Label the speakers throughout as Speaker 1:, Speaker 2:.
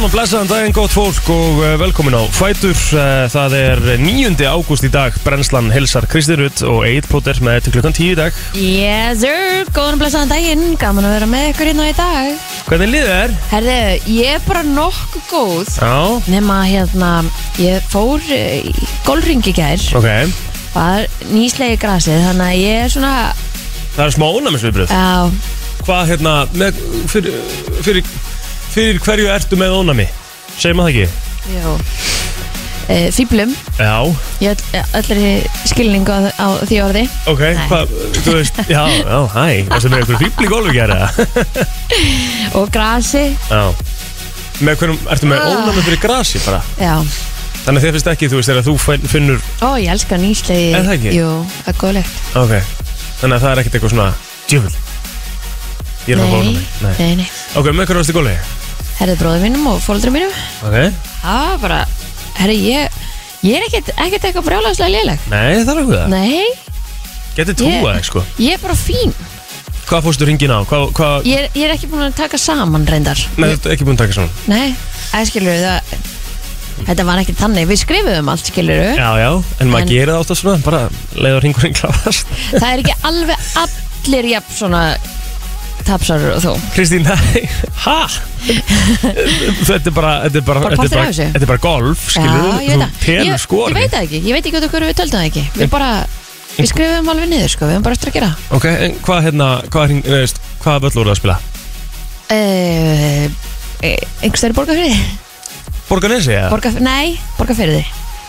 Speaker 1: og blessaðan daginn, gott fólk og eh, velkomin á Fætur. Eh, Það er 9. ágúst í dag, brennslan helsar Kristi Rutt og Egil Plóter með þetta klukkan 10 í dag.
Speaker 2: Yes sir, góðan og blessaðan daginn, gaman að vera með ykkur hérna í dag
Speaker 1: Hvernig liðið er?
Speaker 2: Herðu, ég er bara nokkuð góð
Speaker 1: Já,
Speaker 2: Nefna hérna, ég fór eh, í gólringi gær
Speaker 1: ok.
Speaker 2: Var nýslegi grasið, þannig að ég er svona
Speaker 1: Það er smá ónæmisviðbröð.
Speaker 2: Já,
Speaker 1: Hvað hérna, með, fyrir, fyrir, fyrir hverju ertu með ónæmi? Segir maður það ekki?
Speaker 2: jú e, Fýblum,
Speaker 1: Já,
Speaker 2: ég öll, öll er skilningu á, á því orði
Speaker 1: ok.
Speaker 2: Nei.
Speaker 1: Hvað, þú veist, já, já, hæ. Það sem er einhver fíbl í golfi gera það.
Speaker 2: Og grasi,
Speaker 1: Já. Með hverjum, ertu með ónæmi fyrir grasi bara?
Speaker 2: já
Speaker 1: Þannig að þið finnst ekki, þú veist, þegar þú finn- finnur
Speaker 2: Ó, ég elska nýslegi
Speaker 1: Er það ekki?
Speaker 2: Jú, það er góðlegt
Speaker 1: Ok, þannig að það er ekkert eitthvað svona Djöfull Ég er að fá
Speaker 2: Nei,
Speaker 1: ónæmi Nei.
Speaker 2: nei, nei
Speaker 1: Ok, með hverju varst í góli?
Speaker 2: Herðu bróður mínum og fólundrum mínum
Speaker 1: Ok
Speaker 2: Það var bara, herri, ég, ég er ekkert, ekkert eitthvað brjálagslega léleg.
Speaker 1: Nei, það er okkur það
Speaker 2: Nei,
Speaker 1: Getið trúa
Speaker 2: Ég-
Speaker 1: þig sko
Speaker 2: ég er bara fín.
Speaker 1: Hvað fórstu ringin á? Hvað, hvað
Speaker 2: Ég er, ég er ekki búin að taka saman reyndar.
Speaker 1: Nei, þú ert ekki búin að taka svona
Speaker 2: Nei, það skilur það, þetta var ekki þannig. Við skrifum allt, skilur
Speaker 1: Já, já En maður
Speaker 2: En-
Speaker 1: gerir það alltaf svona Bara leiður ringurinn klárast
Speaker 2: Það er ekki alveg allir jafn svona tapsarur og þú.
Speaker 1: Kristín, nei Ha? þetta er bara Þetta er bara þetta er
Speaker 2: Bara partur af
Speaker 1: bara,
Speaker 2: þessu.
Speaker 1: þetta er bara golf, skilur
Speaker 2: Já, ég veit það.
Speaker 1: Þú telur
Speaker 2: Ég-
Speaker 1: skorin
Speaker 2: Ég veit það ekki, ég veit ekki út af hverju við töldum það ekki. Við bara, við skrifum alveg niður, sko, við höfum bara eftir að gera.
Speaker 1: Ok, en hvað hérna Hvað, hring- þú veist, hvað völl voru að spila?
Speaker 2: Uh, einhvers þeirri borgarfyrði?
Speaker 1: Borganesi, eða?
Speaker 2: Borga, nei, borgarfyrði.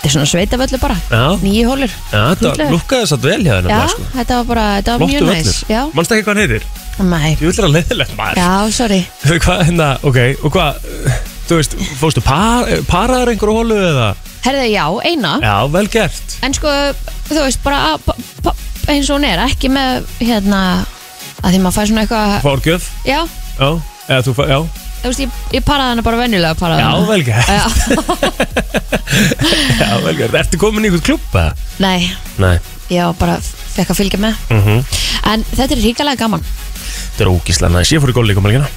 Speaker 2: Þetta er svona sveitavöllu bara.
Speaker 1: Já,
Speaker 2: Nýju hólur.
Speaker 1: já, þetta
Speaker 2: Líklega.
Speaker 1: lukkaði satt vel hjá
Speaker 2: Já,
Speaker 1: þennan sko.
Speaker 2: þetta var bara, þetta var mjög
Speaker 1: Flottu
Speaker 2: næs Já,
Speaker 1: völlur Manst ekki hvað hann heitir?
Speaker 2: nei
Speaker 1: Ég vil vera leiðilegt maður
Speaker 2: Já, sorry
Speaker 1: Hvað hérna, ok, og hvað Þú veist, fórstu par, paraðar einhverju hólu eða?
Speaker 2: Herðu, já, eina
Speaker 1: Já, vel gert
Speaker 2: En sko, þú veist, bara að- pa- pa- eins og hún er Ekki með, hérna að Því maður fær svona eitthvað
Speaker 1: Fórgjöf,
Speaker 2: Já,
Speaker 1: já Eða þú, fa- já,
Speaker 2: þú veist, ég, ég paraði hana bara venjulega paraði
Speaker 1: já,
Speaker 2: hana
Speaker 1: vel gert
Speaker 2: Já,
Speaker 1: Já, vel gert, ertu komin í einhvern klubba?
Speaker 2: Nei,
Speaker 1: Nei,
Speaker 2: ég var bara fekk að fylgja með
Speaker 1: mhm,
Speaker 2: En þetta er ríkalega gaman
Speaker 1: þetta er ógíslega næs Ég fór í góðleikum helgina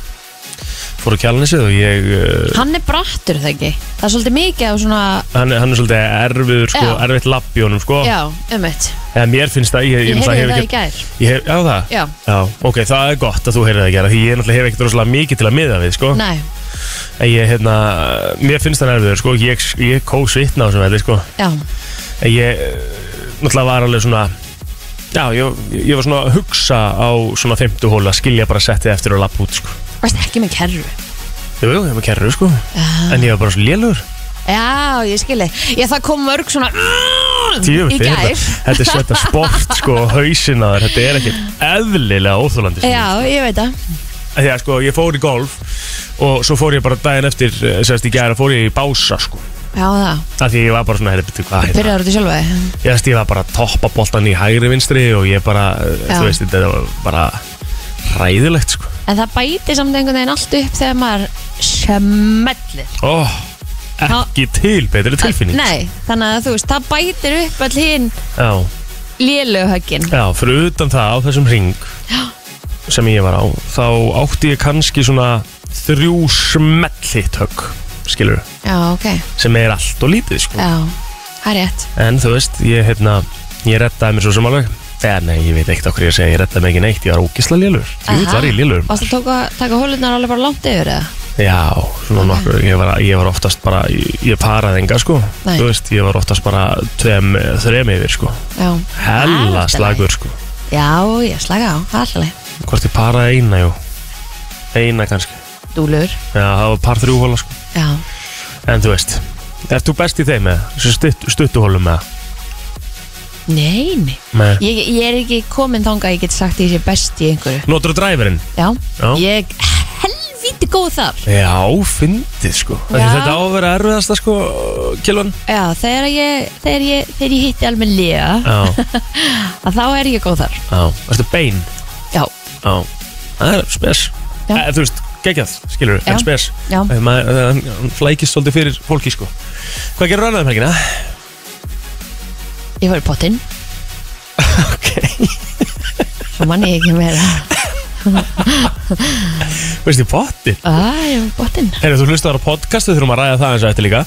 Speaker 1: Fór á kjalanisið og ég uh,
Speaker 2: Hann er brattur það ekki Það er svolítið mikið á svona
Speaker 1: hann, er- hann er svolítið erfiður, sko,
Speaker 2: Já.
Speaker 1: erfitt lapp í honum, sko
Speaker 2: Já, ummitt
Speaker 1: Eða mér finnst það, ég,
Speaker 2: Ég
Speaker 1: ég,
Speaker 2: heyrði
Speaker 1: hef
Speaker 2: það í
Speaker 1: ekki-
Speaker 2: gær
Speaker 1: Ég hef, já það
Speaker 2: Já,
Speaker 1: Já, ok, það er gott að þú heyrið það gera Því ég náttúrulega hef ekkert rosalega mikið til að miða við, sko
Speaker 2: nei,
Speaker 1: En ég, hérna, mér finnst það nerviður, sko Ég, ég kós vitna á þessum velli, sko
Speaker 2: já,
Speaker 1: En ég, eh, náttúrulega var alveg svona Já, ég, ég var svona að hugsa á svona fimmtu hóla Skilja bara settið eftir og lapp út, sko
Speaker 2: varst ekki með kerru
Speaker 1: Jú, jú, ég var kerru, sko
Speaker 2: Ah.
Speaker 1: En ég var bara svo lélugur
Speaker 2: Já, ég skilji. Ég það kom mörg svona
Speaker 1: Tíu,
Speaker 2: í
Speaker 1: þetta,
Speaker 2: gær.
Speaker 1: er- þetta er sveta sport, sko Hausin að þér, þetta er ekkert eðlilega óþólandi sko.
Speaker 2: Já, ég veit það.
Speaker 1: Af Því að, sko, ég fór í golf Og svo fór ég bara daginn eftir, eh, sérst í gæra Fór ég í bása, sko
Speaker 2: Já, það.
Speaker 1: Af því ég var bara svona, herri, betur hvað hérna
Speaker 2: Byrjar út í sjálfa þig.
Speaker 1: Ég veist, ég var bara að toppa boltan í hægri vinstri Og ég bara, eh,
Speaker 2: Já.
Speaker 1: þú veist, þetta var bara Ræðilegt, sko
Speaker 2: En það bæti samt einhvern veginn allt upp þegar maður smellir.
Speaker 1: Ó, ekki til betri tilfinning
Speaker 2: Nei, þannig að þú veist, það bætir upp all hinn
Speaker 1: Já,
Speaker 2: léluhöggin.
Speaker 1: já, fyrir utan það á þessum ring
Speaker 2: Já.
Speaker 1: sem ég var á þá átti ég kannski svona þrjú smellit högg skilur,
Speaker 2: Já, ok.
Speaker 1: sem er allt og lítið sko.
Speaker 2: Já, það er rétt.
Speaker 1: en þú veist, ég hérna ég rettaði mér svo sem alveg eða nei, ég veit ekkert okkur ég að segja, ég rettaði mér ekki neitt ég var ógisla lélur, ég
Speaker 2: Aha.
Speaker 1: var í lélur
Speaker 2: Varst það að taka hólurnar alveg bara langt yfir eða?
Speaker 1: Já, svona nokkur, ég var, ég var oftast bara, ég, ég paraði enga sko
Speaker 2: Nei.
Speaker 1: Þú veist, ég var oftast bara tveim, þreim yfir sko
Speaker 2: Já.
Speaker 1: Hella
Speaker 2: Allt í lagi.
Speaker 1: slagur sko
Speaker 2: Já, ég slaka á, það er alltaf leið.
Speaker 1: Hvort ég paraði eina, jú Eina kannski
Speaker 2: Dúlur.
Speaker 1: Já, það var par þrjúhóla sko
Speaker 2: Já.
Speaker 1: En þú veist, ert þú best í þeim með? Þessu stutt, stuttuhólum með?
Speaker 2: Nei, nei.
Speaker 1: með.
Speaker 2: Ég, ég er ekki komin þanga að ég get sagt því sé best í einhverju.
Speaker 1: Notur dræverinn?
Speaker 2: Já,
Speaker 1: Já.
Speaker 2: ég helvíti góð þar
Speaker 1: Já, fyndið sko Já.
Speaker 2: Já.
Speaker 1: Þetta á að vera erfiðasta sko, kilvan
Speaker 2: Já, þegar ég, þegar ég, þegar ég hitti alveg lega
Speaker 1: Já,
Speaker 2: að þá er ég góð þar
Speaker 1: já, ertu bein?
Speaker 2: Já,
Speaker 1: Já, það er spes
Speaker 2: Já.
Speaker 1: Eh, Þú veist, geggjað, skilur,
Speaker 2: Já.
Speaker 1: en spes
Speaker 2: já
Speaker 1: Ef maður- eh, Hann flækist svolítið fyrir fólki sko Hvað gerur annað um helgina?
Speaker 2: Ég var í pottinn,
Speaker 1: Ok
Speaker 2: svo manni ég ekki meira
Speaker 1: veist ég potti
Speaker 2: Æ, botinn
Speaker 1: Herri, þú hlustar á podcast, við þurfum að ræða það eins og eftir líka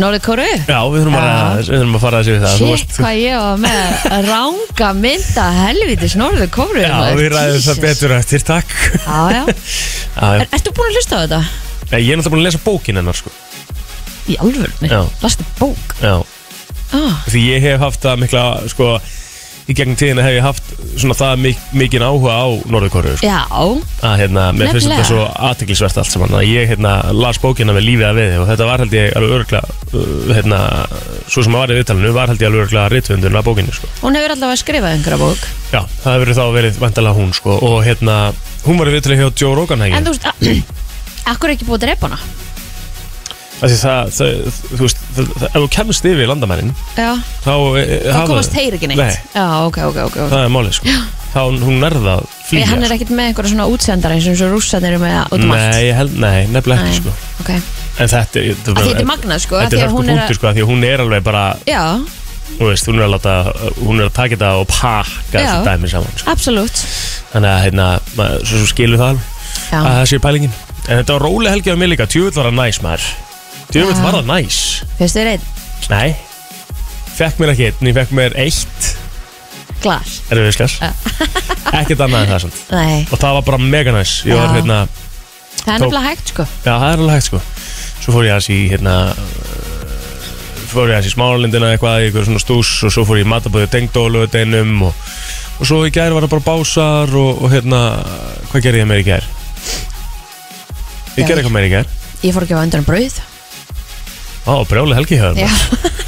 Speaker 2: Norður Kóru
Speaker 1: Já, við þurfum að,
Speaker 2: Já.
Speaker 1: ræða, við þurfum að fara þessi við það Þú
Speaker 2: Sitt
Speaker 1: varst-
Speaker 2: hvað ég var með að ranga mynda helvitis Norður Kóru
Speaker 1: Já, við ræðum það betur eftir, takk
Speaker 2: Já, já
Speaker 1: Já, já.
Speaker 2: Er, ertu búin að hlusta á þetta?
Speaker 1: Nei, Ég er náttúrulega búin að lesa bókin hennar sko.
Speaker 2: Í alvörni?
Speaker 1: Já.
Speaker 2: Lastu bók?
Speaker 1: Já.
Speaker 2: Ah,
Speaker 1: Því ég hef haft það mikla sko, Í gegnum tíðina hef ég haft svona, það mik mikinn áhuga á Norðurkóru sko.
Speaker 2: já,
Speaker 1: að hérna, mér finnst
Speaker 2: Nefnilega.
Speaker 1: þetta svo aðtiklisvert allt saman að ég hérna las bókina með lífið að veði og þetta var held ég alveg örgla uh, hérna, svo sem að var í viðtalinu var held ég alveg örgla rithöndurinn að bókinu sko.
Speaker 2: hún hefur allavega skrifað einhverja bók
Speaker 1: já, það hefur þá verið vandalega hún sko, og hérna, hún var í viðtalinu hjá Joe Rogan
Speaker 2: En
Speaker 1: hegin,
Speaker 2: þú veist, akkur er ekki búið að drepa hana?
Speaker 1: það, það, það, þú veist, það, það, ef þú kemst yfir landamærin
Speaker 2: Já,
Speaker 1: þá, eh,
Speaker 2: þá
Speaker 1: hafa-
Speaker 2: komast þeir ekki neitt
Speaker 1: Nei.
Speaker 2: Já, ok, ok, ok, ok.
Speaker 1: það er málið sko. þá hún nærða að
Speaker 2: Ég,
Speaker 1: flýja
Speaker 2: hann er
Speaker 1: sko.
Speaker 2: ekkert með einhverja svona útsendara eins og eins og rússarnir eru með út um allt
Speaker 1: nei, ég held, nei, nefnilega ekki sko.
Speaker 2: ok
Speaker 1: en þetta, er-
Speaker 2: Að Þetta er magnað sko að
Speaker 1: þetta
Speaker 2: því
Speaker 1: er
Speaker 2: að
Speaker 1: hörku
Speaker 2: hún er að
Speaker 1: punktur sko, af því að hún er alveg bara
Speaker 2: Já,
Speaker 1: þú veist, hún er að láta, hún er að taka þetta og pakka
Speaker 2: Já.
Speaker 1: þessu dæmi saman sko.
Speaker 2: absolutt
Speaker 1: þannig að hérna, maður, svo, svo skilur það alveg
Speaker 2: Já,
Speaker 1: að það sé pælingin, en þetta var róleg helgi af mig líka, tjöfull var það næs maður tjöfull
Speaker 2: Já.
Speaker 1: var það næs,
Speaker 2: finnst þér einn
Speaker 1: nei fekk mér ekki einn, ég fekk mér eitt
Speaker 2: glas
Speaker 1: erum við skas ekkert annað en það samt
Speaker 2: Nei,
Speaker 1: og það var bara mega næs, ég var
Speaker 2: Já.
Speaker 1: hérna
Speaker 2: það er
Speaker 1: Tók-
Speaker 2: nefnilega hægt sko
Speaker 1: já, það er alveg hægt sko svo fór ég aðeins í hérna eh, fór ég aðeins í smálindina eitthvað í eitthvað svona stús og svo fór ég í matabóði tengdóluðdeinum og, og svo í gær var það bara básar og, og hérna, hvað gerði ég meir í gær? Ég gerði eitthvað meir í gær
Speaker 2: Ég fór ekki á undan brauð
Speaker 1: Á, brjáli helgi
Speaker 2: Já,
Speaker 1: hefur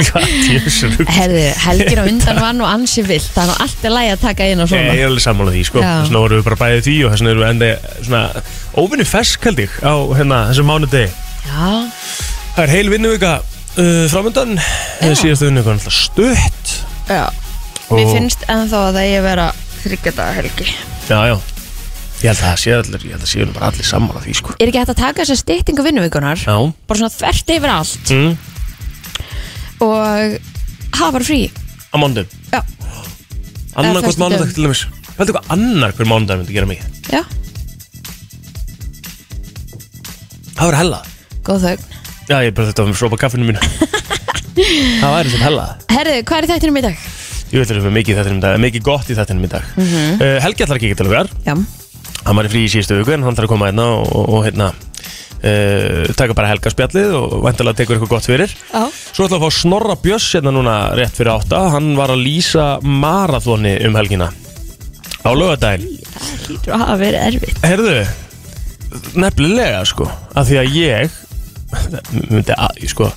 Speaker 1: Hvað, djöfisur
Speaker 2: herðu, helgir á undan var nú ansi vilt Það er nú allt í lagi að taka inn og svona
Speaker 1: Ég er alveg sammála því, sko
Speaker 2: Já.
Speaker 1: Þess vegna vorum við bara bæðið því og þess vegna erum við enda svona óvinni fersk held ég á hérna, þessum mánudegi
Speaker 2: Já,
Speaker 1: Það er heil vinnuvika uh, framöndan
Speaker 2: Já.
Speaker 1: Síðasta vinnuvika er alltaf stutt
Speaker 2: já Mér finnst ennþá að það ég vera þryggja daga helgi
Speaker 1: Já, já Ég held að það sé allir, ég held að sé nú bara allir sammála því, sko
Speaker 2: Er ekki hægt að taka þess að styttingu vinnuvíkunar
Speaker 1: Já
Speaker 2: Bara svona þvert yfir allt
Speaker 1: mm.
Speaker 2: Og hafa bara frí
Speaker 1: Á mándum
Speaker 2: Já,
Speaker 1: Annar hvort
Speaker 2: föstudögum.
Speaker 1: mánudag til dæmis Ég held eitthvað annar hver mánudag myndi gera mig
Speaker 2: já,
Speaker 1: Það verður hella
Speaker 2: góð þögn
Speaker 1: Já, ég bara þetta var með frópa kaffinu mínu Það væri sem hella
Speaker 2: Herðu, hvað er í þættinum í dag?
Speaker 1: Ég veit að við mikið í þættinum í dag, mikið gott í þættinum í dag mm Helgi ætlar ekki ekki til okkar
Speaker 2: Já,
Speaker 1: Hann var í frí í síðustu viku en hann þarf að koma hérna og, og, og hérna Uh, taka bara helgarspjallið og vantilega tekur eitthvað gott fyrir
Speaker 2: já
Speaker 1: Svo ætlaðu að fá Snorra Björns hérna núna rétt fyrir átta Hann var að lýsa marathoni um helgina Á lögadaginn
Speaker 2: Það hlýtur að hafa verið erfitt
Speaker 1: Herðu, nefnilega sko Af því að ég myndi að, sko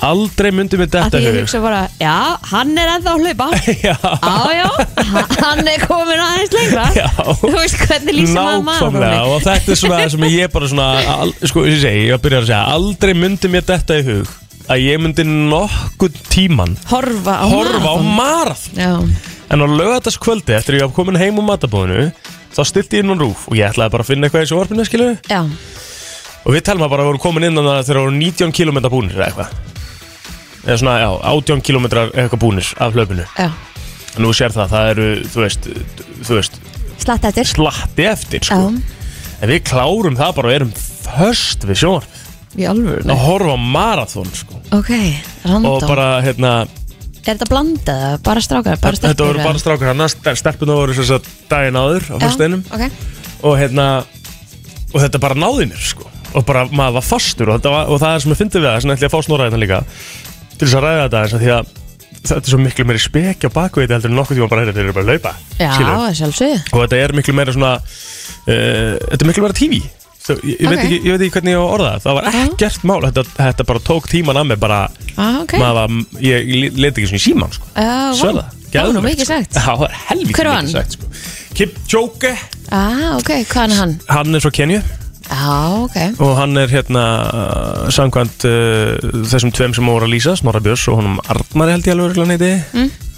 Speaker 1: Aldrei myndi mig
Speaker 2: Af
Speaker 1: detta
Speaker 2: því
Speaker 1: í
Speaker 2: ég
Speaker 1: hug.
Speaker 2: hugsa bara, já, hann er ennþá að hlaupa
Speaker 1: Já,
Speaker 2: Á, já, hann er komin aðeins lengra
Speaker 1: Já.
Speaker 2: Þú veist hvernig lýsir maður maður
Speaker 1: nákvæmlega Og þetta er svona það sem ég bara svona al, Sko, ég segi, ég byrja að segja Aldrei myndi mér detta í hug Að ég myndi nokkuð tíman
Speaker 2: Horfa á
Speaker 1: Horfa á
Speaker 2: marathon.
Speaker 1: marathon
Speaker 2: Já,
Speaker 1: En á lögataskvöldi eftir að ég var komin heim úr matabóðinu þá stilti ég inn á rúf og ég ætlaði bara að finna eitthvað í sjóvarpinu skilu
Speaker 2: já,
Speaker 1: og við telma bara að voru komin inn á það þegar voru 19 km búnir eða eitthvað eða svona, já, 18 km eitthvað búnir af hlaupinu
Speaker 2: já
Speaker 1: en nú sér það, það eru, þú veist, þú veist
Speaker 2: Slatt
Speaker 1: Sko,
Speaker 2: eftir
Speaker 1: slatti eftir,
Speaker 2: Já,
Speaker 1: sko en við klárum það bara og erum först við sjóvarpinu
Speaker 2: í alvöru
Speaker 1: að horfa á marathón, sko
Speaker 2: Ok,
Speaker 1: og
Speaker 2: random
Speaker 1: bara, hérna,
Speaker 2: Er þetta blandað, eða bara strákar, bara stelpur?
Speaker 1: þetta voru
Speaker 2: eða?
Speaker 1: bara strákar hann, stelpuna voru þess að daginn áður á
Speaker 2: Já,
Speaker 1: fyrsteinum
Speaker 2: ok.
Speaker 1: og hérna og þetta bara náði mér sko og bara maður var fastur og, þetta var, og það er sem ég fyndi við það sem ætla ég að fá snorra hérna líka til þess að ræða þetta eins og því að þetta er svo miklu meiri spekja bakveit heldur en nokkuð tíma bara hérna þeir eru bara að laupa
Speaker 2: Já,
Speaker 1: skilurðu.
Speaker 2: sjálfsögðu
Speaker 1: og þetta er miklu meira svona uh, þetta er miklu meira TV Svo, ég, ég, veit
Speaker 2: Ok.
Speaker 1: ekki, ég veit ekki hvernig ég á að orða það það var
Speaker 2: Já.
Speaker 1: ekkert mál, þetta, þetta bara tók tíman að mig bara,
Speaker 2: ah, ok
Speaker 1: maður var, ég leti ekki svona í síman sko.
Speaker 2: Já, vá.
Speaker 1: Sjöla,
Speaker 2: Það var nú mikið sagt
Speaker 1: það var helvítið
Speaker 2: Hver var
Speaker 1: mikið
Speaker 2: hann?
Speaker 1: sagt sko. Kipchoge,
Speaker 2: ah, ok, hvað er hann?
Speaker 1: hann er svo Kenju
Speaker 2: Já, ok
Speaker 1: og hann er hérna uh, samkvæmt uh, þessum tveim sem voru að lýsa Snorra Björns og honum Arnari held ég alveg örugglega hann heiti mm.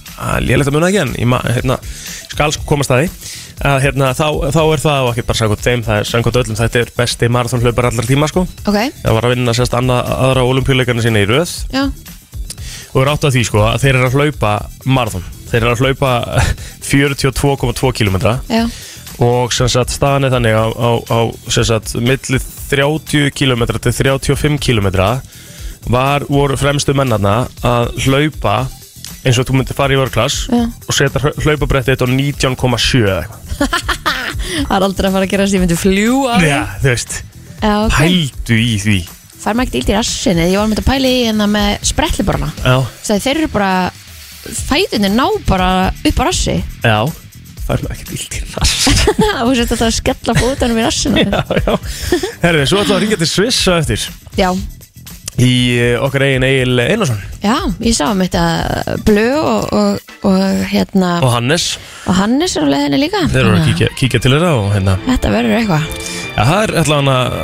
Speaker 1: lélegt að muna ekki en ég ma- hérna, skal sko komast að því að hérna, þá, þá er það og ekki bara samkvæmt þeim það er samkvæmt öllum, þetta er besti marathon hlaupar allar tíma sko,
Speaker 2: Ok,
Speaker 1: það var að vinna sérst annað, aðra olimpíuleikana sína í röð
Speaker 2: já,
Speaker 1: og er átt að því sko að þeir eru að hlaupa marathon, þeir eru að hlaupa 42,2 kilometra
Speaker 2: já,
Speaker 1: og sem sagt staðan er þannig á, á, á sem sagt milli 30 km til 35 km var, voru fremstu mennarna að hlaupa eins og þú myndir fara í vörklass
Speaker 2: Já.
Speaker 1: og setja hlaupabrettið þitt á 19,7 eða eitthvað.
Speaker 2: Það er aldrei að fara að gera þess að ég myndi fljúa
Speaker 1: Já, þú veist,
Speaker 2: Já, ok.
Speaker 1: pældu í því
Speaker 2: Fær maður ekkert illt í rassinni Ég var með að pæla í hérna með sprettliborna
Speaker 1: Já,
Speaker 2: Þegar þeir eru bara Fæðunni ná bara upp á rassi
Speaker 1: já Það er ekki vilt í rass
Speaker 2: Þú setja þetta að skella fótunum í rassinu
Speaker 1: Já, já Herri, svo ætlaðu að ringja til Sviss á eftir
Speaker 2: Já,
Speaker 1: Í eh, okkar eigin Egil Einarsson
Speaker 2: já, ég sá um þetta Blö og, og, og hérna
Speaker 1: og Hannes
Speaker 2: Og Hannes er á leiðinni líka
Speaker 1: Þeir eru að
Speaker 2: Þannig
Speaker 1: kíkja, kíkja til þeirra og hérna
Speaker 2: Þetta verður eitthvað
Speaker 1: Já, það er allan að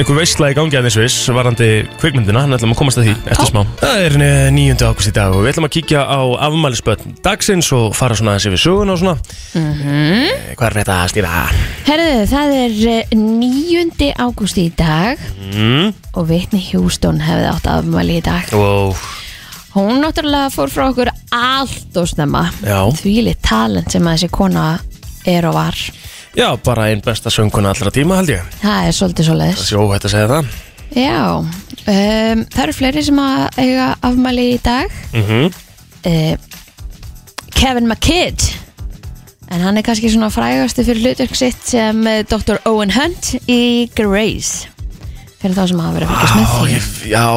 Speaker 1: einhver veistla í gangi aðeins viss varandi kvikmyndina, hann ætlum að komast að því eftir
Speaker 2: Já.
Speaker 1: smá. Það er eh, 9. águst í dag og við ætlum að kíkja á afmælisbötn dagsins og fara svona aðeins yfir söguna og svona. Eh, Hvað er þetta að stýra?
Speaker 2: Herðu, það er eh, 9. ágúst í dag
Speaker 1: Mm.
Speaker 2: og Whitney Houston hefði átt afmæli í dag
Speaker 1: Wow.
Speaker 2: Hún náttúrulega fór frá okkur allt og snemma
Speaker 1: Já.
Speaker 2: Því lit talent sem að þessi kona er og var
Speaker 1: Já, bara einn besta sönguna allra tíma held ég.
Speaker 2: Það er svolítið
Speaker 1: Það
Speaker 2: svoleiðis
Speaker 1: sé óhætt að segja það.
Speaker 2: Já, um, það eru fleiri sem að eiga afmæli í dag
Speaker 1: Mm
Speaker 2: uh, Kevin McKidd en hann er kannski svona frægastu fyrir hlutverk sitt sem eh, Dr. Owen Hunt í Grace fyrir þá sem hafa verið að fylgjast með því
Speaker 1: Já,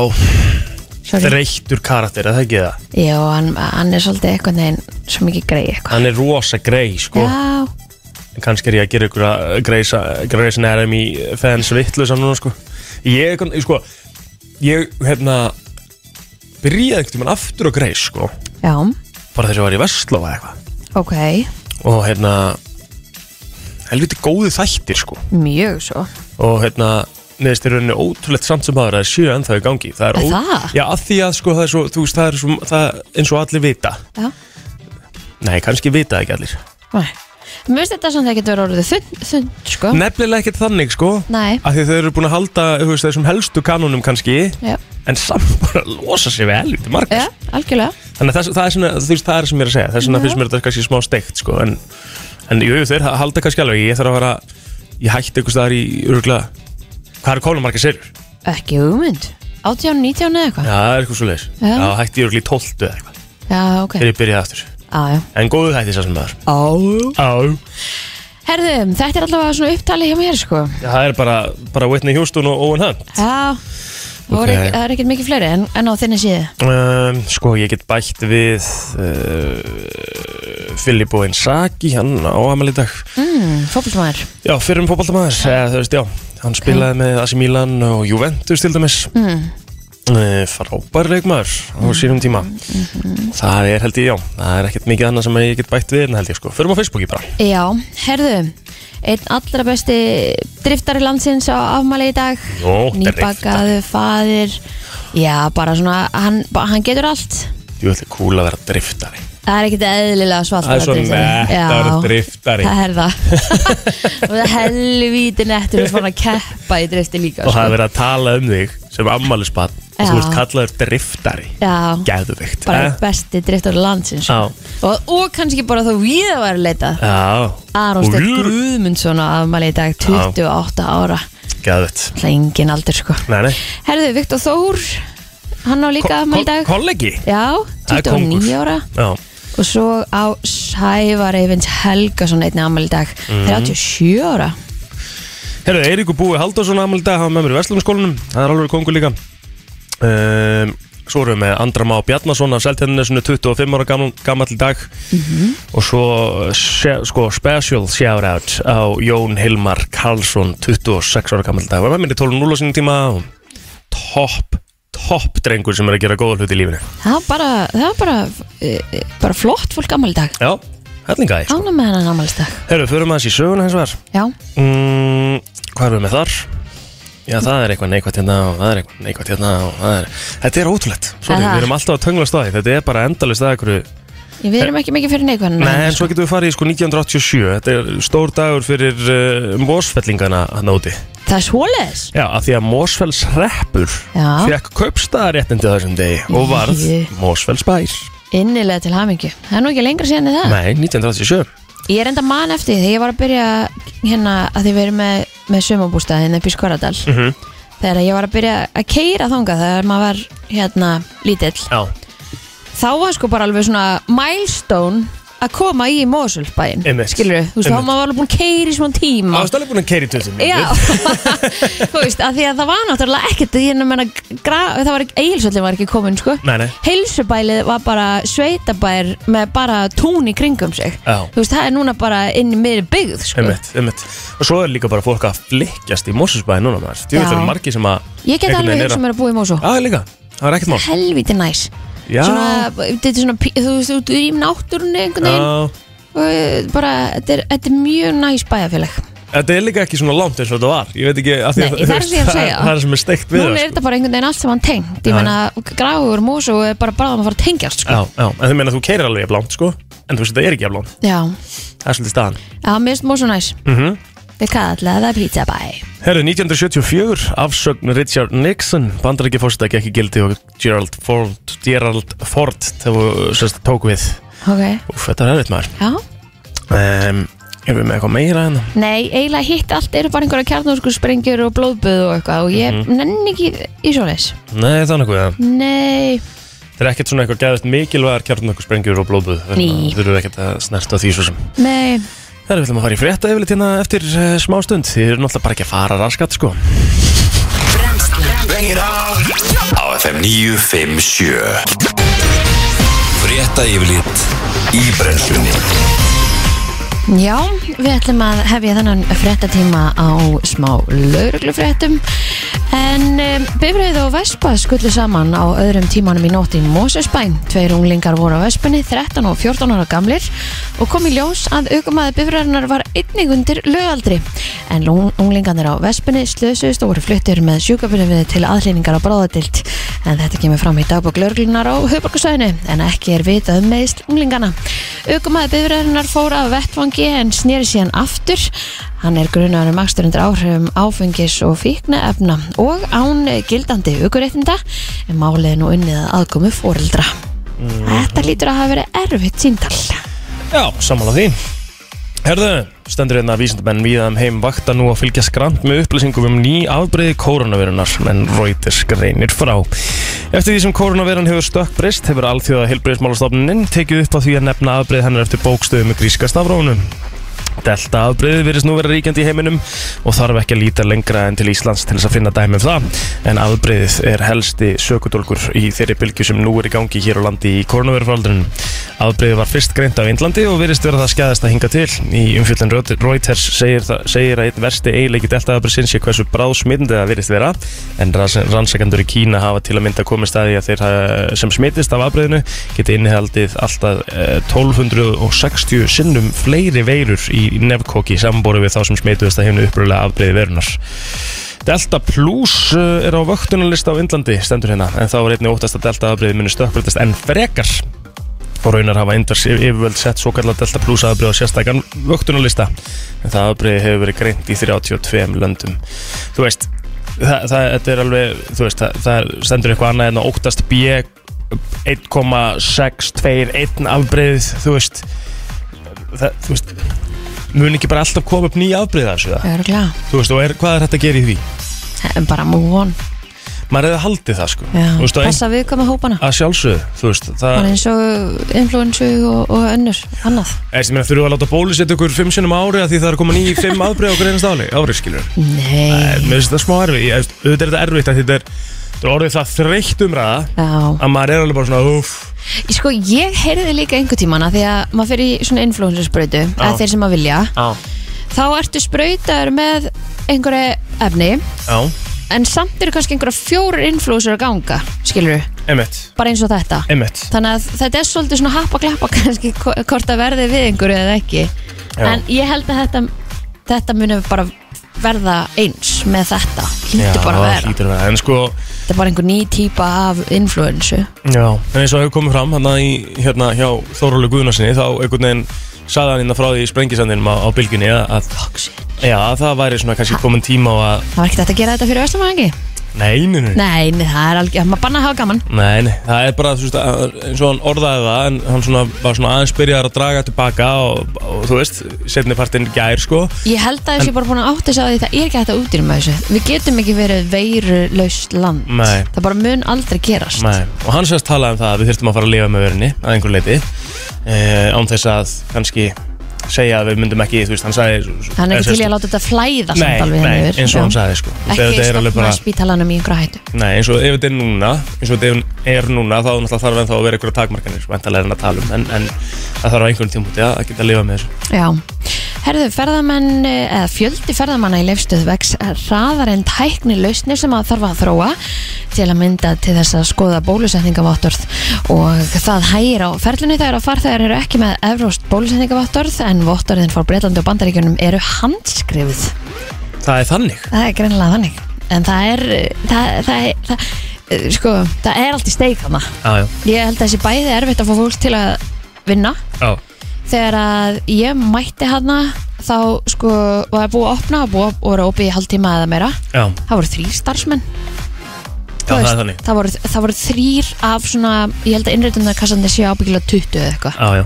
Speaker 2: Sorry.
Speaker 1: þreyttur karakter, er það ekki það?
Speaker 2: Já, hann, hann er svolítið eitthvað neginn svo mikið grei eitthvað
Speaker 1: Hann er rosa grei, sko.
Speaker 2: Já,
Speaker 1: kannski er ég að gera ykkur að greisa greisin erum í fans vittlu núna sko ég, kon- sko, ég hérna byrjaði einhvern tímann aftur á greis sko
Speaker 2: já,
Speaker 1: bara þess að ég var í Vestlóa eitthvað
Speaker 2: ok
Speaker 1: og hérna helviti góði þættir sko
Speaker 2: Mjög svo
Speaker 1: og hérna neðist í rauninni ótrúlegt samt sem aðra er sjö ennþá í gangi það er
Speaker 2: Er
Speaker 1: ó-
Speaker 2: það?
Speaker 1: já að því að sko það er svo, þú veist, það er svo það, eins og allir vita
Speaker 2: Já,
Speaker 1: nei kannski vita ekki allir
Speaker 2: nei Mér finnst þetta samt að það getur orðið þund, þund sko
Speaker 1: nefnilega ekkert þannig sko
Speaker 2: Nei,
Speaker 1: af því þau eru búin að halda þú veist, þessum helstu kanunum kannski
Speaker 2: já,
Speaker 1: en samt bara losa sig við helviti margar
Speaker 2: já, algjörlega
Speaker 1: þannig að það, það, er svona, þú veist, það er sem ég er að segja þess vegna finnst mér þetta kannski smá steikt sko. en, en jú, jú, þeir halda kannski alveg ég þarf að fara, ég hætti einhvers staðar í örugla, hvað eru kóla margar serjur? Já,
Speaker 2: Ekki hugmynd 18, 19 eða eitthvað
Speaker 1: það er eitthvað svo leiðis
Speaker 2: Já.
Speaker 1: Já, hætti ég örugla í tóltu eða eitthvað
Speaker 2: Já, ok
Speaker 1: þegar ég byrjaði aftur
Speaker 2: Já, já
Speaker 1: en góðu hætti sá sem maður
Speaker 2: Ájú
Speaker 1: Já,
Speaker 2: Herðu, þetta er allavega svona upptali hjá mér sko
Speaker 1: það er bara, bara Whitney Houston og Owen Hunt
Speaker 2: Já
Speaker 1: Ok.
Speaker 2: okay. ekki, Það er ekkert mikið fleiri en, en á þinni síðu
Speaker 1: um, Sko, ég get bætt við uh, Filippo Insaki, hann á Amalí dag Hmm,
Speaker 2: mm, Fótboltmaður
Speaker 1: Já, fyrir um fótballtamaður, eða þú veist, já, hann spilaði með AC Milan og Juventus til dæmis,
Speaker 2: mm,
Speaker 1: e, frábær leikmaður á sínum tíma.
Speaker 2: Mhm.
Speaker 1: Það er held ég, já, það er ekkert mikið annað sem ég get bætt við en held ég, sko, fyrir á Facebooki bara.
Speaker 2: Já, herðu Einn allra besti driftari landsins á afmæli í dag
Speaker 1: Jó, driftari.
Speaker 2: Nýbakaðu, faðir Já, bara svona, hann, ba- hann getur allt
Speaker 1: Jú, þetta er cool að vera driftari.
Speaker 2: Það er ekkert eðlilega svalt
Speaker 1: Það er svo nett að vera
Speaker 2: driftari Já,
Speaker 1: driftari.
Speaker 2: Það er það Og það er helvíti nettur Við fórum að keppa í drifti líka sko.
Speaker 1: Og það er verið að tala um þig sem ammælisbann og
Speaker 2: Já.
Speaker 1: þú ert kallaður driftari.
Speaker 2: Já,
Speaker 1: Gæðuvikt.
Speaker 2: bara einn besti driftar landsins sko.
Speaker 1: Eh? Já, Eh?
Speaker 2: og, og kannski bara þá við að vera leita
Speaker 1: já,
Speaker 2: Aron Steinn
Speaker 1: Úlfur.
Speaker 2: Guðmundsson á afmæli í dag 28 ára
Speaker 1: gæðuvikt.
Speaker 2: Það er engin aldur sko
Speaker 1: Nei, nei.
Speaker 2: Herðu, Viktor Þór hann á líka afmæli í dag
Speaker 1: Kollegi.
Speaker 2: Já,
Speaker 1: Það er kóngur.
Speaker 2: 29 ára
Speaker 1: Já,
Speaker 2: og svo á Sævar Eivins Helgason einni afmæli í dag
Speaker 1: Mhm.
Speaker 2: 37 ára
Speaker 1: Herru, Eiríku Búi Halldórsson afmæli í dag, hann var með mér í Vestlumskólanum, það er alveg kongur líka. Um, svo erum við með Andra Má Bjarnason af Seltjarnesinu, 25 ára gamall, gamall í dag. Og svo se, sko, special shoutout á Jón Hilmar Karlsson, 26 ára gamall í dag. Var með mér í 12.0 á sínum tíma og topp, topp drengur sem er að gera góða hluti í lífinu.
Speaker 2: Það var bara, það var bara, e, e, bara flott fólk afmæli í dag
Speaker 1: Já, hellinga því.
Speaker 2: Ána með hennan afmæli í dag
Speaker 1: Herru, förum aðeins í söguna hins vegar.
Speaker 2: Já,
Speaker 1: mm, Hvað erum við með þar? Já, það er eitthvað neikvægt hérna og það er eitthvað neikvætt hérna og það er Þetta er ótrúlegt, Sorry,
Speaker 2: Er það?
Speaker 1: við erum alltaf að töngla staði Þetta er bara endalist að einhverju
Speaker 2: við erum ekki mikið fyrir neikvæðan
Speaker 1: Nei, en svo getum við farið í sko 1987 Þetta er stór dagur fyrir uh, Mósfellingana hann úti
Speaker 2: Það er svoleiðis
Speaker 1: Já, af því að Mósfells reppur
Speaker 2: Já.
Speaker 1: Fekk kaupstaðaréttindi á þessum degi Og varð
Speaker 2: Jé.
Speaker 1: Mósfells bær
Speaker 2: Innilega til hamingju Það er nú ekki lengra síðan en það
Speaker 1: Nei, 1987
Speaker 2: Ég er enda mann eftir því þegar ég var að byrja hérna að því við erum með, með sumabústað hérna upp í Skoradal
Speaker 1: Mhm.
Speaker 2: þegar ég var að byrja að keira þangað þegar maður var hérna lítill
Speaker 1: Já,
Speaker 2: þá var sko bara alveg svona milestone að koma í Mosulbæin
Speaker 1: Einmitt.
Speaker 2: skilur þú veist, þá
Speaker 1: Einmitt.
Speaker 2: maður var alveg búin að keira í svona tíma
Speaker 1: ástæðlega búin að keiri í 20
Speaker 2: Já,
Speaker 1: mínútur.
Speaker 2: þú veist, að því að það var náttúrulega ekkert því að menna, gra, það var ekki, eigilsvöldin var ekki komin, sko
Speaker 1: Nei, nei,
Speaker 2: Heilsubælið var bara sveitabær með bara tún í kringum sig
Speaker 1: Já.
Speaker 2: Þú veist, það er núna bara inn í miðri byggð, sko
Speaker 1: einmitt, einmitt Og svo er líka bara fólk að flikkjast í Mósusbæði núna maður Þú veit
Speaker 2: Já.
Speaker 1: það eru margir sem að
Speaker 2: Ég get
Speaker 1: einhvern
Speaker 2: alveg
Speaker 1: veginn er
Speaker 2: hugsað mér að búa í Mosó
Speaker 1: Já, líka, það er ekkert mál
Speaker 2: Helviti næs
Speaker 1: Já,
Speaker 2: Svona, þetta er svona, pí- þú veist, þú er í náttúrunni einhvern
Speaker 1: já
Speaker 2: veginn og eh, bara, þetta er, þetta er mjög næs bæjarfélag
Speaker 1: Þetta er líka ekki svona langt eins og þetta var Ég veit ekki að því
Speaker 2: Nei,
Speaker 1: að-
Speaker 2: það er
Speaker 1: þú veist,
Speaker 2: því að
Speaker 1: það-
Speaker 2: segja.
Speaker 1: Það er sem er steikt við
Speaker 2: Núna
Speaker 1: það,
Speaker 2: er
Speaker 1: sko.
Speaker 2: þetta bara einhvern veginn allt sem hann tengt
Speaker 1: Já.
Speaker 2: Ég meina, gráður, Mosó er bara bráðum að fara að tengjast, sko
Speaker 1: Já, já, en þau meina að þú keirir alveg jafn langt sko En þú veist þetta er ekki jafn langt,
Speaker 2: Já,
Speaker 1: það er svolítið staðan
Speaker 2: já, mér finnst Mosó næs
Speaker 1: mm
Speaker 2: Við kallaði það pizzabæ
Speaker 1: Herru, 1974, afsögn Richard Nixon Bandarækja fórstæk ekki gildi og Gerald Ford Gerald Ford, þegar þú tók við
Speaker 2: Ok,
Speaker 1: Úf, þetta er erfitt maður
Speaker 2: já
Speaker 1: um, Erum við með eitthvað meira hérna? en
Speaker 2: Nei, eiginlega hitt allt eru bara einhverja kjarnóskur sprengjur og blóðböð og eitthvað og ég nenni ekki í svoleiðis
Speaker 1: Nei, það er nokkuð það
Speaker 2: Nei,
Speaker 1: Það er ekkert svona eitthvað gæðist mikilvægar kjarnokkur sprengjur og blóðbuð
Speaker 2: Ný.
Speaker 1: Þú eru ekkert að snerta því svo sem
Speaker 2: nei
Speaker 1: Það er við ætlum að fara í frétta yfirleitt hérna eftir uh, smá stund Þið eru náttúrulega bara ekki að fara raskat sko
Speaker 3: Bring it on Á FM 957 Frétta yfirlit í brennslunni
Speaker 2: Já, við ætlum að hefja þennan fréttatíma á smá lauruglufréttum En um, bifröð og vespa skullu saman á öðrum tímanum í nótt í Mósusbæn Tveir unglingar voru á vespunni, 13 og 14 ára gamlir og kom í ljós að aukumæði bifröðunar var einnig undir lögaldri En lung- unglingarnir á vespunni slösuðust og voru fluttir með sjúkabinni til aðlýningar á bráðadild En þetta kemur fram í dagbók lauruglunar á höfbarkusöðinu en ekki er vitað um meðist unglingana Aukumæði bifröðunar fór af vettvangi en snýri síðan aftur Hann er grunar um akstur undir áhrifum áfengis og fíknaefna og án gildandi aukuréttinda en málið er nú unnið að aðkomi fóreldra. Þetta lítur að hafa verið erfitt síntal.
Speaker 1: Já, sammála því Herðu, stendur hérna að vísindamenn víðaðum heim vakta nú að fylgja skrant með upplýsingum um ný afbreyði koronavirunar en Reuters greinir frá Eftir því sem koronavirun hefur stökkbrist hefur alþjóða heilbreyðismálastofnunin tekið upp á því að nefna afbreyði hennar eftir bókstöðu með gríska stafrónum Delta afbreyði virðist nú vera ríkjandi í heiminum og þarf ekki að líta lengra en til Íslands til þess að finna dæmi um það en afbreyðið er helsti sökudólkur í þeirri bylgju sem nú er í gangi hér á landi í koronavirufaldrunum. Afbreyðið var fyrst greint af Indlandi og virðist vera það skæðast að hinga til. Í umfjöldin Reuters segir, það, segir að einn versti eiginleiki Delta afbreyðsins sé hversu bráð smitandi það virðist vera en ranns- rannsakendur í Kína hafa til að mynda komið staði að þeir eh, sem smitist af afbreyðinu geti innihaldið alltaf eh, 1260 sinnum fleiri veirur í nefnkóki samanborið við þá sem smituðist að hefna uppröðlega afbreyði verunar. Delta Plus eh, er á vöktunarlista á Indlandi, stendur hérna, en þá er einnig óttast að Delta afbreyði muni stökkbreytast enn frekar og raunar hafa indars yfirvöld sett svo kallar Delta Plus afbreyði á sérstakann vöktunarlista en það afbreyði hefur verið greint í 32 löndum. Þú veist, það, það, þetta er alveg, þú veist, það, það stendur eitthvað annað en að óttast B 1,621 afbreyðið, þú veist, það, þú veist, mun ekki bara alltaf koma upp nýja afbreyða þessu það?
Speaker 2: Örgulega,
Speaker 1: Þú veist, og er, hvað er hægt að gera í því?
Speaker 2: en bara move on.
Speaker 1: Maður hefði haldið það, sko.
Speaker 2: Já.
Speaker 1: Þú veist, og ein,
Speaker 2: Passa viðkvæma hópana.
Speaker 1: að sjálfsögðu, þú veist, það,
Speaker 2: Bara eins og influensu og, og önnur, annað.
Speaker 1: er sem meina þurfum við að láta bólusetja ykkur fimm sinnum á ári að því það er að koma nýja fimm afbreyða okkur einast ári, ári, skilur.
Speaker 2: Nei,
Speaker 1: Mér finnst þetta smá erfið, ég, auðvitað er þetta erfitt að þetta er, þetta er orðið það þreytt umræða
Speaker 2: já.
Speaker 1: að maður er alveg bara svona, uff,
Speaker 2: Sko, ég heyrði líka einhver tímana því að maður fyrir í svona influensursprautu,
Speaker 1: Já.
Speaker 2: eða þeir sem maður vilja,
Speaker 1: á,
Speaker 2: þá ertu sprautaður með einhverju efni
Speaker 1: á,
Speaker 2: en samt eru kannski einhverja fjórir influencer að ganga, skilur við,
Speaker 1: emitt,
Speaker 2: bara eins og þetta
Speaker 1: emitt.
Speaker 2: þannig að þetta er svolítið svona happa glappa kannski hvo- hvort að verði við einhverju eða ekki
Speaker 1: Já.
Speaker 2: en ég held að þetta þetta muni bara verða eins með þetta, hlýtur bara að
Speaker 1: það
Speaker 2: vera
Speaker 1: hlýtur að vera En sko,
Speaker 2: þetta er bara einhver ný típa af influensu
Speaker 1: já En eins og hefur komið fram hérna, í, hérna hjá Þórólu Guðnarsinni Þá einhvern veginn sagði hann innan frá því í sprengisandinum á, á bylginni að, að,
Speaker 2: Fuck shit.
Speaker 1: já, að það væri svona kannski komin tíma á að
Speaker 2: það var ekkert hægt að gera þetta fyrir Vestamæðingi
Speaker 1: Nei, nei, nei
Speaker 2: Nei, nei, það er alveg, maður banna að hafa gaman
Speaker 1: Nei, nei, það er bara, þú veist, að- eins og hann orðaði það en hann svona, var svona aðeins byrjaðar að draga tilbaka og, og þú veist, setni partinn gær, sko
Speaker 2: Ég held að þessi bara búin að átta sig á því það er ekki hægt að útýrma þessu Við getum ekki verið veirulaust land
Speaker 1: Nei.
Speaker 2: Það bara mun aldrei gerast
Speaker 1: Nei, og hann sérst talaði um það að við þyrftum að fara að lifa með vörunni að einhver leiti e, án þess að kannski segja að við myndum ekki, þú veist, hann sagði
Speaker 2: Hann er
Speaker 1: eða
Speaker 2: ekki til í
Speaker 1: sérst-
Speaker 2: að láta þetta flæða samt
Speaker 1: Nei,
Speaker 2: alveg
Speaker 1: nei,
Speaker 2: hérna yfir.
Speaker 1: eins og
Speaker 2: Já.
Speaker 1: hann sagði, sko. Þegar
Speaker 2: Ekki
Speaker 1: þetta er alveg
Speaker 2: stopna
Speaker 1: bara-
Speaker 2: spítalanum í einhverja hættu
Speaker 1: Nei, eins og ef þetta er núna eins og þetta er núna, þá náttúrulega þarf ennþá að vera einhverja takmarkanir, sko, endalega er hann að tala um en, en það þarf á einhverjum tímpúti að, að geta að lifa með þessu
Speaker 2: Já, herðu ferðamenn eh, eða fjöldi ferðamanna í leifstöð vex hraðar en tækni lausnir sem að þarf að þróa til að mynda til þess að skoða bólusetningavottorð og það hægir á ferlunni þegar að farþegar eru ekki með evróst bólusetningavottorð en vottorðin fór Breitlandi og Bandaríkjunum eru handskrifuð.
Speaker 1: Það er þannig
Speaker 2: Það er greinilega þannig en það er, eh, það, það, það, það sko, það er allt í steik þarna.
Speaker 1: Já, já,
Speaker 2: Ég held að þessi bæði erfitt að fá fólk til að vinna
Speaker 1: já,
Speaker 2: þegar að ég mætti hana þá sko var búið að opna og búið að voru opið í halvtíma eða meira
Speaker 1: já,
Speaker 2: það voru þrýr starfsmenn
Speaker 1: já það er þannig
Speaker 2: það voru, það voru þrýr af svona ég held að innréttunarkassandi séu ábyggilega 20 eða eitthvað
Speaker 1: Já, já,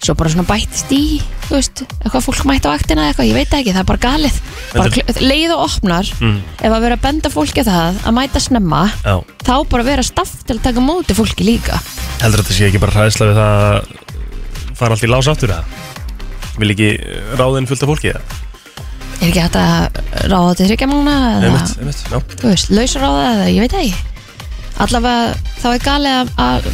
Speaker 2: svo bara svona bættist í þú veist, eitthvað fólk mætti á aktina eða eitthvað ég veit það ekki, það er bara galið bara
Speaker 1: Þetta-
Speaker 2: kl- leið og opnar
Speaker 1: Mm.
Speaker 2: ef að vera að benda fólki á það að mæta snemma
Speaker 1: já
Speaker 2: þá bara vera staff til að taka á móti fólki líka
Speaker 1: Heldur þetta sé ekki bara hræðsla við það að fara allt í lás aftur það? Vil ekki ráðin fullt af fólki það?
Speaker 2: er ekki hægt að ráða til þryggja mánu eða
Speaker 1: Einmitt, einmitt, já
Speaker 2: þú veist, lausar á það eða ég veit það ekki allavega þá er galið að, að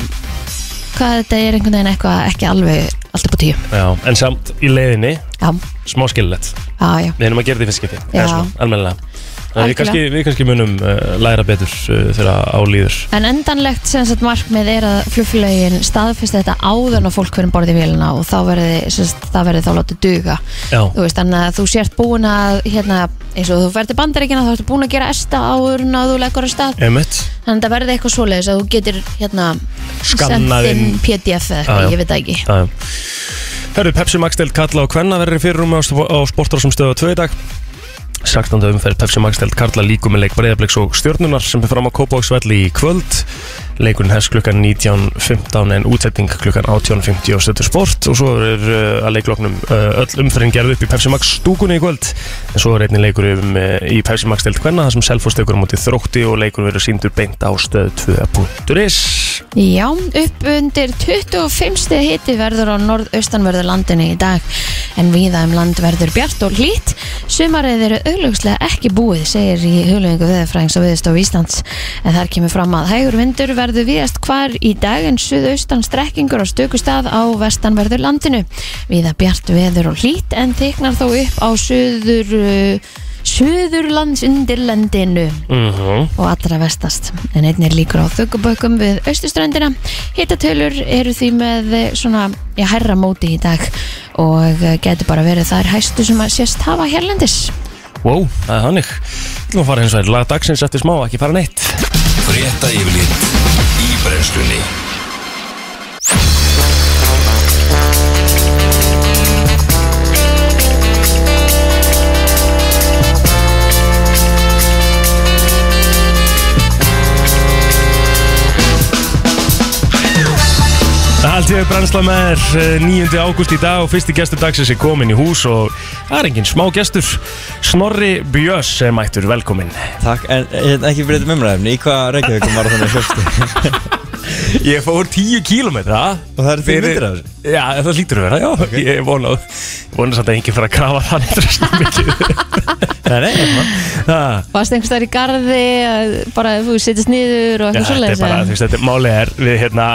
Speaker 2: hvað þetta er einhvern veginn eitthvað ekki alveg allt upp á tíu
Speaker 1: Já, en samt í leiðinni,
Speaker 2: já,
Speaker 1: smá skillilegt
Speaker 2: já, já,
Speaker 1: Við erum að gera þetta í fyrstskipti,
Speaker 2: Já.
Speaker 1: almennilega Þannig að Við
Speaker 2: Algjörlega.
Speaker 1: kannski, við kannski munum uh, læra betur uh, þegar álýður
Speaker 2: en endanlegt sem sagt markmið er að flugfélagin staðfesta þetta áðan og fólk verðum borðið í vélina og þá verði, sem sagt, það verði þá látið duga
Speaker 1: Já,
Speaker 2: þú veist, þannig að þú sért búin að hérna, eins og þú ferð til bandaríkina þá ertu búin að gera esta áður en að þú leggur að stað
Speaker 1: einmitt
Speaker 2: þannig að það verði eitthvað svoleiðis að þú getur hérna, sent
Speaker 1: Skannað
Speaker 2: inn
Speaker 1: inn.
Speaker 2: pdf
Speaker 1: Já,
Speaker 2: eða
Speaker 1: já.
Speaker 2: eitthvað, ég veit það ekki
Speaker 1: Já, já. Herru, Pepsi Max deild kalla og kvenna verður í fyrirrúmi á, sp- á sportar sem stöða tvö í dag 16. umferð Pepsi Max deild karla líku með leik breyðabliks og stjórnunar sem er fram á Kópáksvelli í kvöld leikurinn hefst klukkan 19.15 en útsetting klukkan 18.50 á stöðu sport og svo er uh, að leikloknum uh, öll umferðin gerð upp í Pepsi Max stúkunni í kvöld en svo er einnig leikur um, uh, í Pepsi Max deild kvenna þar sem Selfoss tekur á móti þrótti og leikur verður síndur beint á stöðu 2.is
Speaker 2: Já, upp undir 25. stig hiti verður á norðaustanverðu landinu í dag en viða um land verður bjart og hlýtt sumarið eru augljóslega ekki búið segir í huglegingu veðurfræðings og viðstof Íslands en þar kemur fram að hægur vindur verður viðast hvar í dag en suðaustan strekkingur á stökustað á vestanverðu landinu viða bjart veður og hlýtt en þyknar þó upp á suður uh, suðurlands undirlandinu
Speaker 1: mm
Speaker 2: og allra vestast en einn er líkur á þöggubökkum við austurströndina hittatölur eru því með eh, svona já, herra móti í dag og eh, getur bara verið þær hæstu sem að sést hafa hérlendis
Speaker 1: Wow, það er þannig Þú fara hins vegar, lag dagsins eftir smá, ekki fara neitt
Speaker 3: Frétta yfirlit í brennslunni
Speaker 1: Alltíðu brennsla með er 9. eh, ágúst í dag og fyrsti gestur dagsins er komin í hús og það er engin smá gestur Snorri Björns er mættur velkomin
Speaker 4: Takk, en hérna ekki breytum umræðumni, í hvað Reykjavíkum var þannig fyrstu?
Speaker 1: Ég fór 10 kílómetra
Speaker 4: Og það eru því myndir af þessu?
Speaker 1: Já, það lítur að vera, já Ég vona, vona samt að enginn fyrir að krafa það neitt
Speaker 4: Nei, nei, nei,
Speaker 1: Það
Speaker 2: Varst einhvers þar í garði eh, bara þú sittist niður og
Speaker 1: Já, þetta
Speaker 2: eitthvað
Speaker 1: er
Speaker 2: svoleiðis
Speaker 1: bara,
Speaker 2: eða?
Speaker 1: þú veist, þetta er málið er við hérna,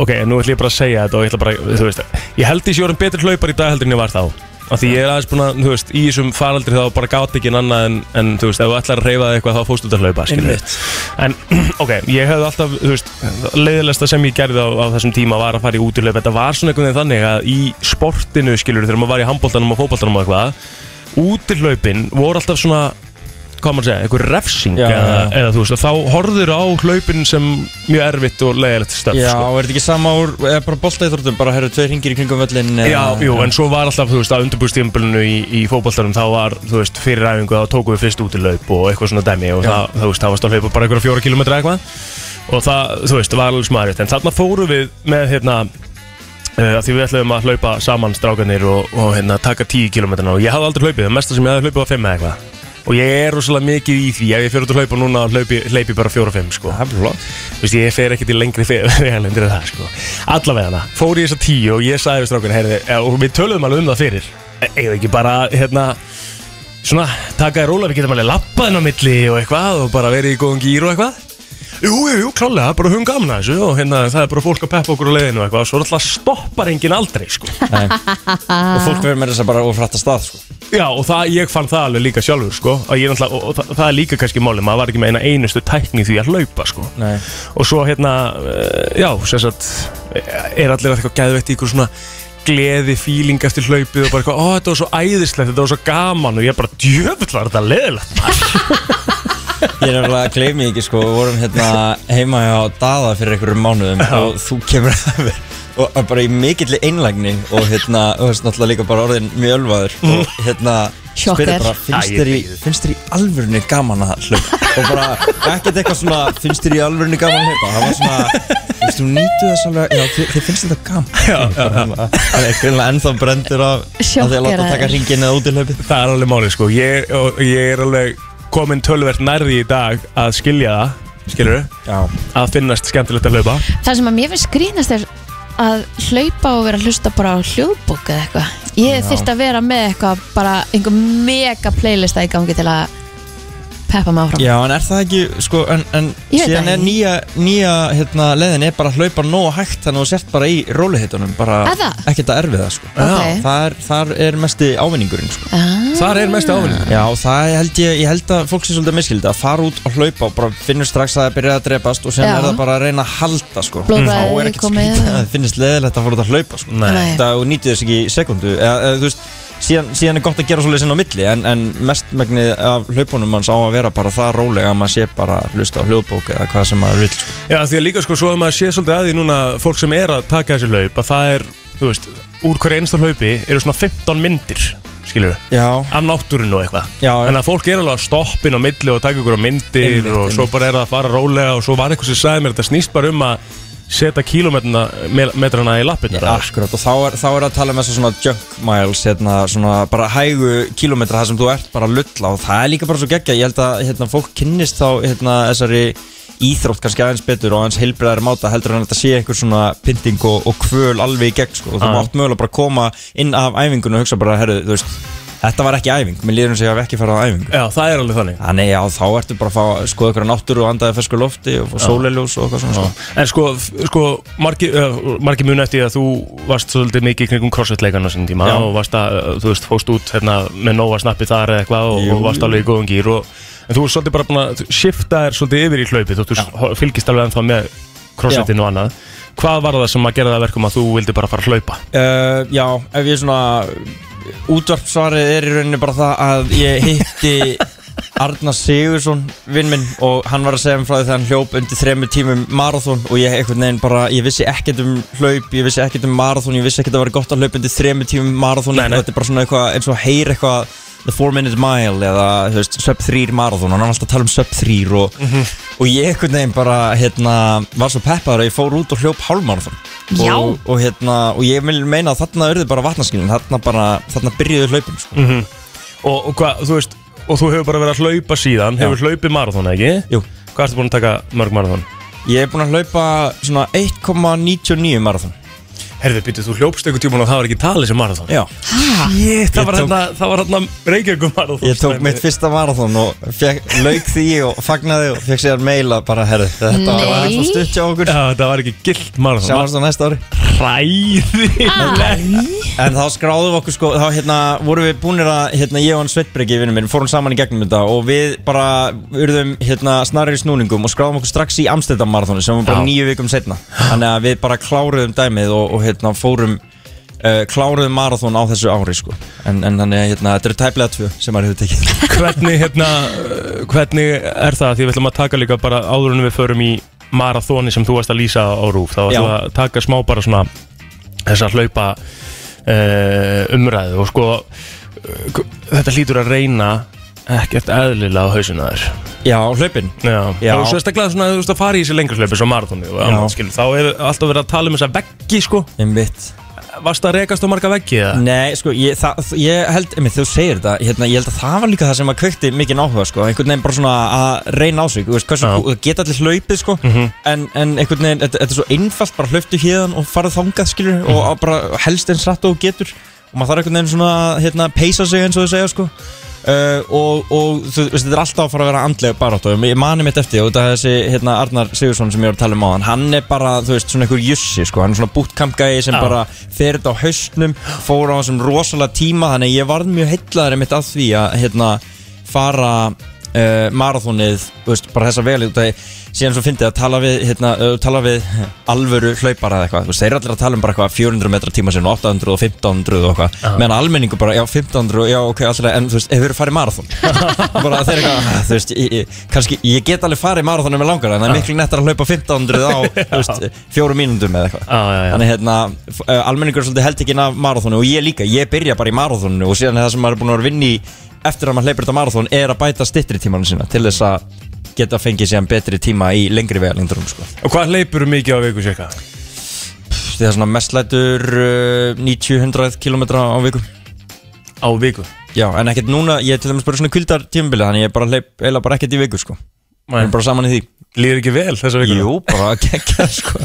Speaker 1: ok, nú ætlum ég bara að segja þetta og ég ætla bara, þú veist, ég held því sjórum betur hlaupar í dag heldur en ég var þá af því ég er aðeins búin að, þú veist, í þessum faraldri þá bara gátt ekki en annað en, en þú veist, ef þú ætlar að reyfa þig eitthvað þá fórstu út að hlaupa, skilur
Speaker 4: Einmitt.
Speaker 1: en, ok, ég hefði alltaf, þú veist leiðilegsta sem ég gerði á, á þessum tíma var að fara í útileip, þetta var svona einhvern veginn þannig að í sportinu, skilur, þegar maður var í handbóltanum og fótbóltanum og eitthvað útihlaupin voru alltaf svona hvað maður segja, einhver refsing
Speaker 4: Já,
Speaker 1: eða,
Speaker 4: já.
Speaker 1: eða þú veist, að þá horfður á hlaupin sem mjög erfitt og leiðilegt stöf
Speaker 4: Já,
Speaker 1: sko.
Speaker 4: er þetta ekki sama úr, eða bara bolta í þróttum, bara herru tveir hringir í kringum völlin
Speaker 1: Já, jú, en svo var alltaf, þú veist, að undirbúrstíðumbilinu í, í fótballtarum, þá var, þú veist, fyrir æfingu þá tókum við fyrst út í laup og eitthvað svona dæmi og það, þú veist, það varst að hlaupa bara einhverja fjóra kilometra eitthvað og það, þú veist, var alveg smarið en þarna fórum við með, hérna uh, því við ætlaðum að hlaupa saman strákanir og, og hérna, taka 10 kilometrana og ég hafði aldrei hlaupið, það mesta sem ég hafði hlaupið var 5 eða eitthvað og ég er rosalega mikið í því ef ég fyrir út að hlaupa núna hlaupi, hlaupi ég bara 4 og 5 sko.
Speaker 4: Það er flott.
Speaker 1: Vist, ég fer ekkert í lengri vegalendir það sko. allavega hana, fór ég þess að 10 og ég sagði við strákanir, heyrði, og við töluðum alveg um það fyrir eða ekki bara hérna, svona, taka þér róla, við getum alveg lappaðin á milli og eitthvað og bara verið í góðum gýr og eitthvað Jú, jú, jú, klálega, bara höfum gaman að þessu og hérna, það er bara fólk að peppa okkur á leiðinu og eitthvað og svo alltaf stoppar enginn aldrei, sko
Speaker 4: Nei. Og fólk verður með þess að bara ofrætta stað, sko
Speaker 1: Já, og það, ég fann það alveg líka sjálfur, sko og, ég, náttúrulega- og, og það, það er líka kannski málið, maður var ekki með eina einustu tækni í því að hlaupa, sko
Speaker 4: Nei.
Speaker 1: og svo hérna, eh, já, sem sagt er allir að eitthvað gæðveitt í ykkur svona gleði, fíling eftir hlaupið og bara eitthvað, ó, þetta var svo æðislegt, þetta var svo gaman og ég bara, djöfull var þetta leðilegt
Speaker 4: Ég er alveg að gleymi ekki sko, við vorum hérna heima hjá Dada fyrir einhverjum mánuðum og þú kemur að vera og og bara í mikill einlægni og hérna, og þessi náttúrulega líka bara orðin mjög ölvaður og hérna
Speaker 2: Sjokker.
Speaker 4: spyrir bara, finnst
Speaker 1: Æ, ég
Speaker 4: þér í,
Speaker 1: þegi.
Speaker 4: finnst þér í alvörunni gaman að hlaupa og bara ekkert eitthvað svona, finnst þér í alvörunni gaman að hlaupa það var svona, finnst þú nýtu þess alveg já, þið, þið finnst þetta gaman já, já, já. það er greinlega ennþá brendur af að þið láta
Speaker 2: Sjokkeraður.
Speaker 4: taka ringin eða út í hlaupið
Speaker 1: Það er alveg málið sko Ég, og, ég er alveg komin tölvert nærði í dag að skilja það Skilur
Speaker 4: já,
Speaker 1: Að finnast skemmtilegt að hlaupa
Speaker 2: Það sem að mér finnst grínast er að hlaupa og vera að hlusta bara á hljóðbók eða eitthvað Ég þyrfti að vera með eitthvað bara einhver mega playlista í gangi til að peppa mig áfram
Speaker 4: Já, en er það ekki, sko, en, en
Speaker 2: Ég veit
Speaker 4: síðan
Speaker 2: það
Speaker 4: er
Speaker 2: ekki.
Speaker 4: nýja, nýja hérna, leðin er bara að hlaupa nógu hægt þannig að þú sért bara í rólihitunum, bara
Speaker 2: Er það?
Speaker 4: ekkert að erfiða, sko.
Speaker 2: Ok.
Speaker 4: Þar, þar er mesti ávinningurinn, sko.
Speaker 2: ah,
Speaker 1: Þar er mest ávinningur
Speaker 4: Já, það held ég, ég held að fólk sé svolítið miskildið að fara út og hlaupa og bara finnur strax að það byrja að drepast og
Speaker 2: Já.
Speaker 4: síðan er það bara að reyna að halda, sko.
Speaker 2: Blóðbragðið
Speaker 4: Þá er ekkert
Speaker 2: komið.
Speaker 4: skrítið að það finnist leðilegt að fara út að hlaupa, sko.
Speaker 2: Nei.
Speaker 4: Það og nýtið þess ekki í sekundu, eða, eða þú veist, Síðan, síðan er gott að gera svolítið sinna á milli en, en mestmegnið af hlaupunum hans á að vera bara það rólega að maður sé bara að hlusta á hljóðbók eða hvað sem maður vil sko.
Speaker 1: Já því að líka sko svo að maður sé svolítið að því núna Fólk sem er að taka þessi hlaup Að það er, þú veist, úr hverju einsta hlaupi Eru svona 15 myndir Skilur
Speaker 4: Já,
Speaker 1: Af náttúrinu og eitthvað
Speaker 4: Já, já.
Speaker 1: En að fólk er alveg að stoppin á milli og taka ykkur á myndir
Speaker 4: Einmitt,
Speaker 1: Og svo
Speaker 4: einmitt.
Speaker 1: bara er það að fara rólega Og svo var eitthvað sem sagði mér Þetta snýst bara um að setja kílómetrana metrana í lappinu
Speaker 4: akkurat og þá er, þá er að tala um þessu svona junk miles hérna, svona bara hægu kílometra þar sem þú ert bara að lulla og það er líka bara svo geggja ég held að hérna, fólk kynnist þá hérna, þessari íþrótt kannski aðeins betur og aðeins heilbriðar máta heldur en að þetta sé einhver svona pynting og, og kvöl alveg í gegn sko. og þú
Speaker 1: Já.
Speaker 4: mátt mögulega bara koma inn af æfingun og hugsa bara, herru, þú veist þetta var ekki æfing, mér líður um sig að hafa ekki farið á æfingu
Speaker 1: Já það er alveg þannig
Speaker 4: Þannig já, þá ertu bara að fá, skoða ykkur náttúru og andaði fersku lofti og fá sóleljós og eitthvað svona sko.
Speaker 1: En sko, f- sko margi, uh, margi muni eftir að þú varst svolítið mikið í kringum crossfit-leikana sinni tíma
Speaker 4: Já.
Speaker 1: og varst að, uh, þú veist, fóst út hérna, með nóga snappi þar eða eitthvað og,
Speaker 4: Jú,
Speaker 1: og varst
Speaker 4: jú.
Speaker 1: alveg í góðum gýr og, en þú er svolítið bara búin að shifta þér svolítið yfir í hlaupið þótt þú s- fylgist alveg ennþá með crossfitinu og annað Hvað var það sem að gera það að verkum að þú vildi bara fara að hlaupa?
Speaker 4: uh, Já, ef ég svona útvarpsvarið er í rauninni bara það að ég hitti Arnar Sigursson, vinn minn og hann var að segja um frá því þegar hann hljóp undir þremur tímum marathón og ég einhvern veginn bara ég vissi ekkert um hlaup, ég vissi ekkert um marathón ég vissi ekkert að það var gott að hlaupa undir þremur tímum marathón
Speaker 1: Nei, nei.
Speaker 4: og þetta er bara svona eitthvað eins og að heyra eitthvað The 4 Minute Mile eða þú veist, Sub 3 Marathon og hann var alltaf að tala um Sub 3 og,
Speaker 1: Mhm.
Speaker 4: og ég einhvern veginn bara hérna, var svo peppaður að ég fór út og hljóp hálfmarathon
Speaker 2: Já.
Speaker 4: og, og, hérna, og ég vil meina að þarna urðu bara vatnaskilin þarna, bara, þarna byrjuðu hlaupin sko.
Speaker 1: Og, og hvað, þú veist, og þú hefur bara verið að hlaupa síðan,
Speaker 4: Já.
Speaker 1: hefur hlaupið marathon, ekki?
Speaker 4: Jú.
Speaker 1: Hvað ertu búin að taka mörg marathon?
Speaker 4: ég er búin að hlaupa svona 1,99 marathon
Speaker 1: Herði, býttu, þú hljópst einhvern tímann og það var ekki talið sem marathon
Speaker 4: Já.
Speaker 2: ha,
Speaker 1: Shit, það
Speaker 4: Ég
Speaker 1: var
Speaker 4: tók-
Speaker 1: hérna, það var hérna Reykjavíkum marathon
Speaker 4: ég tók mitt fyrsta marathon og fekk, lauk því og fagnaði og fekk sér meila bara herri þetta var
Speaker 2: Nei.
Speaker 4: eitthvað stutt hjá okkur
Speaker 1: Já, það var ekki gilt marathon
Speaker 4: sjáumst á næsta ári
Speaker 1: Ræði
Speaker 4: En þá skráðum við okkur sko, þá hérna vorum við búinir að, hérna ég og hann Sveitbreki vinnum minn, fórum saman í gegnum þetta og við bara urðum hérna snarri í snúningum og skráðum okkur strax í Amsterdam marathoni sem var bara
Speaker 1: Já.
Speaker 4: nýju vikum setna. Þannig að við bara kláruðum dæmið og, og hérna fórum uh, uh, kláruðu marathón á þessu ári sko. en, en þannig að hérna, þetta eru tæplega tvö sem maður hefur tekið
Speaker 1: Hvernig, hérna, uh, hvernig er það? Því við ætlum að taka líka bara áður en við förum í marathóni sem þú varst að lýsa á rúf. Þá ætlum við
Speaker 4: Já.
Speaker 1: að taka smá bara svona þess að hlaupa uh, umræðu og sko eh, k- þetta hlýtur að reyna ekkert eðlilega á hausinu þér.
Speaker 4: Já, hlaupin
Speaker 1: Já.
Speaker 4: Já.
Speaker 1: Og sérstaklega svona að þú veist að fara í þessi lengur hlaupi svo marathóni og
Speaker 4: Já.
Speaker 1: annað skilur. Þá er alltaf verið að tala um þessa veggi sko.
Speaker 4: Einmitt.
Speaker 1: Varst að rekast á marga veggi eða?
Speaker 4: Nei, sko, ég, það, ég held einmitt, þú segir þetta, hérna, ég held að það var líka það sem að kveikti mikið áhuga, sko, einhvern veginn bara svona að reyna á sig, þú veist, hversu,
Speaker 1: Já. Mhm.
Speaker 4: þú geta allir hlaupið, sko, en, en einhvern veginn, þetta, þetta er svo einfalt, bara hlauptu hérðan og farið þangað, skilur, og,
Speaker 1: Mhm.
Speaker 4: og bara helst eins rætt og þú getur, og maður þarf einhvern veginn svona, að, hérna, peysa sig eins og þú segja, sko, Uh, og, og þú veist, þetta er alltaf að fara að vera andlega barátt og ég mani mitt eftir því, og þetta er þessi hérna, Arnar Sigursson sem ég var að tala um á hann hann er bara, þú veist, svona einhver jussi sko. hann er svona bootcampgæi sem
Speaker 1: Já.
Speaker 4: bara fer þetta á haustnum, fór á þessum rosalega tíma þannig að ég varð mjög hellaður mitt að því að hérna, fara uh, marathónið, þú veist, bara þessa vel út að ég- síðan svo fyndið að tala við hérna, uh, tala við alvöru hlaupara eða eitthvað, þú veist, þeir eru allir að tala um bara eitthvað 400 metra tíma sinn og 800 og 1500 og eitthvað,
Speaker 1: Já.
Speaker 4: meðan almenningu bara, já, 1500 og já, ok, alltaf, en þú veist, hefur verið farið marathón bara þeir eitthvað, "Ah, þú veist, ég, ég, kannski, ég get alveg farið marathón með langar, en það er miklu nettar að hlaupa 1500 á, þú veist, fjórum mínundum eða eitthvað
Speaker 1: Já, já, já.
Speaker 4: Þannig hérna, f- uh, almenningur er svolítið heldikinn af marathónu og ég líka, ég byrja bara í marathónu og síðan það sem maður er búin að vera að vinna í eftir að maður hleypur þetta marathón er að bæta stittri tímanu sína til þess að geta fengið síðan betri tíma í lengri vegalengdurum sko.
Speaker 1: Mm. Og hvað hleypur mikið á viku cirka?
Speaker 4: Því það er svona mestlætur uh, 90-100 km á viku
Speaker 1: Á viku.
Speaker 4: Já, en ekkert núna, ég er til dæmis bara í svona kvildar tímabilið þannig ég bara hleyp eila bara ekkert í viku sko.
Speaker 1: Nei.
Speaker 4: Við erum bara saman í því
Speaker 1: Lýðir ekki vel þessa vikuna?
Speaker 4: Jú, bara að gegja sko.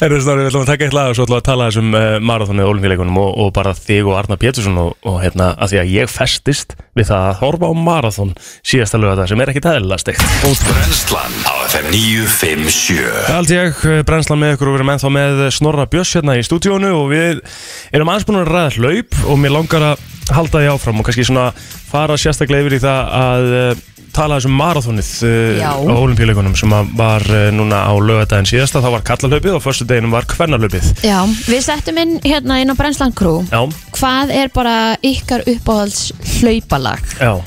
Speaker 1: Herru Snorri, við ætlum að taka eitt lag og svo ætlum við að tala aðeins um uh, marathonið og olimpíuleikunum og, og bara þig og Arna Pétursson og, og hérna, að því að ég festist við það að horfa á marathon síðasta lögða sem er ekki tæðilega steikt.
Speaker 3: Brennslan á FM 957
Speaker 1: Allt ég, eh, brennslan með ykkur og við erum ennþá með Snorra Björns hérna í stúdíónu og við erum aðeins búin að ræða hlaup og mér langar að halda því áfram og kannski svona fara sérstaklega yfir í það að uh, tala þessum marathonið uh,
Speaker 2: Já.
Speaker 1: á olimpíuleikunum sem að var uh, núna á lögadaginn síðasta, þá var kallahlaupið og förstu deginum var hvernarlaupið.
Speaker 2: Já, við settum inn hérna inn á Brennsland Crew
Speaker 1: Já,
Speaker 2: Hvað er bara ykkar uppáhalds hlaupalag?
Speaker 1: já.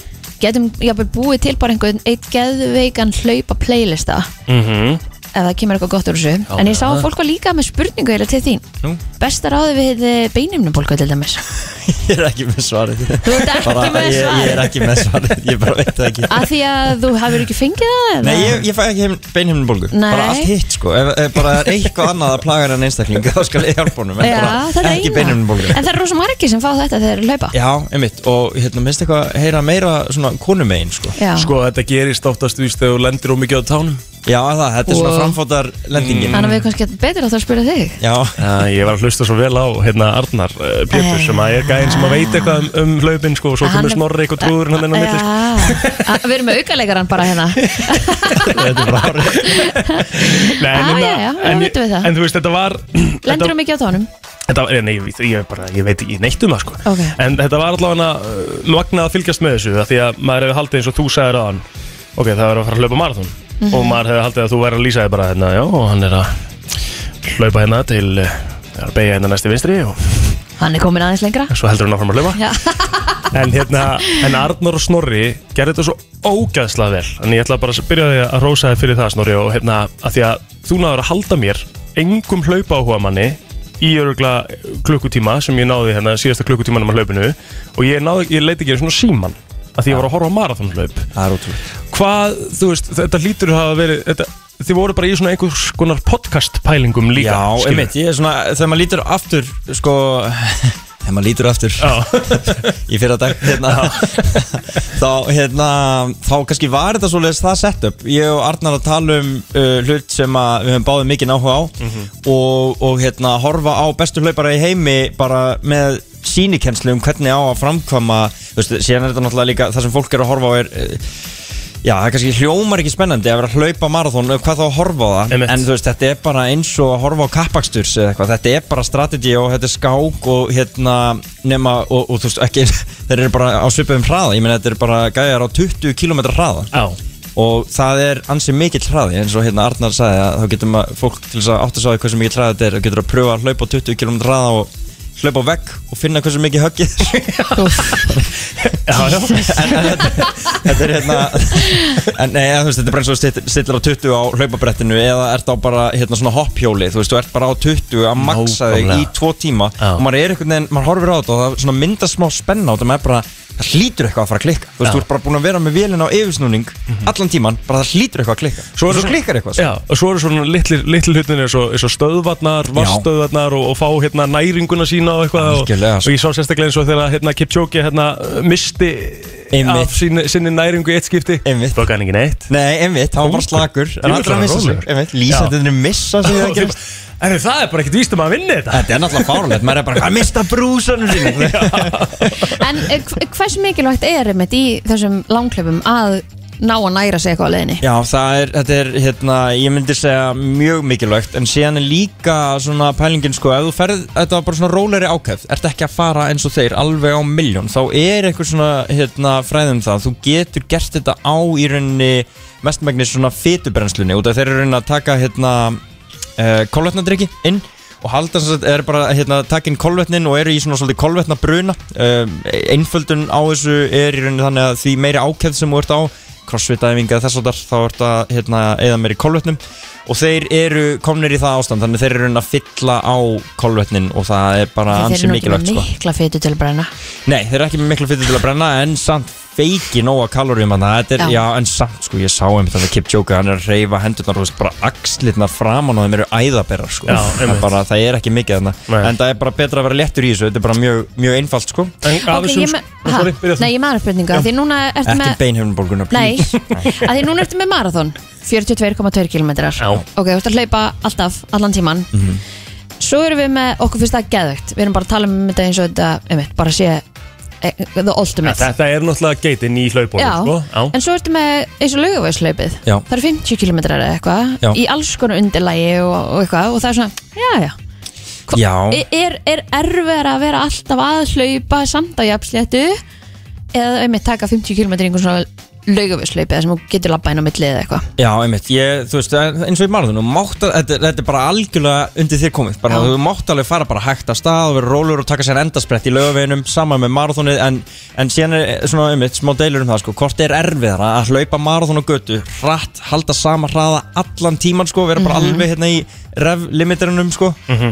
Speaker 2: Getum jáfnveg búið til bara einhvern eitt geðveikan hlaupa playlista
Speaker 1: Mm
Speaker 2: ef það kemur eitthvað gott úr þessu En ég sá að fólk var líka með spurningu eða til þín
Speaker 4: Nú?
Speaker 2: Besta ráði við beinimnum fólku til dæmis
Speaker 4: Ég er ekki með svarið
Speaker 2: Þú ert ekki
Speaker 4: bara,
Speaker 2: með
Speaker 4: ég, ég
Speaker 2: svar
Speaker 4: er ekki með svarið, ég bara veit það ekki
Speaker 2: Af því að þú hefur ekki fengið það eða?
Speaker 4: Nei, ég, ég fæ ekki heim, beinhimnubólgu
Speaker 2: Nei.
Speaker 4: Bara allt hitt sko Ef, ef bara er eitthvað annað að plaga hann einstakling Þá skal ég hjálpa honum en
Speaker 2: Já,
Speaker 4: bara
Speaker 2: það er
Speaker 4: Ekki
Speaker 2: eina.
Speaker 4: beinhimnubólgu
Speaker 2: En það er rosa margir sem fá þetta þegar þeir hlaupa
Speaker 4: Já, einmitt Og hérna, minnst eitthvað að heyra meira svona konumegin sko
Speaker 2: Já.
Speaker 1: Sko þetta gerist oftast víst þegar þú lendir ómikið á tánum
Speaker 4: Já, það, þetta er svona
Speaker 2: Og-
Speaker 4: framfótar lendingin
Speaker 2: Þannig að við kannski betur átt að spyrja þig
Speaker 4: Já,
Speaker 1: uh, Ég var að hlusta svo vel á hérna Arnar uh, Pétur
Speaker 2: Eh.
Speaker 1: sem að er gæðin sem að veit eitthvað um, um hlaupin sko og svo
Speaker 2: Hann
Speaker 1: kemur
Speaker 2: er-
Speaker 1: snorri eitthvað trúður hann inn á milli sko.
Speaker 2: Já, að- við erum með aukaleikaran bara hérna
Speaker 4: þetta er bara árið
Speaker 1: Nei, en
Speaker 2: Já,
Speaker 1: hérna-
Speaker 2: Ah, já, já, já,
Speaker 1: en-
Speaker 2: vitum við það.
Speaker 1: En þú veist þetta var þetta,
Speaker 2: Lendur um ekki á tónum
Speaker 1: þetta, var- Nei, ég, veit- ég, bara, ég veit ekki neitt um það sko
Speaker 2: Ok.
Speaker 1: En þetta var allavega uh, magnað að fylgjast með þessu af Því að maður hefði haldið eins og þú sagðir að hann Ok, það er að fara að hlaupa marathon
Speaker 2: Mhm.
Speaker 1: Og maður hefði haldið að þú væri að lýsa þig bara hérna Já, og hann er að hlaupa hérna til uh, er að beigja hérna næsti vinstri og
Speaker 2: Hann er komin aðeins lengra
Speaker 1: svo heldur hann áfram að hlaupa
Speaker 2: Já,
Speaker 1: En hérna, en Arnur og Snorri gerði þetta svo ógæðslega vel Þannig ég ætla bara að byrja á því að rósa þið fyrir það Snorri og hérna, að því að þú náður að halda mér engum hlaupa áhuga manni í örugla klukkutíma sem ég náði hérna síðasta klukkutímanum að hlaupinu og ég, náði, ég leiti ekki einu svona síman að því ég var að horfa á marathonhlaup
Speaker 4: Það er ótrúlega
Speaker 1: Hvað, þú veist, þetta lítur að hafa verið þetta, Þið voru bara í svona einhvers konar podcast pælingum líka
Speaker 4: Já,
Speaker 1: skilur.
Speaker 4: einmitt, ég er svona Þegar maður lítur aftur, sko Þegar maður lítur aftur
Speaker 1: Já,
Speaker 4: í fyrra dag hérna, þá, hérna, þá kannski var þetta svoleiðis það setup ég og Arnar að tala um uh, hlut sem að við höfum báðið mikið áhuga á
Speaker 1: Mhm.
Speaker 4: og, og hérna, horfa á bestu hlaupara í heimi bara með sýnikenslu um hvernig á að framkvæma þú veist, síðan er þetta náttúrulega líka það sem fólk er að horfa á er uh, Já, það kannski hljómar ekki spennandi að vera að hlaupa marathón og hvað þá að horfa á það
Speaker 1: Einmitt.
Speaker 4: En þú veist, þetta er bara eins og að horfa á kappaksturs eða eitthvað Þetta er bara strategi og þetta er skák og hérna nema og, og þú veist ekki Þeir eru bara á svipum hraða, ég meina þetta eru bara gæjar á 20 km hraða
Speaker 1: já,
Speaker 4: Og það er ansið mikill hraði eins og hérna Arnar sagði að þá getum að fólk til þess að áttu sáði hversu mikill hraði þetta er Getur að pröfa að hlaupa á 20 km hraða og hlaupa á vegg og finna hversu mikið höggið er.
Speaker 1: já, já.
Speaker 4: en, en þetta, þetta er hérna en nei, eða, þú veist, þetta er bara eins og still- stillir á 20 á hlaupabrettinu eða ert á bara hérna svona hopphjóli, þú veist, þú ert bara á 20 að maksa þig í
Speaker 1: Nákvæmlega.
Speaker 4: tvo tíma
Speaker 1: Já.
Speaker 4: og maður er einhvern veginn, maður horfir á þetta og það svona myndast smá spenna og það er bara það hlýtur eitthvað að fara að klikka, þú veist,
Speaker 1: Já. Mhm.
Speaker 4: þú ert bara búin að vera með vélina á yfirsnúning allan tíman, bara það hlýtur eitthvað að klikka
Speaker 1: Svo er
Speaker 4: svo,
Speaker 1: það-
Speaker 4: klikkar eitthvað, sko.
Speaker 1: Já, og svo eru svona litlir, litlir hlutinir eins og, eins og stöðvarnar, vaststöðvarnar og, og fá hérna næringuna sína og eitthvað og,
Speaker 4: Algjörlega,
Speaker 1: og
Speaker 4: sko.
Speaker 1: ég sá sérstaklega eins og þegar hérna Kipchoge hérna misti
Speaker 4: Einmitt.
Speaker 1: af sín, sinni næringu í eitt skipti
Speaker 4: Einmitt.
Speaker 1: Bökkaði hann ekki neitt
Speaker 4: nei, einmitt, það var bara slakur
Speaker 1: Ég
Speaker 4: en
Speaker 1: vil
Speaker 4: allra
Speaker 1: bara
Speaker 4: að missa sig,
Speaker 1: rólegur.
Speaker 4: einmitt,
Speaker 1: Já.
Speaker 4: lýsandinni missa sig þegar gerist.
Speaker 1: En það er bara ekkert víst um að vinna þetta
Speaker 4: þetta er náttúrulega fárlegt, maður er bara að mista brúsanum sinni
Speaker 2: En eh, hv- hversu mikilvægt er einmitt í þessum langklöfum að ná að næra sig eitthvað á leiðinni?
Speaker 4: Já, það er, þetta er, hérna, ég myndi segja mjög mikilvægt, en síðan er líka svona pælingin, sko, ef þú ferð, þetta var bara svona róleri ákæft, ert ekki að fara eins og þeir alveg á miljón, þá er eitthvað svona, hérna, fræðum það, þú getur gert þetta á í rauninni mestmægnis svona fytubrennslunni, út af þeir eru rauninni að taka, hérna, uh, kólvetnadrykki inn og halda sem sagt, er bara hérna, takin kolvetnin og eru í svona svolítið kolvetna bruna um, einföldun á þessu er í rauninni þannig að því meiri ákæð sem þú ert á crossfit-æfinga þess að þá ert að hérna, eða meiri kolvetnum og þeir eru komnir í það ástand þannig að þeir eru í rauninni að fylla á kolvetnin og það er bara
Speaker 2: Þeir eru nú
Speaker 4: ansið
Speaker 2: ekki með
Speaker 4: mikilvægt sko.
Speaker 2: mikla fytu til að brenna
Speaker 4: Nei, þeir eru ekki með miklu fyrir til að brenna en samt feiki nóga kaloríum hann þetta er,
Speaker 2: Já.
Speaker 4: já. en samt sko, ég sá um þetta Kipchoge, hann er að reyfa hendurnar og bara axlirnar framan og þeim eru æðaberar sko.
Speaker 1: Já,
Speaker 4: það,
Speaker 1: einmitt.
Speaker 4: er bara, það er ekki mikið þarna
Speaker 1: Nei.
Speaker 4: en það er bara betra að vera léttur í þessu þetta er bara mjög, mjög einfalt sko
Speaker 1: En af
Speaker 2: Ok, ég
Speaker 1: þessum,
Speaker 2: með-
Speaker 1: Nei,
Speaker 2: ha?
Speaker 1: sorry, byrja þú.
Speaker 2: Nei, ég maður spurninga Því núna ertu
Speaker 4: ekki
Speaker 2: með
Speaker 4: beinhefnbólguna
Speaker 2: Nei, að því núna ertu með marathon 42,2 km
Speaker 1: Já. Mhm.
Speaker 2: Ok, þú ert að hlaupa alltaf, allan tíman Svo erum við með, okkur finnst það geðvögt Við erum bara að tala um þetta eins og þetta einmitt, bara sé eh, the ultimate
Speaker 1: Þetta er náttúrulega geitin í
Speaker 2: Já,
Speaker 1: hlaupunum, sko Já,
Speaker 2: en svo ertu með eins og laugavæslaupið
Speaker 4: Já.
Speaker 2: Það eru 50 km eða
Speaker 4: Já.
Speaker 2: eitthvað Í alls konar undirlægi og, og eitthvað Og það er svona, já, já Hva-
Speaker 4: Já.
Speaker 2: Er, er erfið að vera alltaf að hlaupa samt á jafnsléttu Eða einmitt taka 50 km í einhvern svona laugavæslaupið sem þú getur labba inn á milli eða eitthvað
Speaker 4: Já, einmitt, ég, þú veist, en- eins og í marðun þetta, þetta er bara algjörlega undir þér komið bara,
Speaker 2: Já.
Speaker 4: þú mátt alveg fara bara hægt af stað og vera rólur og taka sér endasprett í lögaveginum saman með marathonið en, en síðan er eh, svona einmitt smá deilur um það sko, hvort er erfiðara að hlaupa marathon og götu hratt, halda sama hraða allan tíman sko, vera bara alveg hérna í rev limiterinum sko,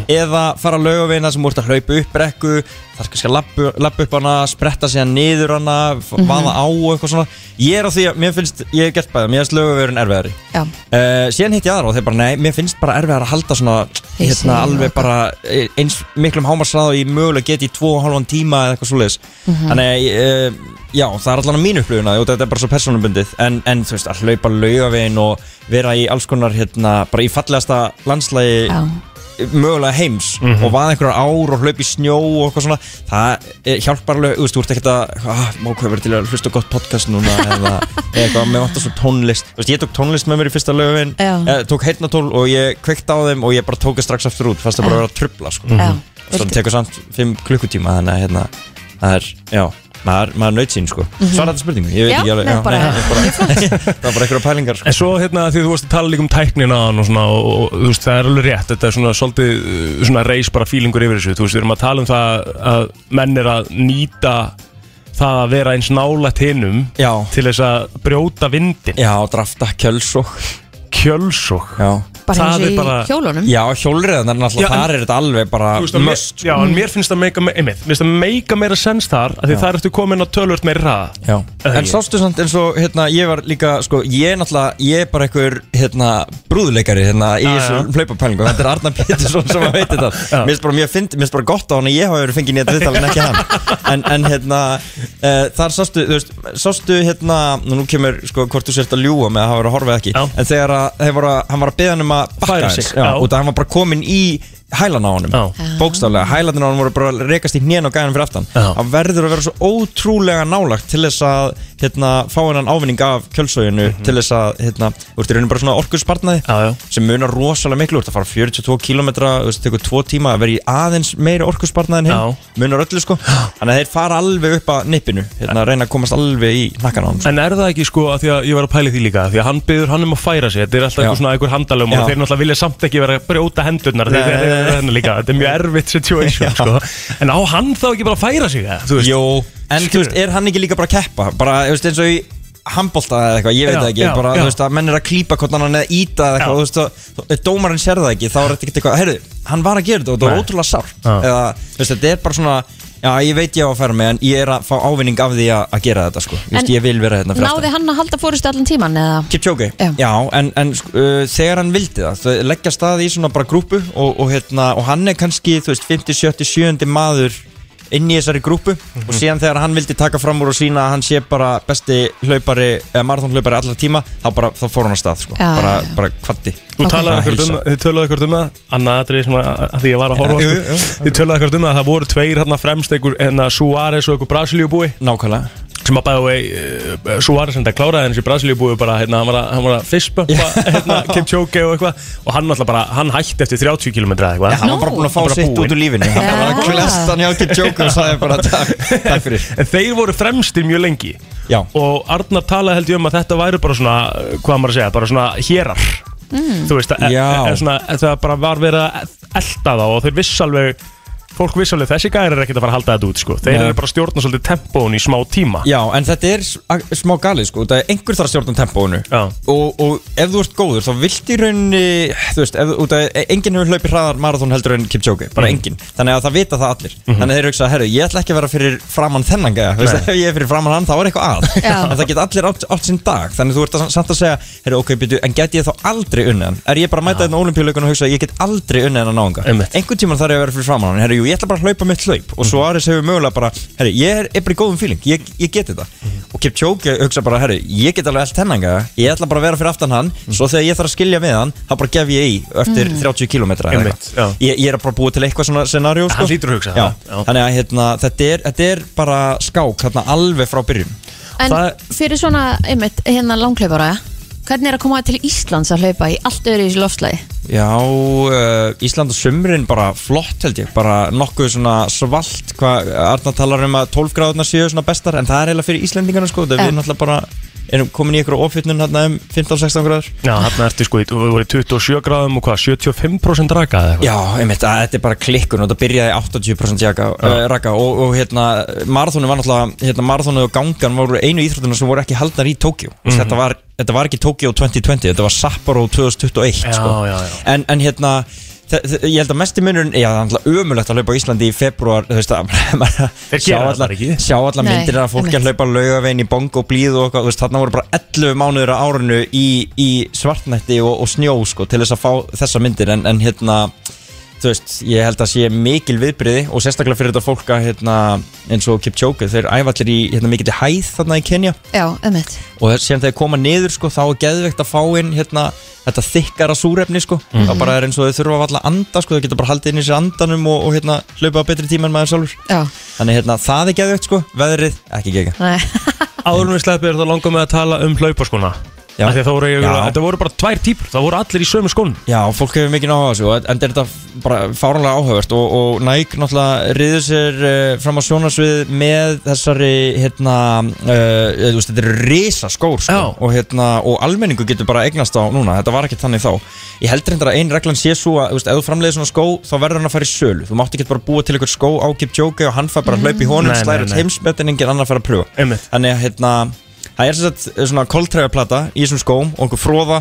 Speaker 4: eða fara lögavegina sem úr þetta hlaupa upp brekku þar kannski að lappa, lappa upp hana spretta sér niður hana, f- vaða á og eitthvað svona, ég er á því að mér finnst ég hef gert bæða, mér finnst lögavegurin erfiðari
Speaker 2: Já,
Speaker 4: Uh, síðan hitt ég aðra og þeir bara nei, mér finnst bara erfiðar að halda svona
Speaker 2: Þessi,
Speaker 4: hérna alveg
Speaker 2: ok.
Speaker 4: bara eh, eins miklum hámarsrað og ég mögulega geti í tvo og halvan tíma eða eitthvað svoleiðis þannig uh, já, það er allan að mínu upplöfuna og þetta er bara svo personabundið en, en þú veist, að hlaupa laugavegin og vera í alls konar hérna, bara í fallegasta landslægi
Speaker 2: já
Speaker 1: Mhm.
Speaker 4: mögulega heims
Speaker 2: Mhm.
Speaker 4: og vaða einhverjar ár og hlaupa í snjó og eitthvað svona það eh, hjálpar alveg, þú veist, þú ert ekkert að ah, má hvað verið til að hlusta á gott podcast núna eða eitthvað, mér vantar svo tónlist þú veist, ég tók tónlist með mér í fyrsta lögin
Speaker 2: Já.
Speaker 4: eh, tók heyrnatól og ég kveikti á þeim og ég bara tók það strax aftur út, fannst það bara að vera að trubla sko.
Speaker 2: Já.
Speaker 4: svo það tekur samt 5 klukkutíma þannig að hérna, það er, já maður, maður naut sín, sko, svara þetta spurningu ég veit
Speaker 2: Mhm. Já,
Speaker 4: ekki alveg,
Speaker 2: nei, bara-
Speaker 4: það var bara einhverja pælingar, sko
Speaker 1: En svo hérna því þú varst að tala líka um tæknina á hann og svona og, og þú veist það er alveg rétt þetta er svona svolítið uh, svona reis bara fílingur yfir þessu þú veist við erum að tala um það að menn er að nýta það að vera eins nálætt hinum
Speaker 4: já,
Speaker 1: til þess að brjóta vindin
Speaker 4: já, drafta kjölsók
Speaker 1: kjölsók
Speaker 4: já
Speaker 2: Bara
Speaker 1: Það
Speaker 2: eins og
Speaker 1: er
Speaker 2: í
Speaker 1: bara-
Speaker 2: hjólunum
Speaker 4: Já, hjólriðan er
Speaker 1: Já,
Speaker 4: náttúrulega,
Speaker 1: en-
Speaker 4: þar er þetta alveg bara
Speaker 1: Þú veist, að mér-
Speaker 4: must
Speaker 1: Já, en mér finnst það meika, einmitt, mér finnst það meika meira sens þar að því
Speaker 4: Já.
Speaker 1: það ertu komin að tölvöld meira hraða
Speaker 4: Já.
Speaker 1: Eða
Speaker 4: En
Speaker 1: ég-
Speaker 4: sástu samt eins og hérna, ég var líka, sko, ég er náttúrulega, ég er bara einhver, hérna, brúðleikari, hérna, í
Speaker 1: Já, já.
Speaker 4: þessu hlaupapælingu, þetta er Arnar Pétursson sem að veit þetta,
Speaker 1: Já.
Speaker 4: mér finnst bara, mér finnst, mér finnst bara gott á hann að ég hafa verið fengið nýja viðtal en ekki hann, en, en hérna, uh, þar sástu, þú veist, sástu, hérna, nú nú kemur, sko, hvort þú sért að ljúa með að hafa verið að horfa eða ekki,
Speaker 1: Já.
Speaker 4: en þegar að, þeir voru að, hann var að beða hann um að
Speaker 1: Færa
Speaker 4: bakka
Speaker 1: sig,
Speaker 4: sig, já,
Speaker 1: já.
Speaker 4: út að hann var bara komin í hælan á honum,
Speaker 1: Já.
Speaker 4: bókstaflega, hælanir á honum voru bara að rekast í hnén og gæðan fyrir aftan,
Speaker 1: Já.
Speaker 4: Hann verður að vera svo ótrúlega nálagt til þess að hérna, fá hennan ávinning af kjölsóginu til þess að hérna, þú ert í rauninu bara svona orkuspartnaði
Speaker 1: Mhm. Já, já.
Speaker 4: sem munar rosalega miklu, þú ert að fara 42 km þú veist, tekur 2 tíma að vera í aðeins meira orkuspartnaði en hinn, munar öllu sko þannig að þeir fara alveg upp að nippinu hérna, að reyna að komast alveg í nakkan á hann
Speaker 1: En er það ekki sko að því að ég var að pæli því líka því að hann byður hann um að færa sig, þetta er alltaf
Speaker 4: Já.
Speaker 1: einhver svona einhver handalögum og
Speaker 4: Já.
Speaker 1: þeir náttúrulega vilja samt ekki vera að brjóta hendurnar þegar þeir er hérna líka Þetta er mjög erfitt situation sko. En á hann þá ekki bara að færa sig eða? Þú veist,
Speaker 4: Jó, en þú veist,
Speaker 1: skilurðu?
Speaker 4: er hann ekki líka bara að keppa? Bara, þú veist, eins og í handbólta eða eitthvað, ég veit
Speaker 1: Já,
Speaker 4: það ekki
Speaker 1: já,
Speaker 4: bara,
Speaker 1: já.
Speaker 4: þú veist, að menn er að klípa hvort annan eða íta eða eitthvað,
Speaker 1: Já.
Speaker 4: þú veist, og- og dómarinn sér það ekki, þá er þetta ekkert eitthvað, heyrðu, hann var að gera þetta og þetta
Speaker 1: Nei.
Speaker 4: var ótrúlega sárt
Speaker 1: Já.
Speaker 4: eða, þú veist, þetta er bara svona já, ég veit ég á að færa mig, en ég er að fá ávinning af því að, að gera þetta, sko, þú
Speaker 2: En
Speaker 4: veist, ég vil vera hérna fyrir
Speaker 2: Náði
Speaker 4: aftan.
Speaker 2: hann að halda fórustu allan tíman eða?
Speaker 4: Kipchoge,
Speaker 2: Já.
Speaker 4: já, en, en sk- uh, þegar hann vildi það, þau leggja staði í svona bara grúpu og, og, hérna, og hann er kannski, þú veist, 50, 70, 70 maður inn í þessari grúpu
Speaker 1: Mhm.
Speaker 4: og síðan þegar hann vildi taka fram úr og sína að hann sé bara besti hlaupari, eða marathónhlaupari allar tíma, þá bara, þá fór hann að stað, sko,
Speaker 2: Já,
Speaker 4: bara,
Speaker 2: já, já.
Speaker 4: bara kvatti.
Speaker 1: Þú talaði
Speaker 4: Bara
Speaker 1: ekkert um,
Speaker 4: heilsa.
Speaker 1: þið töluðu ekkert um það Annað atrið sem að, að því ég var að horfa
Speaker 4: Já,
Speaker 1: sko.
Speaker 4: jú, jú, jú.
Speaker 1: Þið töluðu ekkert um það að Það voru tveir hérna fremst einhver hérna, Suárez og einhver Brasiljubúi
Speaker 4: Nákvæmlega.
Speaker 1: sem að bæða vei eh, Suárez sem þetta kláraði en þessi Brasiljubúi bara hérna, hann var að, hann var að fistbömpa hérna, Kipchoge og eitthvað og hann alltaf bara hann hætti eftir 30 km eitthvað
Speaker 4: Já, hann var bara búin að fá
Speaker 1: Bara
Speaker 4: sitt
Speaker 1: búinn.
Speaker 4: út úr lífinu, hann
Speaker 2: Já.
Speaker 4: var að klesta hann hjá ekki jóka og sagði bara takk, takk fyrir.
Speaker 1: En þeir voru fremstir mjög lengi
Speaker 4: Já.
Speaker 1: Og Arnar talaði held ég um að þetta væru bara svona uh, Hvað maður að segja, bara svona hérar Þú veist, e e
Speaker 4: Já.
Speaker 1: e svona, það bara var verið að elta þá Og þeir viss alveg Fólk viss alveg, þessi gæri er ekkert að fara að halda þetta út sko. Þeir
Speaker 4: Nei.
Speaker 1: eru bara að stjórna svolítið tempóun í smá tíma
Speaker 4: Já, en þetta er s- a- smá galið sko, það er einhver þar að stjórna tempóinu
Speaker 1: Já.
Speaker 4: og, og ef þú ert góður þá vilt í rauninni, þú veist, ef, út að enginn hefur hlaupið hraðar marathón heldur en Kipchoge, bara
Speaker 1: Mhm.
Speaker 4: enginn, þannig að það vita það allir, þannig að þeir hugsa, herru, ég ætla ekki að vera fyrir framann þennan gæja, þú veist,
Speaker 1: Nei.
Speaker 4: ef ég er fyrir framann hann þá er eitthvað að,
Speaker 2: Já.
Speaker 4: en það geta allir átt, átt sinn dag, þannig að þú ert að, samt að segja, herru, ok, byrju, en get ég þá aldrei unnið hann, er ég bara að mæta þetta olimpíuleikun og hugsa, ég get aldrei unnið hann að náunga,
Speaker 1: Einmitt.
Speaker 4: einhvern tímann þarf ég að vera fyrir framann hann herru, jú, ég ætla bara að hlaupa mitt hlaup og svo aðeins hefur mögulega bara, herru, ég er, er bara í góðum fíling, ég, ég get þetta og Kipchoge hugsa bara, herru, ég get alveg allt hennanga, ég ætla bara að vera fyrir aftan hann svo þegar ég þarf að skilja við hann, þá bara gef ég í eftir 30 km
Speaker 1: Mm. Einmitt, já.
Speaker 4: ég, ég er að bara búa til eitthvað svona scenarjó sko.
Speaker 1: Hann hlýtur að hugsa
Speaker 4: Já.
Speaker 1: það, já.
Speaker 4: þannig að hérna, þetta, er, þetta er bara skák þarna alveg frá byrjun
Speaker 2: En
Speaker 1: Það-
Speaker 2: fyrir svona, einmitt, hérna langhlaupara Hvernig er að koma til Íslands að hlaupa í allt öðru í þessu loftslæði?
Speaker 4: Já, uh, Ísland og sumrin bara flott held ég, bara nokkuð svona svalt, hvað Arna talar um að 12 gráðuna séu svona bestar, en það er eiginlega fyrir Íslendingarna sko, það
Speaker 2: Já.
Speaker 4: við náttúrulega bara erum komin í ykkur ofjötnun hérna um 15-16 gráður
Speaker 1: Já, þarna ertu sko, í- þú voru í 27 gráðum og hvað, 75% raka eða eitthvað
Speaker 4: Já, einmitt, að þetta er bara klikkun og þetta byrjaði í 80% jaka, uh, raka og, og hérna, marathónu var náttúrulega hérna, marathónu og gangan voru einu íþrótuna sem voru ekki haldnar í Tókjó
Speaker 1: Mhm.
Speaker 4: þetta, var, þetta var ekki Tókjó 2020, þetta var Sapporo 2021
Speaker 1: Já,
Speaker 4: sko.
Speaker 1: já, já.
Speaker 4: En, en hérna þe- þe- Ég held að mesti munurinn, já það er alltaf ömulegt að hlaupa á Íslandi í februar Þú veist að
Speaker 1: Þeir gera
Speaker 4: sjá
Speaker 1: það
Speaker 4: allar-
Speaker 1: bara ekki.
Speaker 4: Sjá allar
Speaker 2: Nei,
Speaker 4: myndir að fólki að
Speaker 2: einmitt.
Speaker 4: hlaupa laugavegin í bong og blíð og eitthvað þú veist, Þarna voru bara 11 mánuður á árinu í, í svartnætti og, og snjó sko, Til þess að fá þessa myndir En, en hérna, þú veist, ég held að sé mikil viðbriði Og sérstaklega fyrir þetta fólk að hérna, eins og Kipchoge Þeir æfa allir í hérna, mikil hæð þarna í Kenya
Speaker 2: Já, einmitt
Speaker 4: og þess- síðan þegar koma niður sko, þá er geðveikt að fá inn hérna, þetta þykkara súrefni sko. þá bara er eins og þau þurfa alltaf að anda sko. þau geta bara haldið inn í sér andanum og, og hérna, hlaupa á betri tíma en maður sjálfur
Speaker 2: Já,
Speaker 4: þannig hérna, það er geðveikt sko, veðrið ekki gegga
Speaker 2: nei
Speaker 1: Áður en við sleppið er það langar með að tala um hlaupaskona
Speaker 4: Já.
Speaker 1: Af því að það voru,
Speaker 4: Já.
Speaker 1: þetta voru bara tvær típur, það voru allir í sömu skónum
Speaker 4: Já, fólk hefur mikið áhuga á þessu og- en þetta er þetta bara fáranlega áhugavert og, og Nike náttúrulega riður sér uh, fram á sjónarsvið með þessari hérna, uh, þú veist, þetta er risa skór sko,
Speaker 1: Já.
Speaker 4: og, hérna, og almenningu getur bara eignast á núna, þetta var ekki þannig þá ég heldur hérna að ein reglan sé svo að þú veist, ef þú framleiðir svona skó, þá verður hann að fara í sölu þú mátt ekki bara búa til eitthvað skó á Kipchoge og hann fær bara að hlaupa í
Speaker 1: Nei,
Speaker 4: honum,
Speaker 1: nei,
Speaker 4: slæra
Speaker 1: nei.
Speaker 4: heimsmetin engin annar fær að pröfa
Speaker 1: Einmitt.
Speaker 4: þannig að hérna, það er sem sagt eh, svona koltræðaplata í þessum skóm og einhver fróða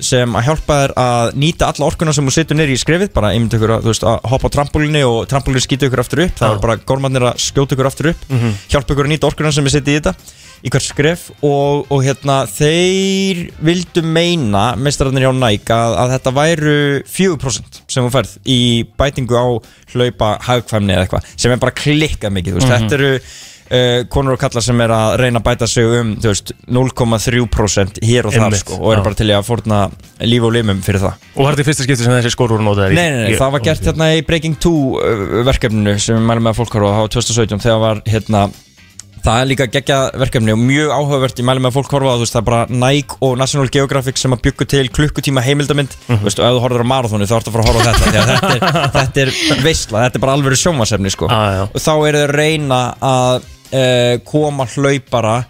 Speaker 4: sem að hjálpa þér að nýta alla orkuna sem þú setur nýri í skrefið bara einmitt ykkur að, þú veist, að hoppa á trampolínu og trampolínu skýta ykkur aftur upp það
Speaker 1: Já. Mhm.
Speaker 4: er bara gormarnir að skjóta ykkur aftur upp hjálpa ykkur að nýta orkuna sem þið setið í þetta í hvert skref og, og hérna þeir vildu meina meistararnir hjá Nike að, að þetta væru 4% sem þú færð í bætingu á hlaupa hagkvæmni eða eitthvað sem er bara klikkað mikið þú
Speaker 1: Mhm.
Speaker 4: veist, þetta eru uh, konur og kallar sem er að reyna að bæta sig um þú veist, 0,3% hér og þar
Speaker 1: Einmitt,
Speaker 4: sko, og
Speaker 1: já.
Speaker 4: eru bara til í að forna líf og limum fyrir það
Speaker 1: Og var þetta í fyrsta skipti sem þessi skór voru notaðir í?
Speaker 4: Nei, nei, nei,
Speaker 1: Ég-
Speaker 4: það var gert hérna í Breaking 2 uh, verkefninu sem við mælum með að fólk horfa á, það var 2017 þegar var hérna Það er líka geggja verkefni og mjög áhugavert ég mæli með að fólk horfa á þú veist það er bara Nike og National Geographic sem að byggu til klukkutíma heimildamind
Speaker 1: Mhm.
Speaker 4: þú veist og ef þú horfður á marathónu þá ertu að fara að horfa á þetta því að þetta er, þetta er veistla, þetta er bara alveg sjómasefni sko
Speaker 1: Já, já.
Speaker 4: og þá eru þau að reyna að uh, koma eh, hlaupara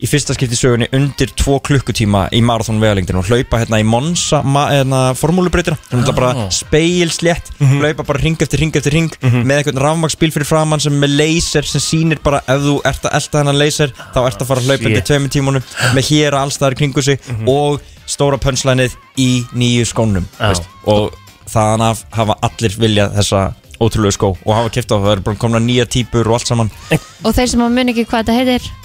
Speaker 4: í fyrsta skipti í sögunni undir tvo klukkutíma í marathon vegalengdin og hlaupa hérna í Monza ma, hérna, formúlubreytina, þannig að bara speilslétt, hlaupa bara ring eftir ring eftir ring með einhvern rafmagsbíl fyrir framann sem er með laser sem sýnir bara ef þú ert að elta hennan laser þá ert að fara að hlaupa undir tveimur tímunum með hér allstaðar kringu sig og stóra pönslænið í nýju skónum
Speaker 1: Já.
Speaker 4: veist, og þaðan af hafa allir viljað þessa ótrúlegu skó og hafa kæft á það eru bara komna nýja típur og allt saman
Speaker 2: Og þeir sem að muni ekki hvað þetta heitir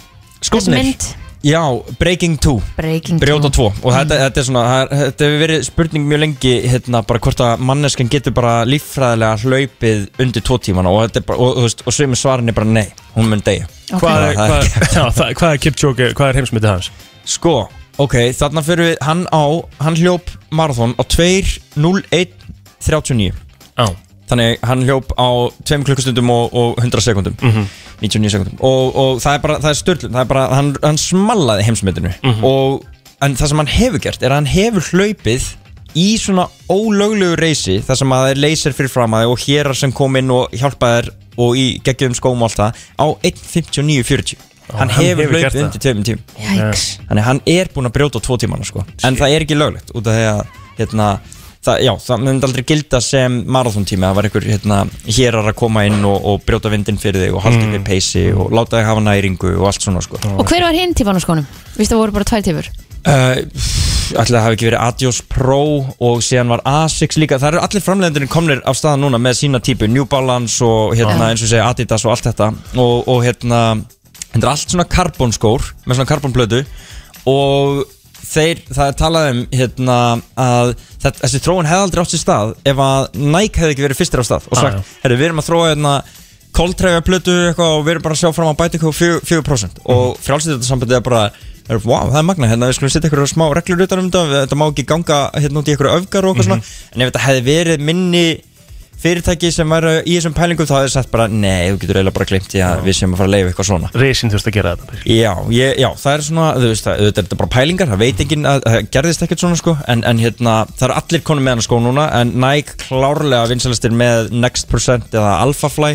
Speaker 2: Þessi
Speaker 4: Skórnir?
Speaker 2: mynd
Speaker 4: Já, Breaking 2
Speaker 2: Breaking
Speaker 4: Brjóta
Speaker 2: Two.
Speaker 4: 2 og
Speaker 2: Mm.
Speaker 4: þetta, þetta er svona það er- þetta hefur verið spurning mjög lengi hérna, bara hvort að manneskan getur bara líffræðilega hlaupið undir tvo tímana og, þetta er bara, og, og, og, og sömu svarin er bara nei, hún mun degja
Speaker 2: Ok.
Speaker 1: Hvað er,
Speaker 4: Já, það er
Speaker 1: hvað, já, það, hvað er Kipchoge, hvað er heimsmyndið hans?
Speaker 4: Sko, ok, þarna fyrir við hann á, hann hljóp marathon á 2.01.39
Speaker 1: Já,
Speaker 4: Þannig hann hljóp á 2 klukkustundum og, og 100 sekundum
Speaker 1: Mhm.
Speaker 4: 99 sekundum og, og það er bara, það er störlun Það er bara, hann, hann smallaði heimsmyndinu
Speaker 1: Mhm.
Speaker 4: og, En það sem hann hefur gert er að hann hefur hlaupið í svona ólöglegu reysi þar sem að það er laser fyrir fram að þig og hérar sem kom inn og hjálpa þér og í geggjum skóm og allt það á 1.59.40 Hann,
Speaker 1: hann
Speaker 4: hefur
Speaker 1: hefur gert
Speaker 4: hlaupið
Speaker 1: það.
Speaker 4: undir tveimum tímum
Speaker 2: Jæks
Speaker 4: Þannig að hann er búinn að brjóta á tvo tímana sko En það er ekki löglegt út af því að hérna, það, já, það myndi aldrei gilda sem marathontími Það var einhver hérna, hérar að koma inn og, og brjóta vindinn fyrir þig og halda mm. við peysi og láta þig hafa næringu og allt svona sko
Speaker 2: Og hver var hinn tífan á skónum? Vistu það voru bara tvær tífur
Speaker 4: Uh, Ætli það hafi ekki verið Adios Pro og síðan var Asics líka Það eru allir framleiðendurinn komnir af staða núna með sína típu New Balance og hérna, eins og segja Adidas og allt þetta Og, og hérna, þetta er allt svona karbonskór með svona karbonblödu Og þeir, það er talað um hérna, að þetta, þessi þróun hefði aldrei átt sér stað Ef að Nike hefði ekki verið fyrstir á stað Og
Speaker 1: Ah, já.
Speaker 4: sagt, herru, við erum að þróa hérna koltræga plötu eitthvað og við erum bara að sjá fram að bæta eitthvað 4%, 4% og frjálsýttarsambandu er bara er, wow, það er magna, hérna við skulum setja eitthvað smá reglur utan um þetta, þetta má ekki ganga hérna út í eitthvað öfgar og eitthvað svona en ef þetta hefði verið minni fyrirtæki sem væri í þessum pælingum þá hefði sagt bara nei, þú getur eiginlega bara glimt í að við séum að fara að leifa eitthvað svona
Speaker 1: Reisin þurft að gera þetta
Speaker 4: Já, ég, já, það er svona, þú veist, það, þetta er þetta bara pælingar, það veit enginn að það gerðist ekkert svona sko, en, en hérna, það eru allir konum með hana sko núna, en Nike klárlega vinsælistir með Next Percent eða Alphafly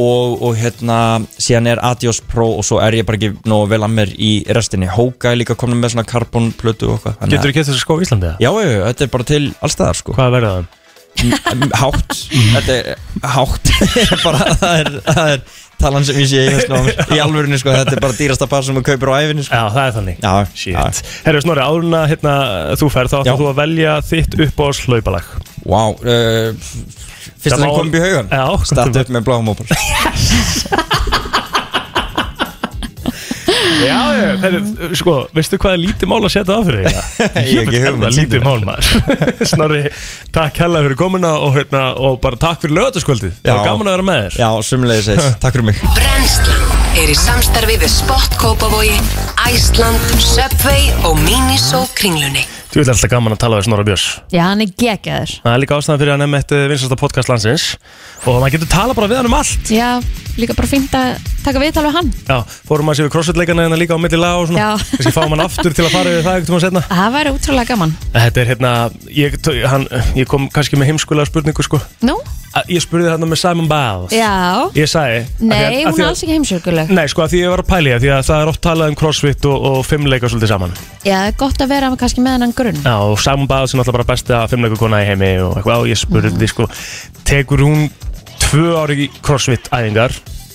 Speaker 4: og, og hérna, síðan er Adios Pro og svo er ég bara ekki nógu vel að mér í restinni, Hoka er líka konum með svona karbonplötu og eitthvað. þannig að-
Speaker 1: Getur þú gett þessi skó í Íslandi eða?
Speaker 4: Já, já, já, þetta er bara til allstaðar sko
Speaker 1: Hvað verða það?
Speaker 4: M- Hátt, þetta er hátt bara, það, er, það er talan sem ég sé í hausnum á mér. í alvörinu sko, þetta er bara dýrasta par sem þú kaupir á æfinni sko.
Speaker 1: Já, það er þannig
Speaker 4: Já,
Speaker 1: Shit. Herru Snorri, áruna hérna, þú færð þá
Speaker 4: Já.
Speaker 1: ætlar þú að velja þitt upp á slaupalag
Speaker 4: Vá, uh, fyrst
Speaker 1: Það
Speaker 4: að það
Speaker 1: má-
Speaker 4: kom upp í haugan
Speaker 1: Já, komdu
Speaker 4: Statt
Speaker 1: með.
Speaker 4: upp með bláum ópal
Speaker 1: Já, já, herru, sko, veistu hvað er lítið mál að setja það fyrir þig?
Speaker 4: Ég hef
Speaker 1: Jöfull
Speaker 4: ekki
Speaker 1: er
Speaker 4: hugmynd,
Speaker 1: það
Speaker 4: sýndu
Speaker 1: Lítið mál maður Snorri, takk hella fyrir komuna og, hérna, og bara takk fyrir lögataskvöldið Það var
Speaker 4: Já.
Speaker 1: gaman að vera með þér
Speaker 4: Já, sumlega þess, takk fyrir mig
Speaker 5: Brennslan er í samstarfi við Spott Kópavogi, Æsland, Subway og Miniso kringlunni.
Speaker 1: Þú vil alltaf gaman að tala við Snorri Björns
Speaker 2: Já, hann er geggjaður
Speaker 1: Það er líka ástæðan fyrir að nefna eitt vinsasta podcast landsins Og maður getur tala bara við hann um allt
Speaker 2: Já, líka bara fínt að taka viðtal við hann
Speaker 1: Já, fórum maður sér við crossfit-leikana hérna líka á milli laga og svona
Speaker 2: Já.
Speaker 1: Þessi fáum hann aftur til að fara við það eitthvað setna
Speaker 2: Það væri útrúlega gaman
Speaker 1: Þetta er hérna, ég, t- hann, ég kom kannski með heimskulega spurningu sko
Speaker 2: Nú?
Speaker 1: Að Ég spurði þarna með Simon Biles
Speaker 2: Já
Speaker 1: Ég sagði af því að-
Speaker 2: Nei,
Speaker 1: af því
Speaker 2: hún er
Speaker 1: að-
Speaker 2: alls ekki heimsjörguleg
Speaker 1: Nei, sko, að því ég var að pæli það Því að það er oft talað um crossfit og, og fimmleika svolítið saman
Speaker 2: Já, það er gott að vera kannski með hennan grunn
Speaker 1: Já, og Simon Biles er náttúrulega bara besta fimmleika kona í heimi og eitthvað, og ég spurði
Speaker 2: Mm.
Speaker 1: sko Tekur hún tvö ári crossfit æfingar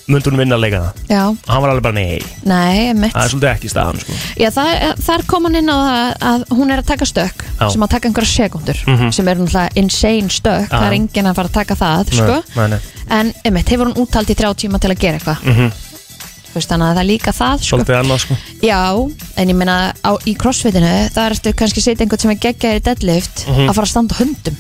Speaker 1: Mundi hún vinna að leika það?
Speaker 2: Já,
Speaker 1: Og hann var alveg bara nei,
Speaker 2: nei, mitt
Speaker 1: það er svolítið ekki staðan sko.
Speaker 2: Já, það, þar kom hann inn á það að hún er að taka stökk
Speaker 1: Já. Mhm.
Speaker 2: sem að taka einhverja sekundur sem er náttúrulega insane stökk það er
Speaker 1: Já.
Speaker 2: enginn að fara að taka það, sko
Speaker 1: nei, nei.
Speaker 2: en einmitt, hefur hún úttalt í þrjá tíma til að gera eitthvað mm -hmm. þannig að það er líka það,
Speaker 1: Mhm.
Speaker 2: sko
Speaker 1: Svolítið annað sko.
Speaker 2: Já, en ég meina á, í crossfitinu það ertu kannski að setja einhvern sem er geggjaður í deadlift
Speaker 1: Mhm.
Speaker 2: að fara að standa á höndum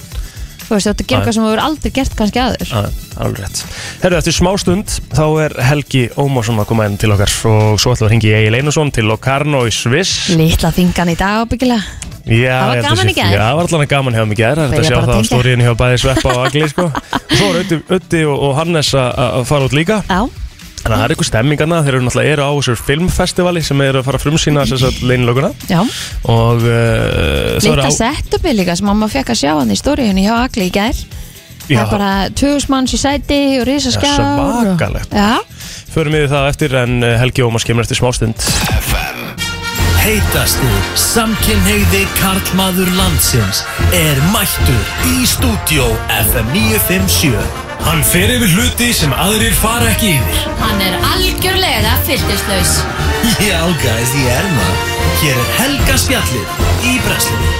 Speaker 2: þú veist, þú ert að gera
Speaker 1: Já.
Speaker 2: eitthvað sem þú hefur aldrei gert kannski aður
Speaker 1: Já, alveg rétt Herru, eftir smá stund þá er Helgi Ómarsson að koma inn til okkar og svo ætlum við að hringi Egil Einarsson til Locarno í Sviss
Speaker 2: Litla þingan í dag ábyggilega
Speaker 1: Já,
Speaker 2: Það
Speaker 1: ég
Speaker 2: var
Speaker 1: held að
Speaker 2: gaman
Speaker 1: sé-
Speaker 2: í gær.
Speaker 1: Já, það var allan að gaman hjá mig í gær Þetta
Speaker 2: Byrja
Speaker 1: sjá
Speaker 2: bara
Speaker 1: það
Speaker 2: að
Speaker 1: á
Speaker 2: tengja.
Speaker 1: stóriðinu hjá bæði Sveppa og Agli sko. og svo er Öddi- Öddi og, og Hannes að- að fara út líka
Speaker 2: Já,
Speaker 1: Þannig að það er einhver stemmingana þeir eru náttúrulega eru á þessu filmfestivali sem eru að fara að frumsýna þess að leinlöguna
Speaker 2: já
Speaker 1: og uh, svo eru
Speaker 2: Lita
Speaker 1: á-
Speaker 2: setupi líka sem mamma fekk að sjá hann í stóriðunni hjá Agli í gær Það
Speaker 1: Já,
Speaker 2: er bara tugusmanns í sæti og risaskjár
Speaker 1: Já, svakalegt.
Speaker 2: Já,
Speaker 1: förum við það eftir en eh, Helgi Ómars kemur eftir smá stund
Speaker 3: FM
Speaker 6: heitasti samkynhegði karlmaður landsins er mættur í stúdió FM 957 Hann fer yfir hluti sem aðrir fara ekki yfir
Speaker 7: Hann er algjörlega fyrtislaus
Speaker 6: Já, guys, ég er maður Hér er Helga Spjallið í Breslinni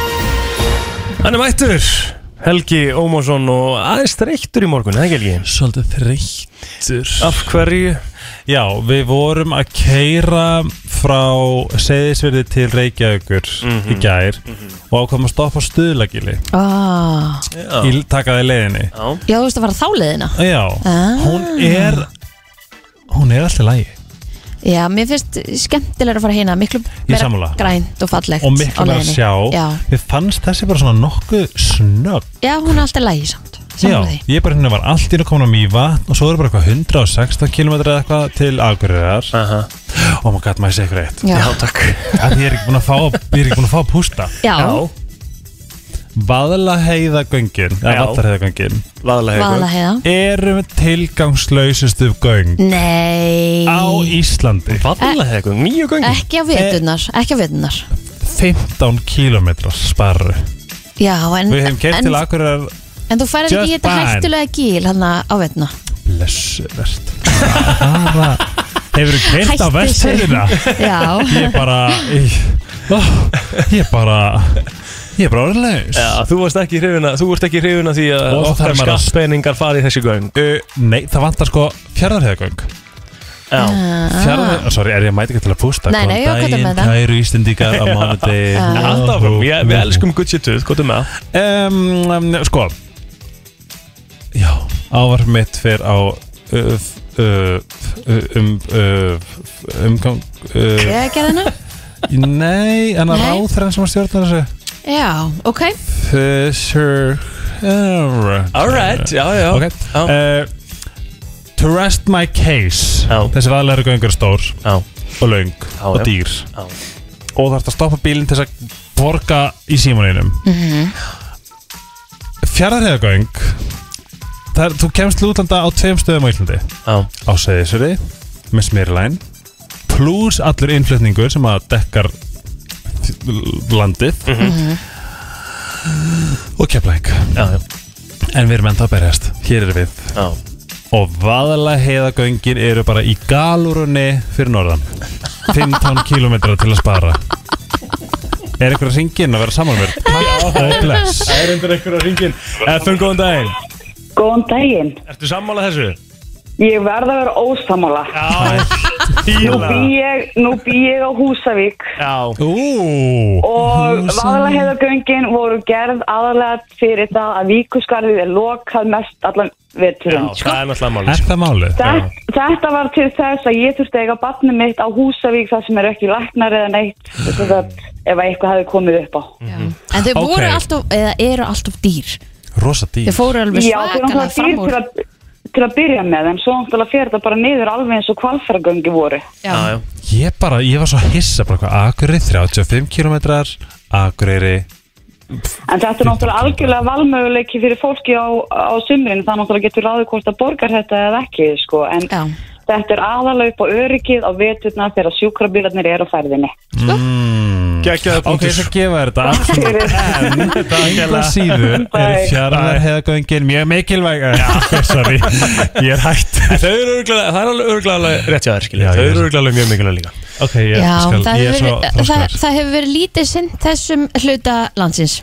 Speaker 1: Hann er mættur Helgi Ómarsson og aðeins þreyttur í morgun, eða ekki Helgi?
Speaker 8: Svolítið þreyttur
Speaker 1: Af hverju?
Speaker 8: Já, við vorum að keira frá Seyðisverði til Reykjavíkur í gær og ákvæmum að stoppa á stuðlagili
Speaker 2: Ah.
Speaker 8: í takaði leiðinni
Speaker 2: Já, þú veist að fara þá leiðina
Speaker 8: Já,
Speaker 2: Ah.
Speaker 8: hún er hún er alltaf lægi
Speaker 2: Já, mér finnst skemmtilega að fara hérna Miklu meira
Speaker 8: sammála.
Speaker 2: grænt og fallegt
Speaker 8: og miklu
Speaker 2: á
Speaker 8: meira að
Speaker 2: leiðinni.
Speaker 8: sjá
Speaker 2: Já,
Speaker 8: Ég fannst þessi bara svona nokkuð snögg
Speaker 2: Já hún er alltaf lægi samt
Speaker 8: Já,
Speaker 2: Sammála því.
Speaker 8: ég bara hérna var allt inn að koma á Mývatn og svo eru bara eitthvað 116 km eða eitthvað til Akureyrar
Speaker 1: Aha.
Speaker 8: og maður gæti maður segja ykkur eitt
Speaker 2: Já.
Speaker 1: Já, takk
Speaker 8: að ég er ekki búin að fá, ég er ekki búin að fá að pústa
Speaker 2: Já,
Speaker 8: Vaðlaheiðagöngin
Speaker 1: Já.
Speaker 8: eða Vallarheiðagöngin
Speaker 1: Vaðalega
Speaker 2: vaðalega
Speaker 8: eru tilgangslausustu göng
Speaker 2: Nei
Speaker 8: á Eh. Íslandi
Speaker 1: Vaðalega eitthvað, nýju gangi
Speaker 2: Ekki á veturnar, ekki á veturnar
Speaker 8: 15 km sparru
Speaker 2: Já, en,
Speaker 8: Við hefum kert
Speaker 2: en,
Speaker 8: til Akureyrar
Speaker 2: en þú færið ekki í
Speaker 8: Just
Speaker 2: þetta
Speaker 8: fine.
Speaker 2: hættulega gíl hann á veturna
Speaker 8: blessuvert bara hefur kert á
Speaker 2: Hættu þessu.
Speaker 8: vestfyrðina
Speaker 2: Já,
Speaker 8: ég bara ég, ó, ég bara ég er bara orðin laus
Speaker 1: Já, þú varst ekki hrifuna, þú varst ekki hrifuna því að
Speaker 8: Og það
Speaker 1: okkar
Speaker 8: þarf maður að-
Speaker 1: skattpenningar fari í þessi göng
Speaker 8: Uh, nei, það vantar sko fjárðarhegðagöng
Speaker 1: Já,
Speaker 8: Fjárðar, sorry, er ég mæti ekki til að pústa
Speaker 2: Ah. Nei, nei, já, hvað er með það? Ah.
Speaker 8: kæru íslendingar á mánuði
Speaker 1: alltaf, við, við elskum good shit tooth, gott um með það.
Speaker 8: um, um, Sko Já, ávarf mitt fyrir á uh, f- uh, f- um uh, f- umgang uh,
Speaker 2: ég gerði hana
Speaker 8: Nei, en að
Speaker 2: Nei.
Speaker 8: ráðþrann sem að stjórna þessu
Speaker 2: Já, ok
Speaker 8: Fisher
Speaker 1: Alright, já, já
Speaker 8: Ok
Speaker 1: Já.
Speaker 8: uh, To rest my case
Speaker 1: Já.
Speaker 8: Þessi vaðlega eru göngur stór
Speaker 1: Já,
Speaker 8: og löng og
Speaker 1: já.
Speaker 8: dýr
Speaker 1: Já.
Speaker 8: og þarf að stoppa bílinn til þess að borga í símaninum mm -hmm. fjaraðræðagöng þar, þú kemst til útlanda á tveim stöðum á Íslandi
Speaker 1: já,
Speaker 8: á Seyðisöri með Smyrlæn pluss allur innflutningur sem að dekkar landið
Speaker 1: Mhm.
Speaker 8: og keflæk
Speaker 1: já, já,
Speaker 8: en við erum enda að berjast hér erum við
Speaker 1: já
Speaker 8: og vaðalaheiðagöngin eru bara í galurunni fyrir norðan 15 km til að spara er einhver að syngja inn að vera saman mér takk og bless
Speaker 1: Það er undir einhverja ringin Efum, góðan daginn
Speaker 9: Góðan daginn.
Speaker 1: Ertu sammála þessu?
Speaker 9: Ég verð að vera ósamála.
Speaker 1: Já,
Speaker 9: Nú bý ég, nú bý ég á Húsavík
Speaker 1: Já,
Speaker 8: Ú,
Speaker 9: og vaðalaheiðagöngin voru gerð aðalega fyrir það að Víkusgarðið er lokað mest allan
Speaker 1: já,
Speaker 9: veturinn.
Speaker 1: það er náttúrulega máli
Speaker 8: er það málið?
Speaker 9: Þetta, þetta var til þess að ég þurfti að eiga barnið mitt á Húsavík þar sem er ekki læknar eða neitt þess að ef að eitthvað hefði komið upp á.
Speaker 2: Mm. En þau voru
Speaker 8: Ok.
Speaker 2: alltaf, eða eru alltaf dýr
Speaker 8: rosa dýr
Speaker 2: Þau fóru alveg
Speaker 9: Já, þau
Speaker 2: svakalega
Speaker 9: náttúrulega
Speaker 2: fram
Speaker 9: dýr
Speaker 2: úr
Speaker 9: til að, til að byrja með en svo náttúrulega fyrir þetta bara niður alveg eins og kvalfæragöngi voru.
Speaker 2: Já,
Speaker 1: Já, já,
Speaker 8: ég bara, ég var svo hissa bara hvað Akureyri 35 km Akureyri
Speaker 9: En þetta er náttúrulega algjörlega valmöguleiki fyrir fólki á, á sumrin, það náttúrulega getur ráðið hvort að borgar þetta eða ekki, sko, en
Speaker 2: já,
Speaker 9: þetta er aðalega upp á öryggið á veturna þegar sjúkrabílarnir eru á ferðinni.
Speaker 1: geggjaðu
Speaker 8: ok,
Speaker 1: punktur
Speaker 8: þess að gefa þér þetta absolutt en þetta síður er
Speaker 9: Bye.
Speaker 8: fjaraðarheiðagöngin mjög mikilvæg Eh, sorry, ég er hætt
Speaker 1: En Þau eru örgulega, það er alveg örgulega rétt hjá þér,
Speaker 8: Já,
Speaker 1: skilja Þau
Speaker 8: ég-
Speaker 1: eru örgulega mjög mikilvæg líka
Speaker 8: ok, ég,
Speaker 2: já
Speaker 8: skal,
Speaker 2: það,
Speaker 8: ég er
Speaker 2: hefur
Speaker 8: svo
Speaker 2: verið, það,
Speaker 8: þroskaður.
Speaker 2: það hefur verið lítið sinn þessum hluta landsins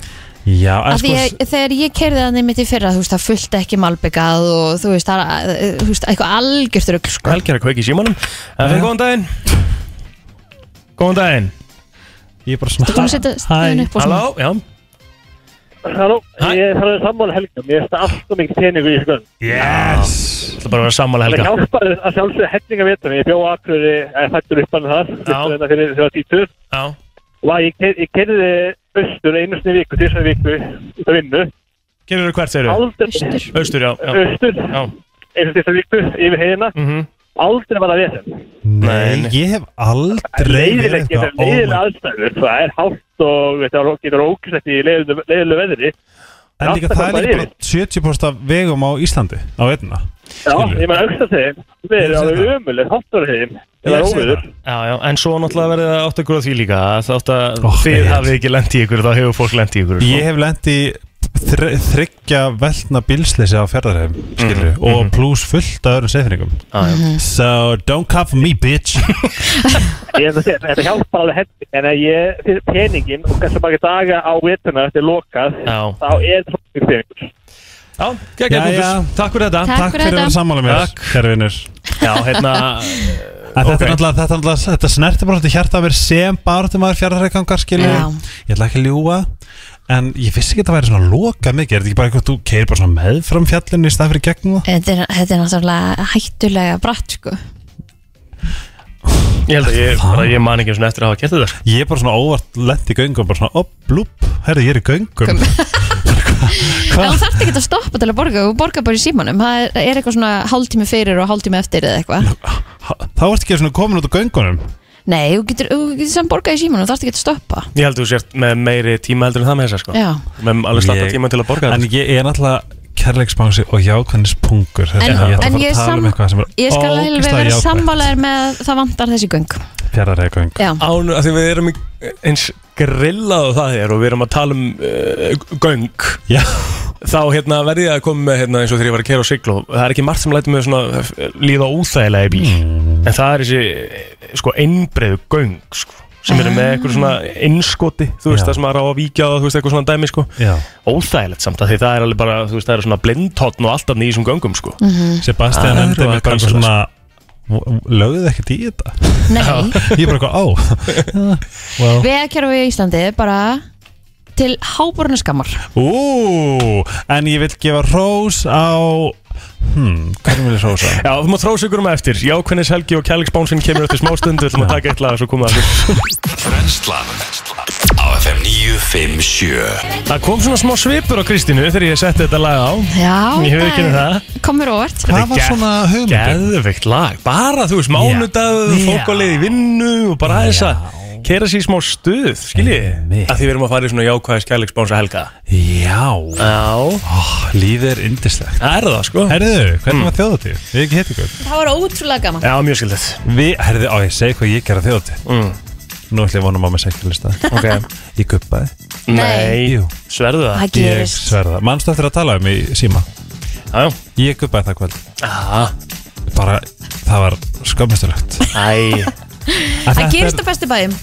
Speaker 8: Já, en
Speaker 2: Af
Speaker 8: sko,
Speaker 2: því ég, þegar ég kerði það nefnir til fyrra þú veist, það fullt ekki malbyggað og þú veist, það er þú veist, eitthvað algjört rugg sko.
Speaker 1: Helgi er að kveiki í símanum Efum, góðan daginn Góðan daginn
Speaker 8: ég er bara svona
Speaker 2: Þú búin að setja stöðun upp og svona
Speaker 1: Halló, já
Speaker 10: Halló,
Speaker 1: Hæ.
Speaker 10: ég er þarf að sammála helga Mér finnst allt og mikið peningu í skoðum
Speaker 1: Yes Það er bara að vera sammála
Speaker 10: Það
Speaker 1: Helga
Speaker 10: hjálpar að sjálfsögðu hellinga vetur Ég bjó akkur fættur upp hann þar Flyttur hérna fyrir þegar títur
Speaker 1: Já,
Speaker 10: Og ég, keyrði- ég kerði austur einu sinni í viku, því sinni í viku út að vinnu
Speaker 1: gerur þú hvert þeirru?
Speaker 10: Aldrei
Speaker 2: Austur.
Speaker 1: Austur, já, já,
Speaker 10: austur
Speaker 1: já.
Speaker 10: einu sinni í viku yfir heiðina
Speaker 1: Mhm.
Speaker 10: Aldrei var það vesen
Speaker 8: Nei,
Speaker 1: Nei,
Speaker 8: ég hef aldrei verið
Speaker 10: Leiðileg
Speaker 8: eitthvað
Speaker 10: leiðileg
Speaker 8: ómætt
Speaker 10: aðstæður Það er hátt og þetta getur ókvæmst í leiðilu leiðilu veðri
Speaker 8: En líka það er líka bara 70% af vegum á Íslandi á einna
Speaker 10: Já, ég maður auksta þeim Við erum alveg ömuleg, hattur þeim Það er óviður
Speaker 1: Já, já, en svo náttúrulega verðið að átt ykkur á því líka Þátt að þið hafið ekki lent í ykkur Þá hefur fólk lent í ykkur sko.
Speaker 8: Ég hef lent í þr þryggja velna bílsleysi á ferðarhefum skilur,
Speaker 1: Mhm.
Speaker 8: og pluss fullt af öðrum seifinningum
Speaker 1: ah,
Speaker 8: Mhm. So don't come for me bitch
Speaker 10: Ég hef að segja, þetta hjálpar alveg henni En að ég, fyrir peningin og kannski bara daga á vetuna Þetta er lokað
Speaker 1: Já.
Speaker 10: Þá er það fyrir peningur
Speaker 1: Já, Gekk,
Speaker 8: Jæja.
Speaker 1: Gunnfús. Takk fyrir þetta
Speaker 8: Takk Takk fyrir fyrir þetta. að vera sammála mér, kæri vinnur
Speaker 1: Já, hérna
Speaker 8: En þetta er náttúrulega, þetta, er náttúrulega, þetta snerti bara svolítið hjarta að vera sem barðumæður fjarrækangar skilur
Speaker 2: Já.
Speaker 8: Ég ætla ekki að ljúa En ég vissi ekki að það væri svona loka mikið Er þetta ekki bara eitthvað, þú keir bara svona með fram fjallinu í stað fyrir gegnum það?
Speaker 2: Þetta er, þetta er náttúrulega hættulega bratt sko
Speaker 1: Ég held að ég, bara, ég man ekki einu sinni eftir að hafa gert þetta sko.
Speaker 8: Ég er bara svona óvart lent í göngum Bara svona, op, blúp, herri, ég er í göngum
Speaker 2: En þú þarft ekki að stoppa til að borga Þú borgar bara í símanum Það er- er eitthvað svona hálftími fyrir og hálftími eftir eða eitthvað
Speaker 8: Þá ertu ekki svona komin út á göngunum
Speaker 2: Nei, þú getur, þú getur sem borgað í símanum Þú þarft ekki að stoppa
Speaker 1: Ég held að þú sért með meiri tíma heldur en það með þessa sko.
Speaker 2: Já.
Speaker 1: Með alveg slatta
Speaker 8: Ég-
Speaker 1: tíma til að borga
Speaker 8: En ég er náttúrulega kærleiksbánsi og jákvæðnispunkur
Speaker 2: En-
Speaker 8: Þetta- ætla
Speaker 2: en
Speaker 8: bara
Speaker 2: ég
Speaker 8: að tala um
Speaker 2: sam-
Speaker 8: eitthvað sem er
Speaker 2: Ég skal alveg
Speaker 8: ógeðslega
Speaker 2: vera
Speaker 8: jákvætt.
Speaker 2: sammálaður með að það vantar þessi göng
Speaker 8: Fjarðarheiðgöng.
Speaker 2: Já.
Speaker 1: Án, af því við erum í- eins grillað og það er og við erum að tala um uh, göng
Speaker 8: Já
Speaker 1: Þá hérna verði ég að koma með hérna, eins og þegar ég var að kera á siglu Það er ekki margt sem lætur mig svona eh, líða óþægilega í bíl En það er þessi eh, sko einbreiðu göng sko sem eru með eitthvað svona innskoti þú veist
Speaker 8: Já.
Speaker 1: það sem maður á að víkja á þú veist eitthvað svona dæmi sko
Speaker 8: Já.
Speaker 1: óþægilegt samt að því það er alveg bara þú veist það eru svona blindhotn og alltaf nýjum göngum sko Ah,
Speaker 8: Mhm.
Speaker 1: Það
Speaker 8: Sebastian
Speaker 1: eru
Speaker 8: nefndi
Speaker 1: að
Speaker 8: mig bara
Speaker 1: cancela,
Speaker 8: svona lögðuð ekkert í þetta
Speaker 2: Nei.
Speaker 8: ég er bara eitthvað á well.
Speaker 2: Vegakerfi í Íslandi er bara til háborna skammar
Speaker 8: Ú, en ég vil gefa rós á hmm, hvernig vil ég rósa?
Speaker 1: Já, þú mátt þrósa ykkur um eftir Jákvænis Helgi og Kjælgsbánsinn kemur eftir smá stund Við ætlum að taka eitt lag og svo komum við aftur
Speaker 3: Brennslan á FM 957
Speaker 1: Það kom svona smá svipur á Kristínu þegar ég setti þetta lag á
Speaker 2: Já,
Speaker 1: Ég hefði ekki það
Speaker 2: Kom mér óvart
Speaker 1: Geðveikt lag, bara þú veist, mánudag
Speaker 8: Já.
Speaker 1: fólk á leið í vinnu og bara aðeins að kera sér í smá stuð, skiljið að því við erum að fara í svona jákvæðis kærleiksbánsa helga
Speaker 8: Já,
Speaker 1: Já
Speaker 8: Lífið er indislegt
Speaker 1: Það er það sko
Speaker 8: Herðu, hvernig var þjóðatíð? Við ekki hitt ykkur
Speaker 2: Það var ótrúlega gaman
Speaker 1: Já, mjög skildið
Speaker 8: Við, herðu, á ég segi hvað ég gera þjóðatíð
Speaker 1: mm.
Speaker 8: Nú ætlum ég að vona mamma segja lista
Speaker 1: Ok.
Speaker 8: Ég guppaði
Speaker 1: Nei.
Speaker 8: Jú.
Speaker 1: Sverðu það? Það
Speaker 8: Ég
Speaker 1: gerist.
Speaker 8: sverðu það Manstu eftir að tala um í síma?
Speaker 1: Já, já
Speaker 8: Ég guppaði það kvöld
Speaker 1: Aha.
Speaker 8: Bara, það var skömmustulegt
Speaker 1: Æ
Speaker 2: Það gerist á bestu bæðum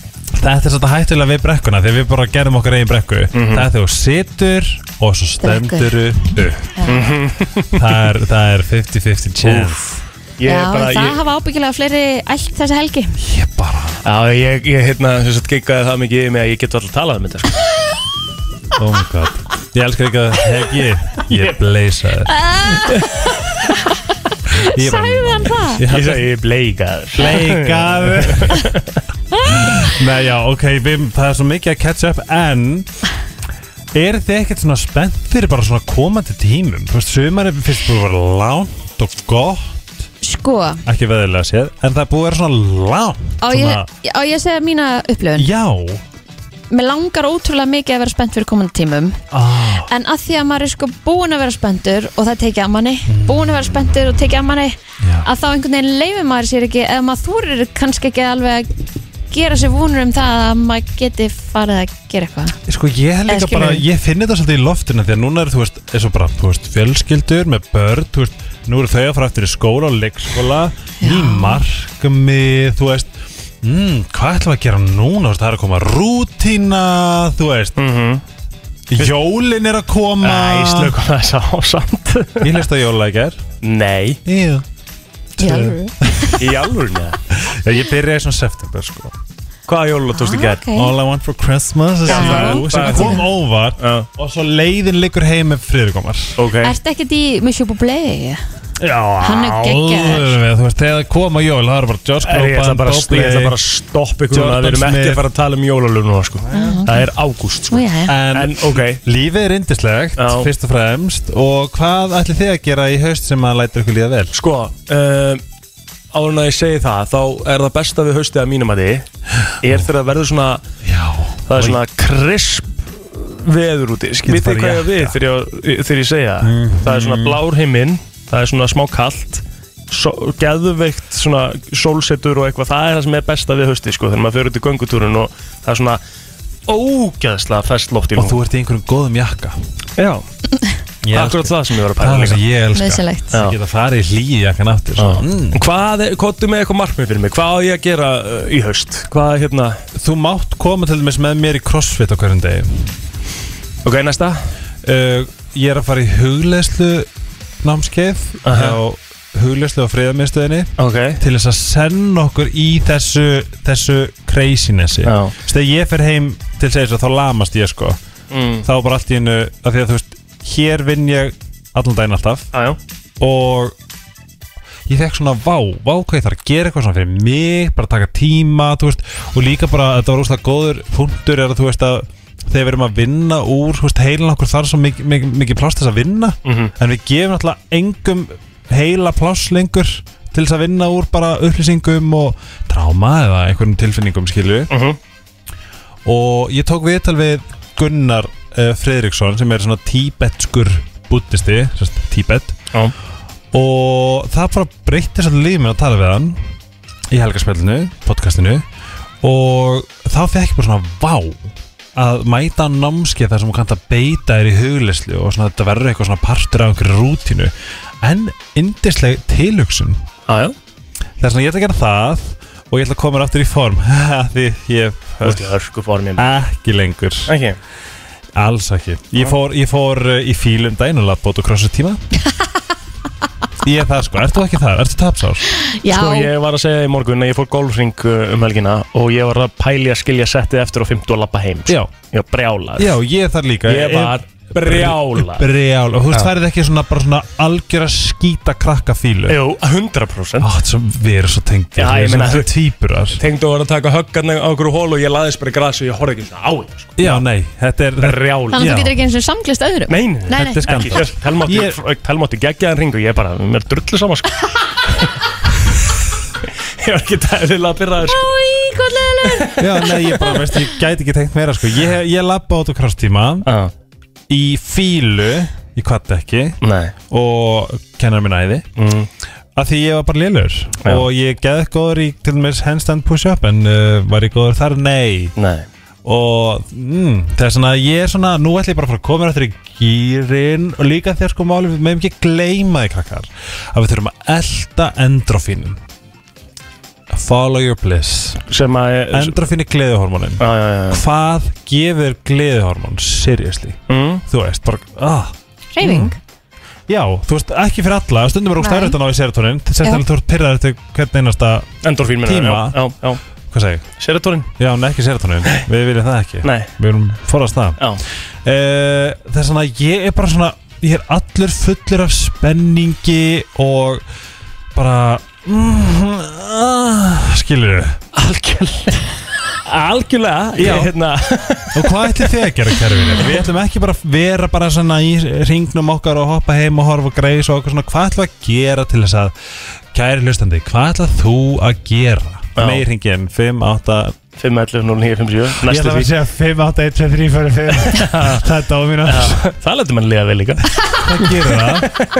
Speaker 8: Þetta er svolítið hættulega við brekkuna Þegar við bara gerum okkar eigin brekku
Speaker 1: Mhm.
Speaker 8: Það er þegar þú situr og svo stendur upp það, er, það er 50-50 chance
Speaker 1: Ég
Speaker 2: Já,
Speaker 1: er bara,
Speaker 2: en það
Speaker 1: ég-
Speaker 2: hafa ábyggilega fleiri ælt þessa helgi
Speaker 1: Já, ég, ég hérna, þess að giggaði það mikið með að ég get alltaf talað um þetta sko.
Speaker 8: Oh my god Ég elskar ekki að hegi Ég bleisa þér Ég bara-
Speaker 2: Sagði hann það?
Speaker 1: Ég sagði ég bleikaður
Speaker 8: Bleikaður. Nei já, ok, við, það er svo mikið að catch up En Er þið ekkert svona spennt fyrir bara svona komandi tímum? Þú veist, sumari fyrst búið að vera langt og gott
Speaker 2: Sko,
Speaker 8: ekki veðilega séð, en það er búið að vera svona langt
Speaker 2: á ég, á ég að segja mína upplöfun
Speaker 8: Já
Speaker 2: Mér langar ótrúlega mikið að vera spennt fyrir komandi tímum
Speaker 8: ah,
Speaker 2: En að því að maður er sko búin að vera spenntur og það tekið að manni, búin að vera spenntur og tekið að manni, að þá einhvern veginn leifir maður sér ekki, eða maður þúrir kannski ekki alveg að gera sér vunur um það að maður geti farið að gera eitthvað.
Speaker 8: Sko ég hef
Speaker 2: Eða
Speaker 8: líka
Speaker 2: skilurðu?
Speaker 8: bara, ég finn þetta svolítið í loftinu Því að núna er þú veist, eins og bara, þú veist, fjölskyldur með börn Þú veist, nú eru þau að fara eftir í skóla og leikskóla Í markmið, þú veist mm, Hvað ætlum við að gera núna? Þú veist, það er að koma rútína, þú veist Jólin er að koma
Speaker 1: Æ, slökum þess á samt
Speaker 8: Ég hlust að jóla ekki er
Speaker 1: Nei
Speaker 8: Jú
Speaker 2: Í alvöru?
Speaker 1: Í alvöru, neða
Speaker 8: Já, ég byrjaði svona september sko
Speaker 1: Hvaða jólulag tókstu í gær? Ah, ok.
Speaker 8: All I Want For Christmas
Speaker 1: Já.
Speaker 8: sem,
Speaker 1: Já.
Speaker 8: þú, sem
Speaker 1: Já.
Speaker 8: kom óvart og svo leiðin liggur heim með friðurkomar
Speaker 1: okay.
Speaker 2: Ertu ekkert í Monsieur Bublé?
Speaker 8: Já,
Speaker 2: Hann er geggjaður.
Speaker 8: alveg, þú veist, þegar það kom að jól það er bara George
Speaker 1: Herri, ég ætla
Speaker 8: Groban,
Speaker 1: bara að-
Speaker 8: Bob
Speaker 1: ég ætla
Speaker 8: Blake,
Speaker 1: bara að stoppa ykkur núna, við erum
Speaker 8: Jordan
Speaker 1: ekki að
Speaker 8: Smith.
Speaker 1: fara að tala um jólalög núna sko. Það er ágúst sko.
Speaker 2: Ah, Ó, jæja.
Speaker 8: En,
Speaker 1: En, ok.
Speaker 8: lífið er indislegt fyrst og fremst og hvað ætli þið að gera í haust sem að læta ykkur líða vel?
Speaker 1: Sko, uh, árun að ég segi það þá er það besta við haustið að mínum að þið er þegar það verður svona Já, það er svona krisp veður úti Vitið
Speaker 8: farið
Speaker 1: þið hvað ég á við þegar ég, þegar ég segja það? Það er svona
Speaker 8: Mhm.
Speaker 1: blár heiminn Það er svona smá kalt so, Geðveikt svona sólsetur og eitthvað Það er það sem er besta við haustið sko Þegar maður fyrir út í göngutúrun og það er svona Ógeðslega fest loft í
Speaker 8: Og þú ert í einhverjum góðum jakka
Speaker 1: Já Akkurat það sem ég var að pæla
Speaker 8: sko. Það er það sem ég elska
Speaker 2: Nauðsynlegt.
Speaker 1: Já.
Speaker 8: Ég geta farið í hlýi jakkan aftur Mm. svo.
Speaker 1: En Mm. Hvað er, hvað er með eitthvað markmið fyrir mig? Hvað á ég að gera uh, í haust? Hvað er hérna?
Speaker 8: Þú mátt koma til dæmis með mér í crossfit á hverjum degi
Speaker 1: Ok, næsta
Speaker 8: uh, Ég er að fara í hugleðslu námskeið hjá hugleðslu á friðarmiðstöðinni
Speaker 1: Ok.
Speaker 8: til þess að senda okkur í þessu, þessu crazinessi
Speaker 1: Já.
Speaker 8: Þegar ég fer heim til segis að þá lamast ég sko
Speaker 1: Mm.
Speaker 8: þá bara allt í einu að því að þú veist, hér vinn ég allan daginn alltaf
Speaker 1: Ajá.
Speaker 8: og ég fekk svona vá, vá hvað ég þarf að gera eitthvað svona fyrir mig, bara taka tíma þú veist, og líka bara, þetta var rústlega góður punktur er að þú veist að þegar við erum að vinna úr, þú veist, heilin okkur þarf svo mikið mik mik pláss til þess að vinna
Speaker 1: Mhm.
Speaker 8: en við gefum alltaf engum heila pláss lengur til þess að vinna úr bara upplýsingum og tráma eða einhvern tilfinningum skilju
Speaker 1: Mhm.
Speaker 8: og ég tók viðtal við Gunnar uh, Fredriksson sem er svona tíbetskur búttisti, sérst tíbet
Speaker 1: Já.
Speaker 8: og það bara breytti svolítið lífið minn að tala við hann í helgarspjallinu, podcastinu og þá fekk ég bara svona vá að mæta á námskeið þar sem hún kannt að beita þér í hugleyslu og svona þetta verður eitthvað svona partur af einhverju rútínu en indisleg tilhugsun
Speaker 1: Aðjá
Speaker 8: Það er svona ég ætla að gera það og ég ætla að koma mér aftur í form því ég
Speaker 1: Þú ert í hörku formin
Speaker 8: ekki lengur
Speaker 1: Ekki
Speaker 8: Alls ekki Ég fór, ég fór uh, í fílum daginn og labbót og krossu tíma Ég er það sko, ertu ekki þar? Ertu tapsás?
Speaker 2: Já,
Speaker 1: Sko ég var að segja í morgun að ég fór golfring uh, um helgina og ég var að pæli að skilja settið eftir og 50 og lappa heim sko.
Speaker 8: Já.
Speaker 1: Ég var brjálaður
Speaker 8: Já, ég er þar líka
Speaker 1: Ég var brjálaður
Speaker 8: Brjál Og þú veist, færið ekki svona bara svona algjör að skýta krakka fílu
Speaker 1: Jú, 100%
Speaker 8: Ó, þetta er Við erum svo tengd
Speaker 1: Já, ég meina,
Speaker 8: Þú týpurar
Speaker 1: Tengdu að vera að taka höggarna á okkur hól og ég laðist bara í gras og ég horfði ekki svona á þetta sko.
Speaker 8: Já, nei, þetta er
Speaker 1: Brjálaður
Speaker 2: þannig að
Speaker 8: já.
Speaker 2: þú getur ekki eins og samglist öðrum
Speaker 1: Nein,
Speaker 2: Nei, nei.
Speaker 8: Þetta er skandal.
Speaker 1: Telmátti
Speaker 8: Ég-
Speaker 1: ég... geggjaðan ring og ég bara, mér er drullu sama sko. Ég var ekki dæðilega að byrja það sko.
Speaker 2: Új, hvað leðilegur
Speaker 8: Já, nei, ég bara, veist, ég gæti ekki tengt meira sko Ég, ég labba át og kross tíma
Speaker 1: ah,
Speaker 8: Í fílu, ég kvatt ekki
Speaker 1: Nei
Speaker 8: og kennar minn æði
Speaker 1: mm.
Speaker 8: að því ég var bara lélur
Speaker 1: Já.
Speaker 8: og ég geði góður í til dæmis handstand push-up en uh, var ég góður þar? Nei
Speaker 1: Nei
Speaker 8: og mm, það er svona, ég er svona nú ætla ég bara að fara að koma eftir í gýrin og líka þegar sko máli, við meðum ekki gleyma því krakkar að við þurfum að elda endrofínum follow your bliss
Speaker 1: Sem að
Speaker 8: endrofín er gleðihormónin
Speaker 1: Já, já, já
Speaker 8: hvað gefur gleðihormón seriously,
Speaker 1: mm.
Speaker 8: þú veist bara, ah,
Speaker 2: Reyfing
Speaker 8: Já, þú veist, ekki fyrir alla, stundum er úr
Speaker 2: Nei.
Speaker 8: stærðan á í serotonin Sérstaklega þú ert pyrraður til hvern einasta,
Speaker 1: Endorfín minna
Speaker 8: Tíma.
Speaker 1: Já, já, já.
Speaker 8: hvað segi ég?
Speaker 1: Serotonin?
Speaker 8: Já, en ekki serotonin, við viljum það ekki
Speaker 1: Nei
Speaker 8: Við viljum forast það
Speaker 1: Já
Speaker 8: uh, Það er svona, ég er bara svona, ég er allur fullur af spenningi og bara, mm, uh, skilur við
Speaker 1: Algjörlega Algjörlega
Speaker 8: Já.
Speaker 1: Ég hérna
Speaker 8: Og hvað ætlum þið að gera kerfinu? Við ætlum ekki bara að vera bara svona í ringnum okkar og hoppa heim og horfa á greis og okkur svona Hvað ætlum við að gera til þess að, kæri hlustandi, hvað ætlum þú að gera?
Speaker 1: Já.
Speaker 8: Meiringin 5, 8,
Speaker 1: 511 0957
Speaker 8: Ég
Speaker 1: Næstu
Speaker 8: ætla að
Speaker 1: því
Speaker 8: segja 5, 8, 1, 2, 3, 4, 5 Það er Dominos
Speaker 1: Það letur mann liða vel líka
Speaker 8: Það gerir það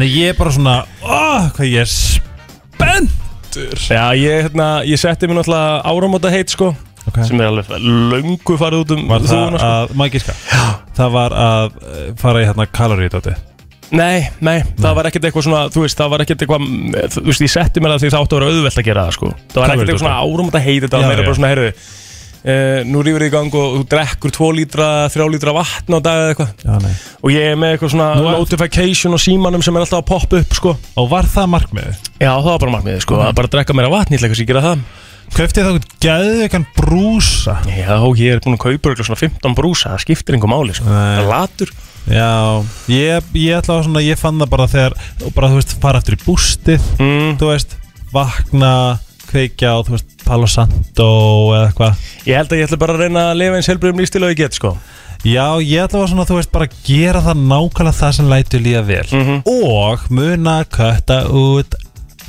Speaker 8: Nei, ég er bara svona oh, Hvað ég er spenntur
Speaker 1: Já, ég hérna Ég setti mér náttúrulega áramóta heit sko
Speaker 8: okay.
Speaker 1: Sem er alveg löngu farið út um
Speaker 8: Var það
Speaker 1: þúfuna, sko.
Speaker 8: að, má ég gíska Það var að eh, fara í hérna kaloríu dóti
Speaker 1: Nei, nei, það var ekkert eitthvað svona Þú veist, það var ekkert eitthvað mm, Þú veist, ég setti mér það því það átti að vera auðvelt að gera það sko Það var ekkert
Speaker 8: Kalorító,
Speaker 1: eitthvað svona áramóta heit Þetta
Speaker 8: Já,
Speaker 1: var meira
Speaker 8: já.
Speaker 1: bara svona, heyrðu Uh, nú rýfur þið í gang og þú drekkur 2 lítra, 3 lítra vatn á dag eða eitthvað
Speaker 8: Já, nei
Speaker 1: og ég er með eitthvað svona
Speaker 8: Nú er-
Speaker 1: notification og símanum sem er alltaf að poppa upp sko.
Speaker 8: Og var það markmiðið?
Speaker 1: Já, það var bara markmiðið sko, að bara drekka meira vatn, ég ætla ekki að gera það
Speaker 8: Kaufti þá geðveikan brúsa
Speaker 1: Já, ég er búin að kaupa eitthvað svona 15 brúsa, það skiptir einhver máli sko.
Speaker 8: Nei.
Speaker 1: Það er latur
Speaker 8: Já, ég, ég ætla að svona Ég fann það bara þegar Og bara, þú veist, fara eftir í bústið
Speaker 1: mm,
Speaker 8: Þú veist, vakna, kveikja Og þú veist, Palo Santo Eða eitthvað
Speaker 1: Ég held að ég ætla bara að reyna að lifa eins helbriðum lífstil og ég get sko.
Speaker 8: Já, ég ætla að svona, þú veist, bara gera það nákvæmlega það sem lætur líða vel
Speaker 1: Mhm.
Speaker 8: Og muna kötta út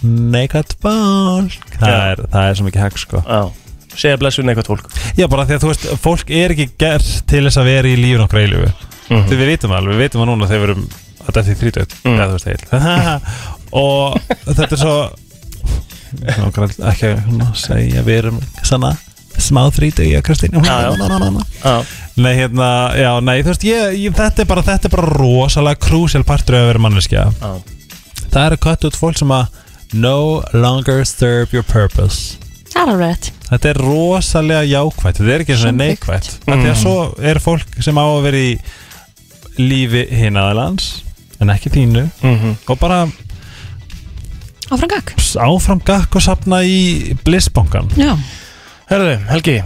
Speaker 8: Naked ball Það
Speaker 1: Já.
Speaker 8: er, það er svo mikið hægt sko
Speaker 1: Já segja blessun eitthvað fólk
Speaker 8: Já, bara því að þú veist, fólk er ekki gerð til þess að vera í lífun okkar eilífu
Speaker 1: Mhm.
Speaker 8: Þegar við vitum það alveg, við vitum það núna þegar við erum að þetta er þrítöð mm. eða þú veist eil og þetta er svo Ná, grann, ekki að hérna, segja við erum svona smá þrítöð í að Kristín
Speaker 1: Já, já. Já.
Speaker 8: Nei, hérna, já, nei, þú veist, ég, ég, þetta, er bara, þetta er bara rosalega krúsjál partur af að vera manneskja
Speaker 1: Já.
Speaker 8: Það eru kött út fólk sem að no longer serve your purpose
Speaker 2: Það er alveg rétt
Speaker 8: Þetta er rosalega jákvætt Þetta er ekki svona
Speaker 2: Samþykkt.
Speaker 8: neikvætt Þetta er
Speaker 1: Mm.
Speaker 8: svo er fólk sem á að vera í lífi hinaðalans en ekki þínu
Speaker 1: Mhm.
Speaker 8: og bara
Speaker 2: Áfram gakk
Speaker 8: áfram gakk og sapna í blissbankan
Speaker 2: Já
Speaker 1: Herðu, Helgi,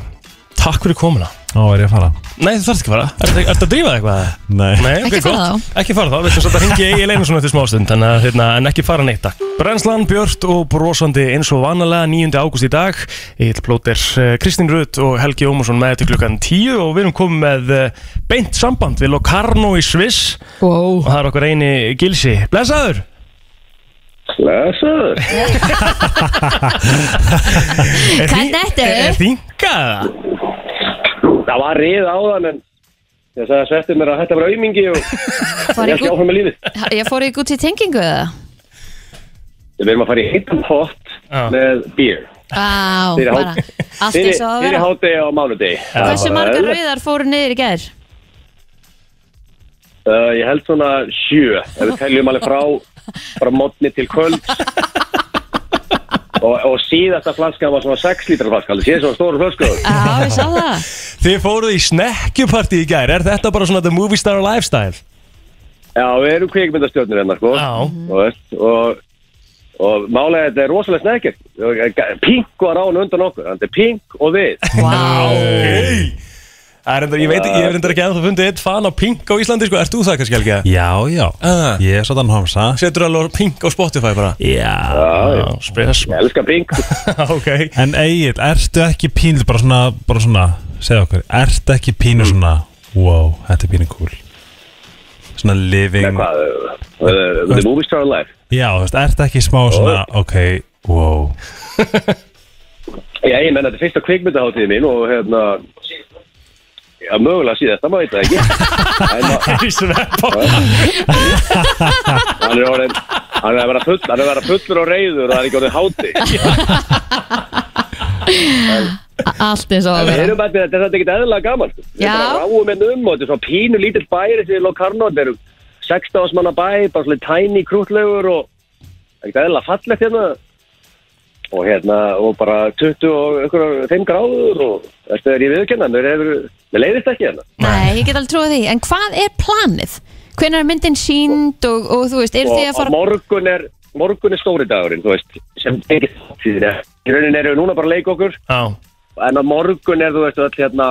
Speaker 1: takk fyrir komuna
Speaker 8: Þá er ég að fara
Speaker 1: Nei, þú þarfst ekki að fara Ertu ertu að drífa þig eitthvað?
Speaker 8: Nei,
Speaker 1: Nei ok,
Speaker 2: Ekki fara
Speaker 1: gott. Ekki fara þá, við þess að þetta hengi Egil Einarsson eftir smástund en, hérna, en ekki fara neitt takk. Brennslan, Björt og brosandi eins og vanalega 9. ágúst í dag Egil Plóter, eh, Kristín Rutt og Helgi Ómarsson með þetta klukkan 10 og við erum komið með eh, beint samband við Locarno í Sviss
Speaker 2: wow.
Speaker 1: og það er okkar eini gilsi Blessaður!
Speaker 10: Blessaður
Speaker 2: Hvernig þetta
Speaker 1: er?
Speaker 2: er?
Speaker 1: Þingaða?
Speaker 10: Það var rið áðan en ég sagði að svetti mér að þetta var aumingi og ég
Speaker 2: Var í
Speaker 10: held ég áfram með lífið
Speaker 2: Ég fór í Gucci tengingu eða?
Speaker 10: Við erum að fara í heitan pott með beer
Speaker 2: Á,
Speaker 10: Fyrir
Speaker 2: bara
Speaker 10: hádegi.
Speaker 2: Allt
Speaker 10: Fyrir,
Speaker 2: eins og það
Speaker 10: fyrir
Speaker 2: vera
Speaker 10: hádegi á mánudegi
Speaker 2: Hversu margar rauðar fóru niður í gær?
Speaker 10: Uh, ég held svona sjö ef við teljum alveg frá frá modni til kvöld og, og síðasta flaskan var svona 6 lítra flaska alveg síðan svona stóru flösku
Speaker 2: Já, ég sá það
Speaker 1: Þið fóruð í snekkjupartí í gær, er þetta bara svona the movie star lifestyle?
Speaker 10: Já, við erum kvikmyndastjörnir hérna sko
Speaker 1: Já.
Speaker 10: og, veist, og, og málega þetta er rosalega snekkir Pink var án undan okkur þannig að þetta er Pink og við
Speaker 1: Wow. Það er Reyndar, ég veit, ég hef reyndar ekki að þú fundið eitt fan á Pink á Íslandi, sko, ert þú það kannski ekki?
Speaker 8: Já, já,
Speaker 1: Ah.
Speaker 8: ég er svona homsa
Speaker 1: Setur alveg Pink á Spotify bara?
Speaker 8: Já
Speaker 1: Já, spes.
Speaker 10: Ég elska Pink
Speaker 1: ok.
Speaker 8: En Egil, ertu ekki pínu bara svona, bara svona, segja okkur ertu ekki
Speaker 10: Mm.
Speaker 8: pínu svona wow, þetta er pínu cool svona living
Speaker 10: Nei, hvað, uh, uh, The Movie Star Life
Speaker 8: Já, þú veist, ertu ekki smá svona, ok, wow
Speaker 10: Já, ég menna þetta er fyrsta kvikmyndaháttíð mín og hérna Já, mögulega síðasta, maður veit það ekki En að-
Speaker 1: Í svepp
Speaker 10: hann er orðin hann er að vera full, hann er að vera fullur og reyður og það er ekki orðin háti
Speaker 2: A- Allt eins og það
Speaker 10: en við
Speaker 2: vera
Speaker 10: erum bara, þetta er þetta ekki eðlilega gaman sko. við
Speaker 2: Já.
Speaker 10: bara ráum hérna um og þetta er svona pínu lítill bæri sem er Locarno, þetta eru 16 manna bæ, bara svona tæni krútlegur og ekki eðlilega fallegt hérna og hérna og bara 20 og einhverjum 5 gráður og þetta er ég viðurkenna mér, hefur, mér leiðist ekki hérna
Speaker 2: Nei, ég get alveg trúið því En hvað er planið? Hvenær er myndin sínd og, og þú veist, eru þið að
Speaker 10: og, og
Speaker 2: fara
Speaker 10: morgun er morgun er stóri dagurinn, þú veist sem ekki þáttíðin er í raunin erum við núna bara að leika okkur
Speaker 1: Já.
Speaker 10: en á morgun er þú veist öll hérna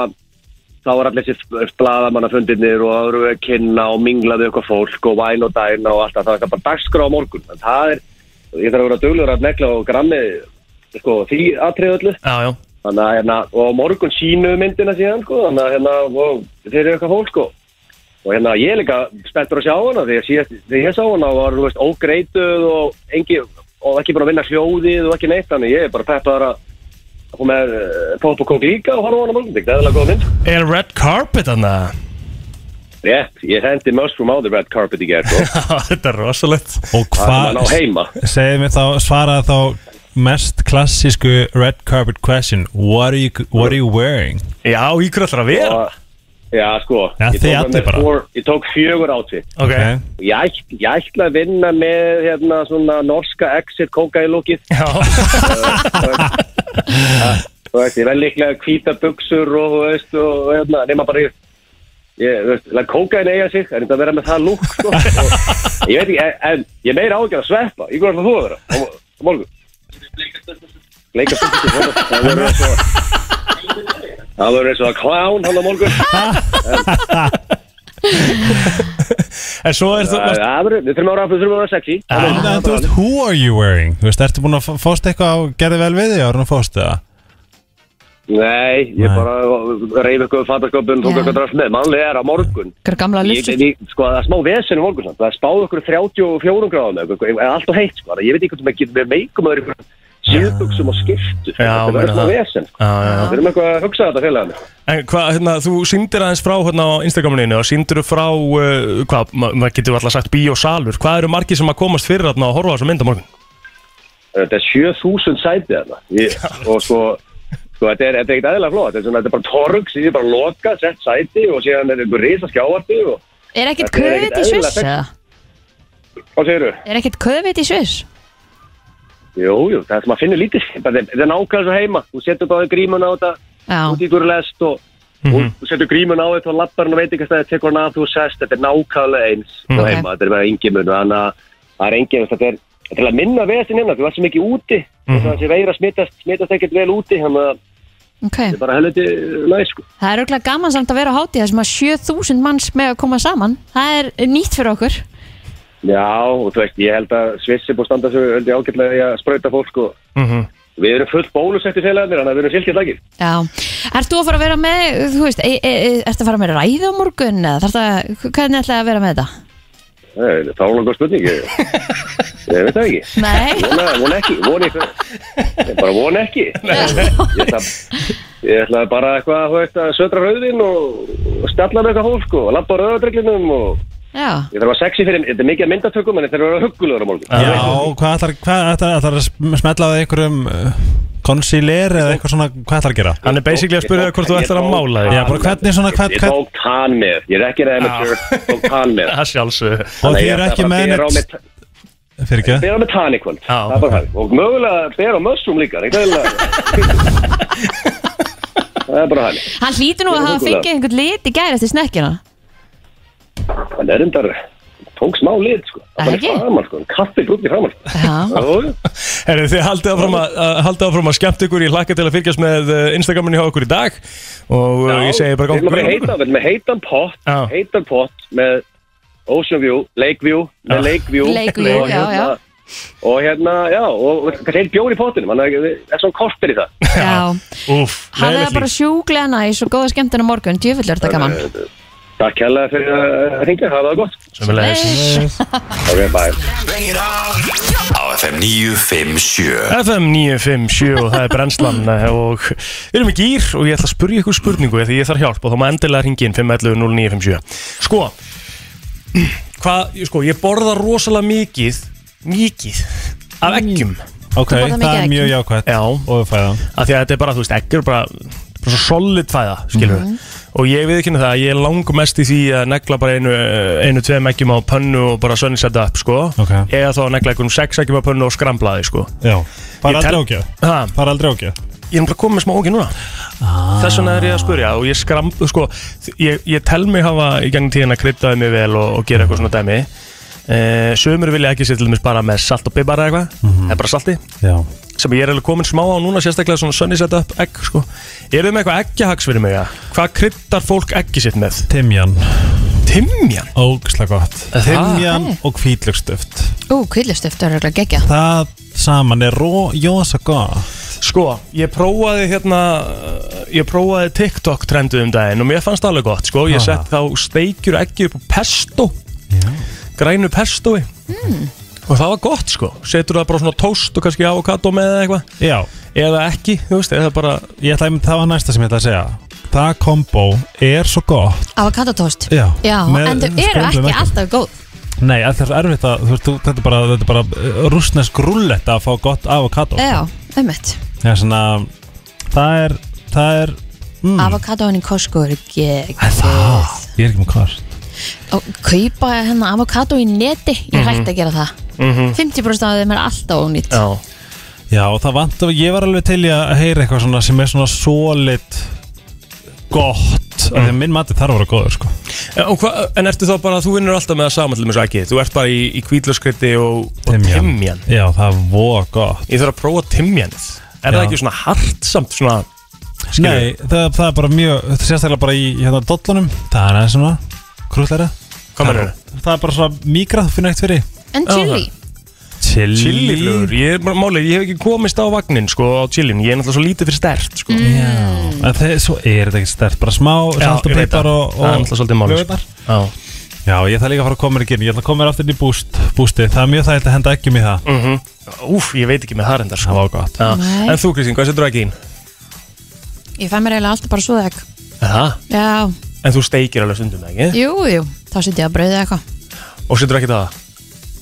Speaker 10: þá er allir þessi blaðamannafundirnir og það eru að kynna og minglaðu eitthvað fólk og væn og dæna og allt það það er bara dagskrá á morgun en það er, ég þarf að vera duglegur að negla og grammi sko, því atrið öllu
Speaker 1: Já, já.
Speaker 10: þannig að hérna, og á morgun sínu myndina síðan sko, þannig að hérna, og þeir eru eitthvað fólk sko. og hérna, ég er líka spenntur að sjá hana þegar, síðast, þegar ég sá hana var, þú veist, ógreituð og engi, og ekki búin að vinna hljóðið og ekki neitt, þannig ég er bara peppaður að að koma með eh, pop og kók líka og horfa á hana á morgun, þetta er eðalega góð mynd
Speaker 1: Er red carpet hann það?
Speaker 10: Rétt, ég hendi mushroom á the red carpet í gerð sko.
Speaker 1: Þetta er rosalegt.
Speaker 8: Og
Speaker 10: það er ná
Speaker 8: hvað,
Speaker 10: heima
Speaker 8: segið mér þá, svaraði þá mest klassísku red carpet question What are you, what are you wearing?
Speaker 1: Já, í hverju ætlar að vera?
Speaker 10: og, Já, sko
Speaker 8: Já,
Speaker 10: ég tók
Speaker 8: þið
Speaker 10: með
Speaker 8: allir
Speaker 10: mér
Speaker 8: bara.
Speaker 10: four- Ég tók fjögur átvitt
Speaker 1: Ok.
Speaker 10: Ég, ætl- ég ætla að vinna með hérna svona norska exit kókailókið
Speaker 1: Já.
Speaker 10: Þú veist, ég er vel líklega hvíta buksur og þú veist og hérna, nema bara ég ég, þú veist, læt kókain eiga sig en þetta að vera með það lúk sko. og, ég veit ekki, en, en ég er meira ágjör að sveppa ég góður að þú að vera á mo- á morgun leika stundu það verður eins og það verður eins og að klán hann á morgun
Speaker 1: En svo er þú...
Speaker 10: það það verður, við þurfum að vera við þurfum að vera sexy
Speaker 8: En en þú veist, who are you wearing? Þú veist, ertu búin að fá- fást eitthvað og gerði vel við því árun að fást það?
Speaker 10: Nei, ég
Speaker 8: Nei.
Speaker 10: bara reyf eitthvað fattaköpun, tók
Speaker 2: Já.
Speaker 10: eitthvað drast með, mannlega er á morgun
Speaker 2: Hver gamla
Speaker 10: ég,
Speaker 2: lufti?
Speaker 10: ég, Sko, það er smá vesen í morgun samt. það er spáð okkur 34 gráðum eða eitthvað, eða allt og heitt, sko, þannig að ég veit ekki hvað maður getur með meikum að vera síðbuksum og
Speaker 1: Já,
Speaker 10: skiptu Þetta er
Speaker 1: meina
Speaker 10: eitthvað
Speaker 1: það.
Speaker 10: vesen sko.
Speaker 1: Já, já, já.
Speaker 10: Við erum eitthvað að hugsa þetta félagarnir
Speaker 1: En hvað, hérna, þú sýndir aðeins frá hérna á Instagraminu og sýndir frá, uh, hvað, ma- maður getur alltaf sagt bíósalur, hvað eru margir sem að komast fyrir hérna og horfa á þessu mynd á morgun?
Speaker 10: Þetta er 7000 sæti þarna Ég- Og sko, sko þetta er, þetta er ekkert aðeinslega flott Þetta er, svona, þetta er bara torg, sem er bara lokað, sett sæti Og síðan er einhver risa skjáarti og,
Speaker 2: Er ekkert
Speaker 10: Þetta er ekkert
Speaker 2: köfitt í Sviss?
Speaker 10: eðlilega
Speaker 2: eða?
Speaker 10: Hvað segirðu?
Speaker 2: Er ekkert köfitt í Sviss?
Speaker 10: Jú, jú, það er sem að finna lítið Bara Þetta þetta er nákvæmlega svo heima Þú setur bara grímuna á þetta
Speaker 2: Já.
Speaker 10: Út í hverju lest og
Speaker 8: Mhm.
Speaker 10: Þú setur grímun á þetta og lappar hann og veit ekki hvað það tekur hann að þú sest, þetta er nákvæmlega eins
Speaker 8: Mhm.
Speaker 1: mm.
Speaker 10: okay. heima, þetta er bara engin mun þannig að það er engin, þetta er þetta er til að minna vesin hérna, þú ert sem ekki úti mm.
Speaker 1: Mhm.
Speaker 10: það sem veira smittast, smittast ekkert vel úti þannig að
Speaker 2: Ok.
Speaker 10: þetta er bara helviti næs sko.
Speaker 2: Það er auðvitað gaman samt að vera á hátíð þar sem að 7000 manns með að koma saman. Það er nýtt fyrir okkur.
Speaker 10: Já, og þú veist, ég held að Sviss er búið að standa sig held ég ágætlega í að sprauta fólk og við erum fullt bólusetti félagarnir, þannig að við erum silkið lagir
Speaker 2: Já. Ert þú að fara að vera með, þú veist, e, e, e, ert að fara með ræði á morgun eða þarf það, hvernig ætlaði að vera með þetta?
Speaker 10: Það er langar spurning ég, ég veit það ekki
Speaker 2: Nei.
Speaker 10: Vona, vona ekki, vona ekki Ég bara vona ekki Ég ætla, ég ætla bara eitthvað þú veist, að södra rauðin og, og stalla með eitthvað fólk og labba á rauðadreglinum og
Speaker 2: Já.
Speaker 10: ég þarf að vera sexy fyrir, þetta er mikið af myndatökum en þetta er að vera huggulegur á morgun
Speaker 8: Já, hvað ætlar, hvað ætlar, ætlar að sm- smetla á einhverjum uh, konsilér eða eitthvað svona, hvað ætlar að gera?
Speaker 1: Hann er basically að spyrja þig hvort þú ætlar að mála þig.
Speaker 8: Já, bara hvernig svona, hvern,
Speaker 10: Ég
Speaker 8: hvern,
Speaker 10: tók tann með, ég er ekki að amateur, ég tók tann með
Speaker 1: Það sjálfsög.
Speaker 8: og þið eru ekki með neitt,
Speaker 10: neitt
Speaker 8: fyrir ekki?
Speaker 10: Bera með tann í kvöld,
Speaker 1: Já,
Speaker 10: það er bara það Og mögulega bera mössum líka, það er ekki aðeinslega- Það er bara hann
Speaker 2: Hann hlýtur nú að
Speaker 10: Ég er
Speaker 2: hafa
Speaker 10: huggulegur.
Speaker 2: fengið einhvern lit í gæri eftir snekkjuna.
Speaker 10: Hann er endar, tók smá lit sko
Speaker 2: Er
Speaker 10: Það er
Speaker 2: ekki?
Speaker 10: framar sko, kaffi brútt í framar
Speaker 2: Já.
Speaker 10: Það
Speaker 1: Herru, þið haldið áfram að, að, haldið áfram að skemmt ykkur, ég hlakka til að fylgjast með
Speaker 8: uh,
Speaker 1: eh, Instagraminu hjá okkur í dag og Já, ég segi bara
Speaker 10: Við
Speaker 1: gangi
Speaker 10: erum að fara í
Speaker 1: vel á morgun.
Speaker 10: heitan- við erum með heitan pott
Speaker 1: Já.
Speaker 10: Heitan pott með Ocean View, Lake View Með
Speaker 1: Já.
Speaker 10: Lake View
Speaker 2: Lake View,
Speaker 10: og
Speaker 2: já, já.
Speaker 10: Og hérna, já, og kannski heilt bjór í pottinum Þannig að það er svona kortir í það
Speaker 2: Já.
Speaker 1: Úff,
Speaker 2: Hann er
Speaker 1: leiðilegt
Speaker 2: bara
Speaker 1: líf.
Speaker 2: sjúglega næs og góða skemmtun á morgun. Djöfull er þetta gaman.
Speaker 10: Takk hérlega fyrir að hringja, hafa það gott
Speaker 1: Sömuleiðis.
Speaker 10: Ok, bye
Speaker 3: Á FM 957
Speaker 1: FM 957 og það er brennslan eh, og við erum í gýr og ég ætla að spurja ykkur spurningu því ég þarf hjálp og þá má endilega ringi inn 511 0957 Sko, hvað, sko, ég borða rosalega mikið, mikið af eggjum
Speaker 8: Ok,
Speaker 2: Þú borðar
Speaker 8: það
Speaker 2: mikið
Speaker 8: er mjög
Speaker 2: egg.
Speaker 8: jákvægt
Speaker 1: Já,
Speaker 8: og fæðan.
Speaker 1: af því að þetta er bara, þú veist, eggjur bara, bara svo solid fæða, skilur og ég við ekki um það að ég er langmest í því að negla bara einu, einu tveim eggjum á pönnu og bara sunnsetta upp, sko
Speaker 8: Ok.
Speaker 1: eða þá að negla einhverjum sex eggjum á pönnu og skramla þig, sko
Speaker 8: Já,
Speaker 1: Ég
Speaker 8: fara
Speaker 1: tel-
Speaker 8: aldrei ágjöð.
Speaker 1: Ha?
Speaker 8: Fara aldrei ágjöð.
Speaker 1: ég er bara komið með smá ógi núna þess vegna er ég að spurja og ég skram sko, ég, ég tel mig hafa í gegnum tíðin að kryddaði mig vel og, og gera eitthvað svona dæmi eh, sömur vilja ekki sér til dæmis bara með salt og bibar eða eitthvað eða bara salti,
Speaker 8: Já.
Speaker 1: sem ég er alveg komin smá á núna sérstaklega svona sunny setup egg sko. er þið með eitthvað eggjahags fyrir mig ja? hvað kryddar fólk eggi sitt með?
Speaker 8: Timjan,
Speaker 1: Timjan?
Speaker 8: ógislega gott.
Speaker 1: Það?
Speaker 8: Timjan og hvítlökstöft.
Speaker 2: Ú, kvillustöft er auðvitað gegja.
Speaker 8: Það saman er rójósa gott.
Speaker 1: Sko, ég prófaði hérna ég prófaði TikTok trendu um daginn og mér fannst það alveg gott, sko ég
Speaker 8: Ha.
Speaker 1: sett þá steikjur ekki upp á pesto grænu pestoi og það var gott, sko setur það bara svona toast og kannski avokado með eða eitthvað
Speaker 8: Já,
Speaker 1: eða ekki, þú veist, eða bara
Speaker 8: ég ætla að það var næsta sem ég ætla að segja. Það kombo er svo gott.
Speaker 2: Avokatotoast.
Speaker 8: Já,
Speaker 2: Já,
Speaker 8: með
Speaker 2: en þau eru
Speaker 8: skrömblum
Speaker 2: ekki
Speaker 8: eggjum.
Speaker 2: alltaf góð.
Speaker 8: Nei, það er svo erfitt að þú veist, þú- þetta er bara, þetta er bara uh, rússnesk rullett að fá gott avokado
Speaker 2: Já, ummitt.
Speaker 8: Það er svona, það er, það er, mm,
Speaker 2: Avokadóin í Costco eru
Speaker 8: það,
Speaker 2: geggjað.
Speaker 8: ég er ekki með kvart
Speaker 2: og kaupa hérna avokado í neti ég er hægt að gera það 50% af þeim er alltaf ónýtt
Speaker 1: já,
Speaker 8: Já, og það vant, ég var alveg til í að heyra eitthvað svona sem er svona solid gott, mm. af því að minn mati þarf að vera góður, sko
Speaker 1: en, E, og hva, en ertu þá bara, þú vinnur alltaf með það saman til mér svo ekki, þú ert bara í, í kvítlöskritti og, og timjan
Speaker 8: Já, það er voða gott
Speaker 1: ég þarf að prófa timjanið er það
Speaker 8: Já.
Speaker 1: ekki svona hartsamt svona, skilur
Speaker 8: Nei, það, það er bara mjög, sérstaklega bara í hérna dollunum, það er aðeins svona krúllæra,
Speaker 1: hvað mennur það?
Speaker 8: það er bara svona mígrað fyrir neitt fyrir
Speaker 2: en chili,
Speaker 8: Chili,
Speaker 1: Chiliflugur, ég er bara málið, ég hef ekki komist á vagnin sko á chilin, ég er náttúrulega svo lítið fyrir stert
Speaker 8: Mm.
Speaker 1: sko.
Speaker 8: En þeir, svo er þetta ekki stert, bara smá salt og
Speaker 1: ég veit
Speaker 8: pipar
Speaker 1: það.
Speaker 8: og, og
Speaker 1: Það er náttúrulega svolítið málið, sko.
Speaker 8: lögurnar.
Speaker 1: Já.
Speaker 8: Já, ég ætla líka að fara að koma mér í gyrn Ég ætla að koma mér aftur inn í búst, bústi Það er mjög það að henda ekki mér það
Speaker 1: mm -hmm. Úf, ég veit ekki með það reyndar sko.
Speaker 8: Mhm. Það var gott
Speaker 1: Já.
Speaker 2: Nei.
Speaker 1: En þú Kristín, hvað setur þú ekki í?
Speaker 2: Ég fæ mér eiginlega alltaf bara svoða ekki
Speaker 1: Það?
Speaker 2: Já,
Speaker 1: En þú steikir alveg stundum ekki?
Speaker 2: jú, jú, þá setjum ég að brauðið eitthvað
Speaker 1: Og setur ekki það?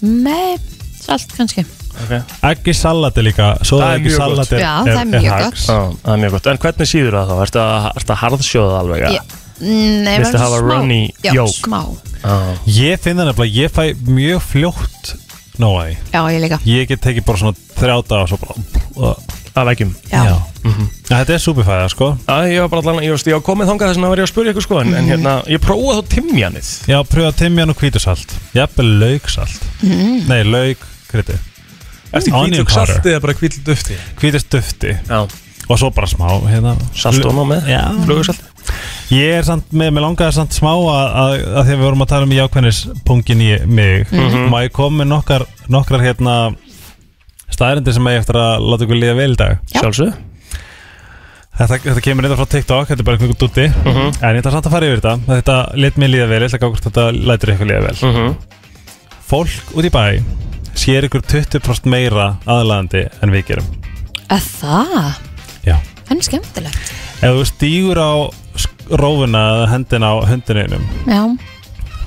Speaker 2: Nei, salt kannski
Speaker 1: Okay.
Speaker 8: Ekki salati líka Svoða ekki salati
Speaker 2: Já, það er mjög gott.
Speaker 1: Já, það er mjög gott En hvernig síður það þá? Ertu að, ertu að harðsjóða alveg?
Speaker 2: Ég- Nei,
Speaker 1: Viltu
Speaker 2: bara
Speaker 1: hafa
Speaker 2: smá-
Speaker 1: runny
Speaker 2: Já,
Speaker 1: yolk?
Speaker 2: smá
Speaker 1: Ah.
Speaker 8: Ég finn það nefnilega Ég fæ mjög fljótt Nóaði
Speaker 2: Já, ég líka
Speaker 8: Ég get tekið bara svona þrjá daga og svo bara
Speaker 1: Af leggjum
Speaker 2: Já.
Speaker 1: Mhm.
Speaker 8: Þetta er súpifæða sko
Speaker 1: Já, ég var bara allan, ég veist, ég var komið þangað þess að var ég að spyrja ykkur sko En, en hérna, ég prófaði þá timjanið
Speaker 8: Já, pröfa timjan og hvítusalt Jafnvel lauksalt
Speaker 2: Mhm.
Speaker 1: Mm.
Speaker 8: Nei, lauk, krytti
Speaker 1: Ertu hvítur salt eða bara hvítur dufti?
Speaker 8: Hvítur dufti
Speaker 1: Já
Speaker 8: Og svo bara smá hérna,
Speaker 1: Salt og ná með?
Speaker 8: Já
Speaker 1: Flugusalt
Speaker 8: Ég er samt, með, með langaði samt smá að, að, að því að við vorum að tala um jákvæðnispungin í mig
Speaker 1: Mhm.
Speaker 8: Má ég koma með nokkar, nokkrar hérna staðarindir sem ég eftir að láta ykkur líða vel í dag
Speaker 1: Sjálfsög
Speaker 8: Þetta, þetta kemur reyndar frá TikTok, þetta er bara einhver dúti En ég ætla samt að fara yfir þetta Þetta let mér líða vel, ég ætla að gá hvort þetta lætur ykkur líða vel Fólk út í bæ sér ykkur 20% meira aðlaðandi en við gerum
Speaker 2: Að það?
Speaker 8: Já.
Speaker 2: Það er skemmtilegt
Speaker 8: Ef þú stígur á sk- rófuna eða hendina á hundininum
Speaker 2: Já,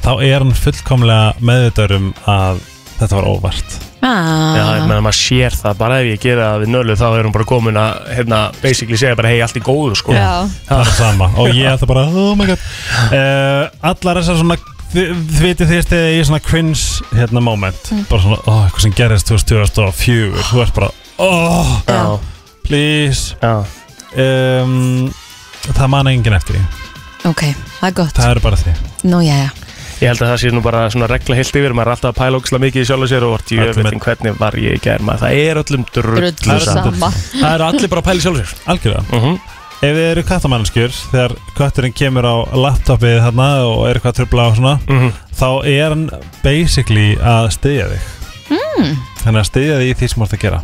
Speaker 8: þá er hann fullkomlega meðvitaður um að þetta var óvart
Speaker 2: ah.
Speaker 1: Já, ég meðan maður sér það Bara ef ég gera það við nölu þá er hún bara komin að Hérna, basically segja bara, hei, allt í góðu sko
Speaker 2: Já.
Speaker 8: það er sama og ég ætla bara, oh my god uh, allar þessar svona þviti því að ég er svona cringe hérna moment, bara svona, oh, eitthvað sem gerist 2024, þú ert bara oh,
Speaker 1: Já.
Speaker 8: please
Speaker 1: Já.
Speaker 8: Um, það manna enginn eftir því
Speaker 2: ok, það er gott
Speaker 8: það eru bara því
Speaker 2: Nú, já, já
Speaker 1: Ég held að það sé nú bara svona regla heilt yfir Maður er alltaf að pæla ógislega mikið í sjálf og sér Og orti, ég
Speaker 8: Öllum
Speaker 1: veit ekki hvernig var ég í gær maður Það er öllum drullu
Speaker 2: Drullu sama.
Speaker 1: Það eru allir bara að pæla í sjálf og sér
Speaker 8: Algjörða
Speaker 1: Mhm.
Speaker 8: Ef þið eru kattamannskjur Þegar kötturinn kemur á laptopið þarna Og er eitthvað að trubla á svona Þá er hann basically að styðja þig
Speaker 2: mm.
Speaker 8: Þannig að styðja þig í því sem þú ert að gera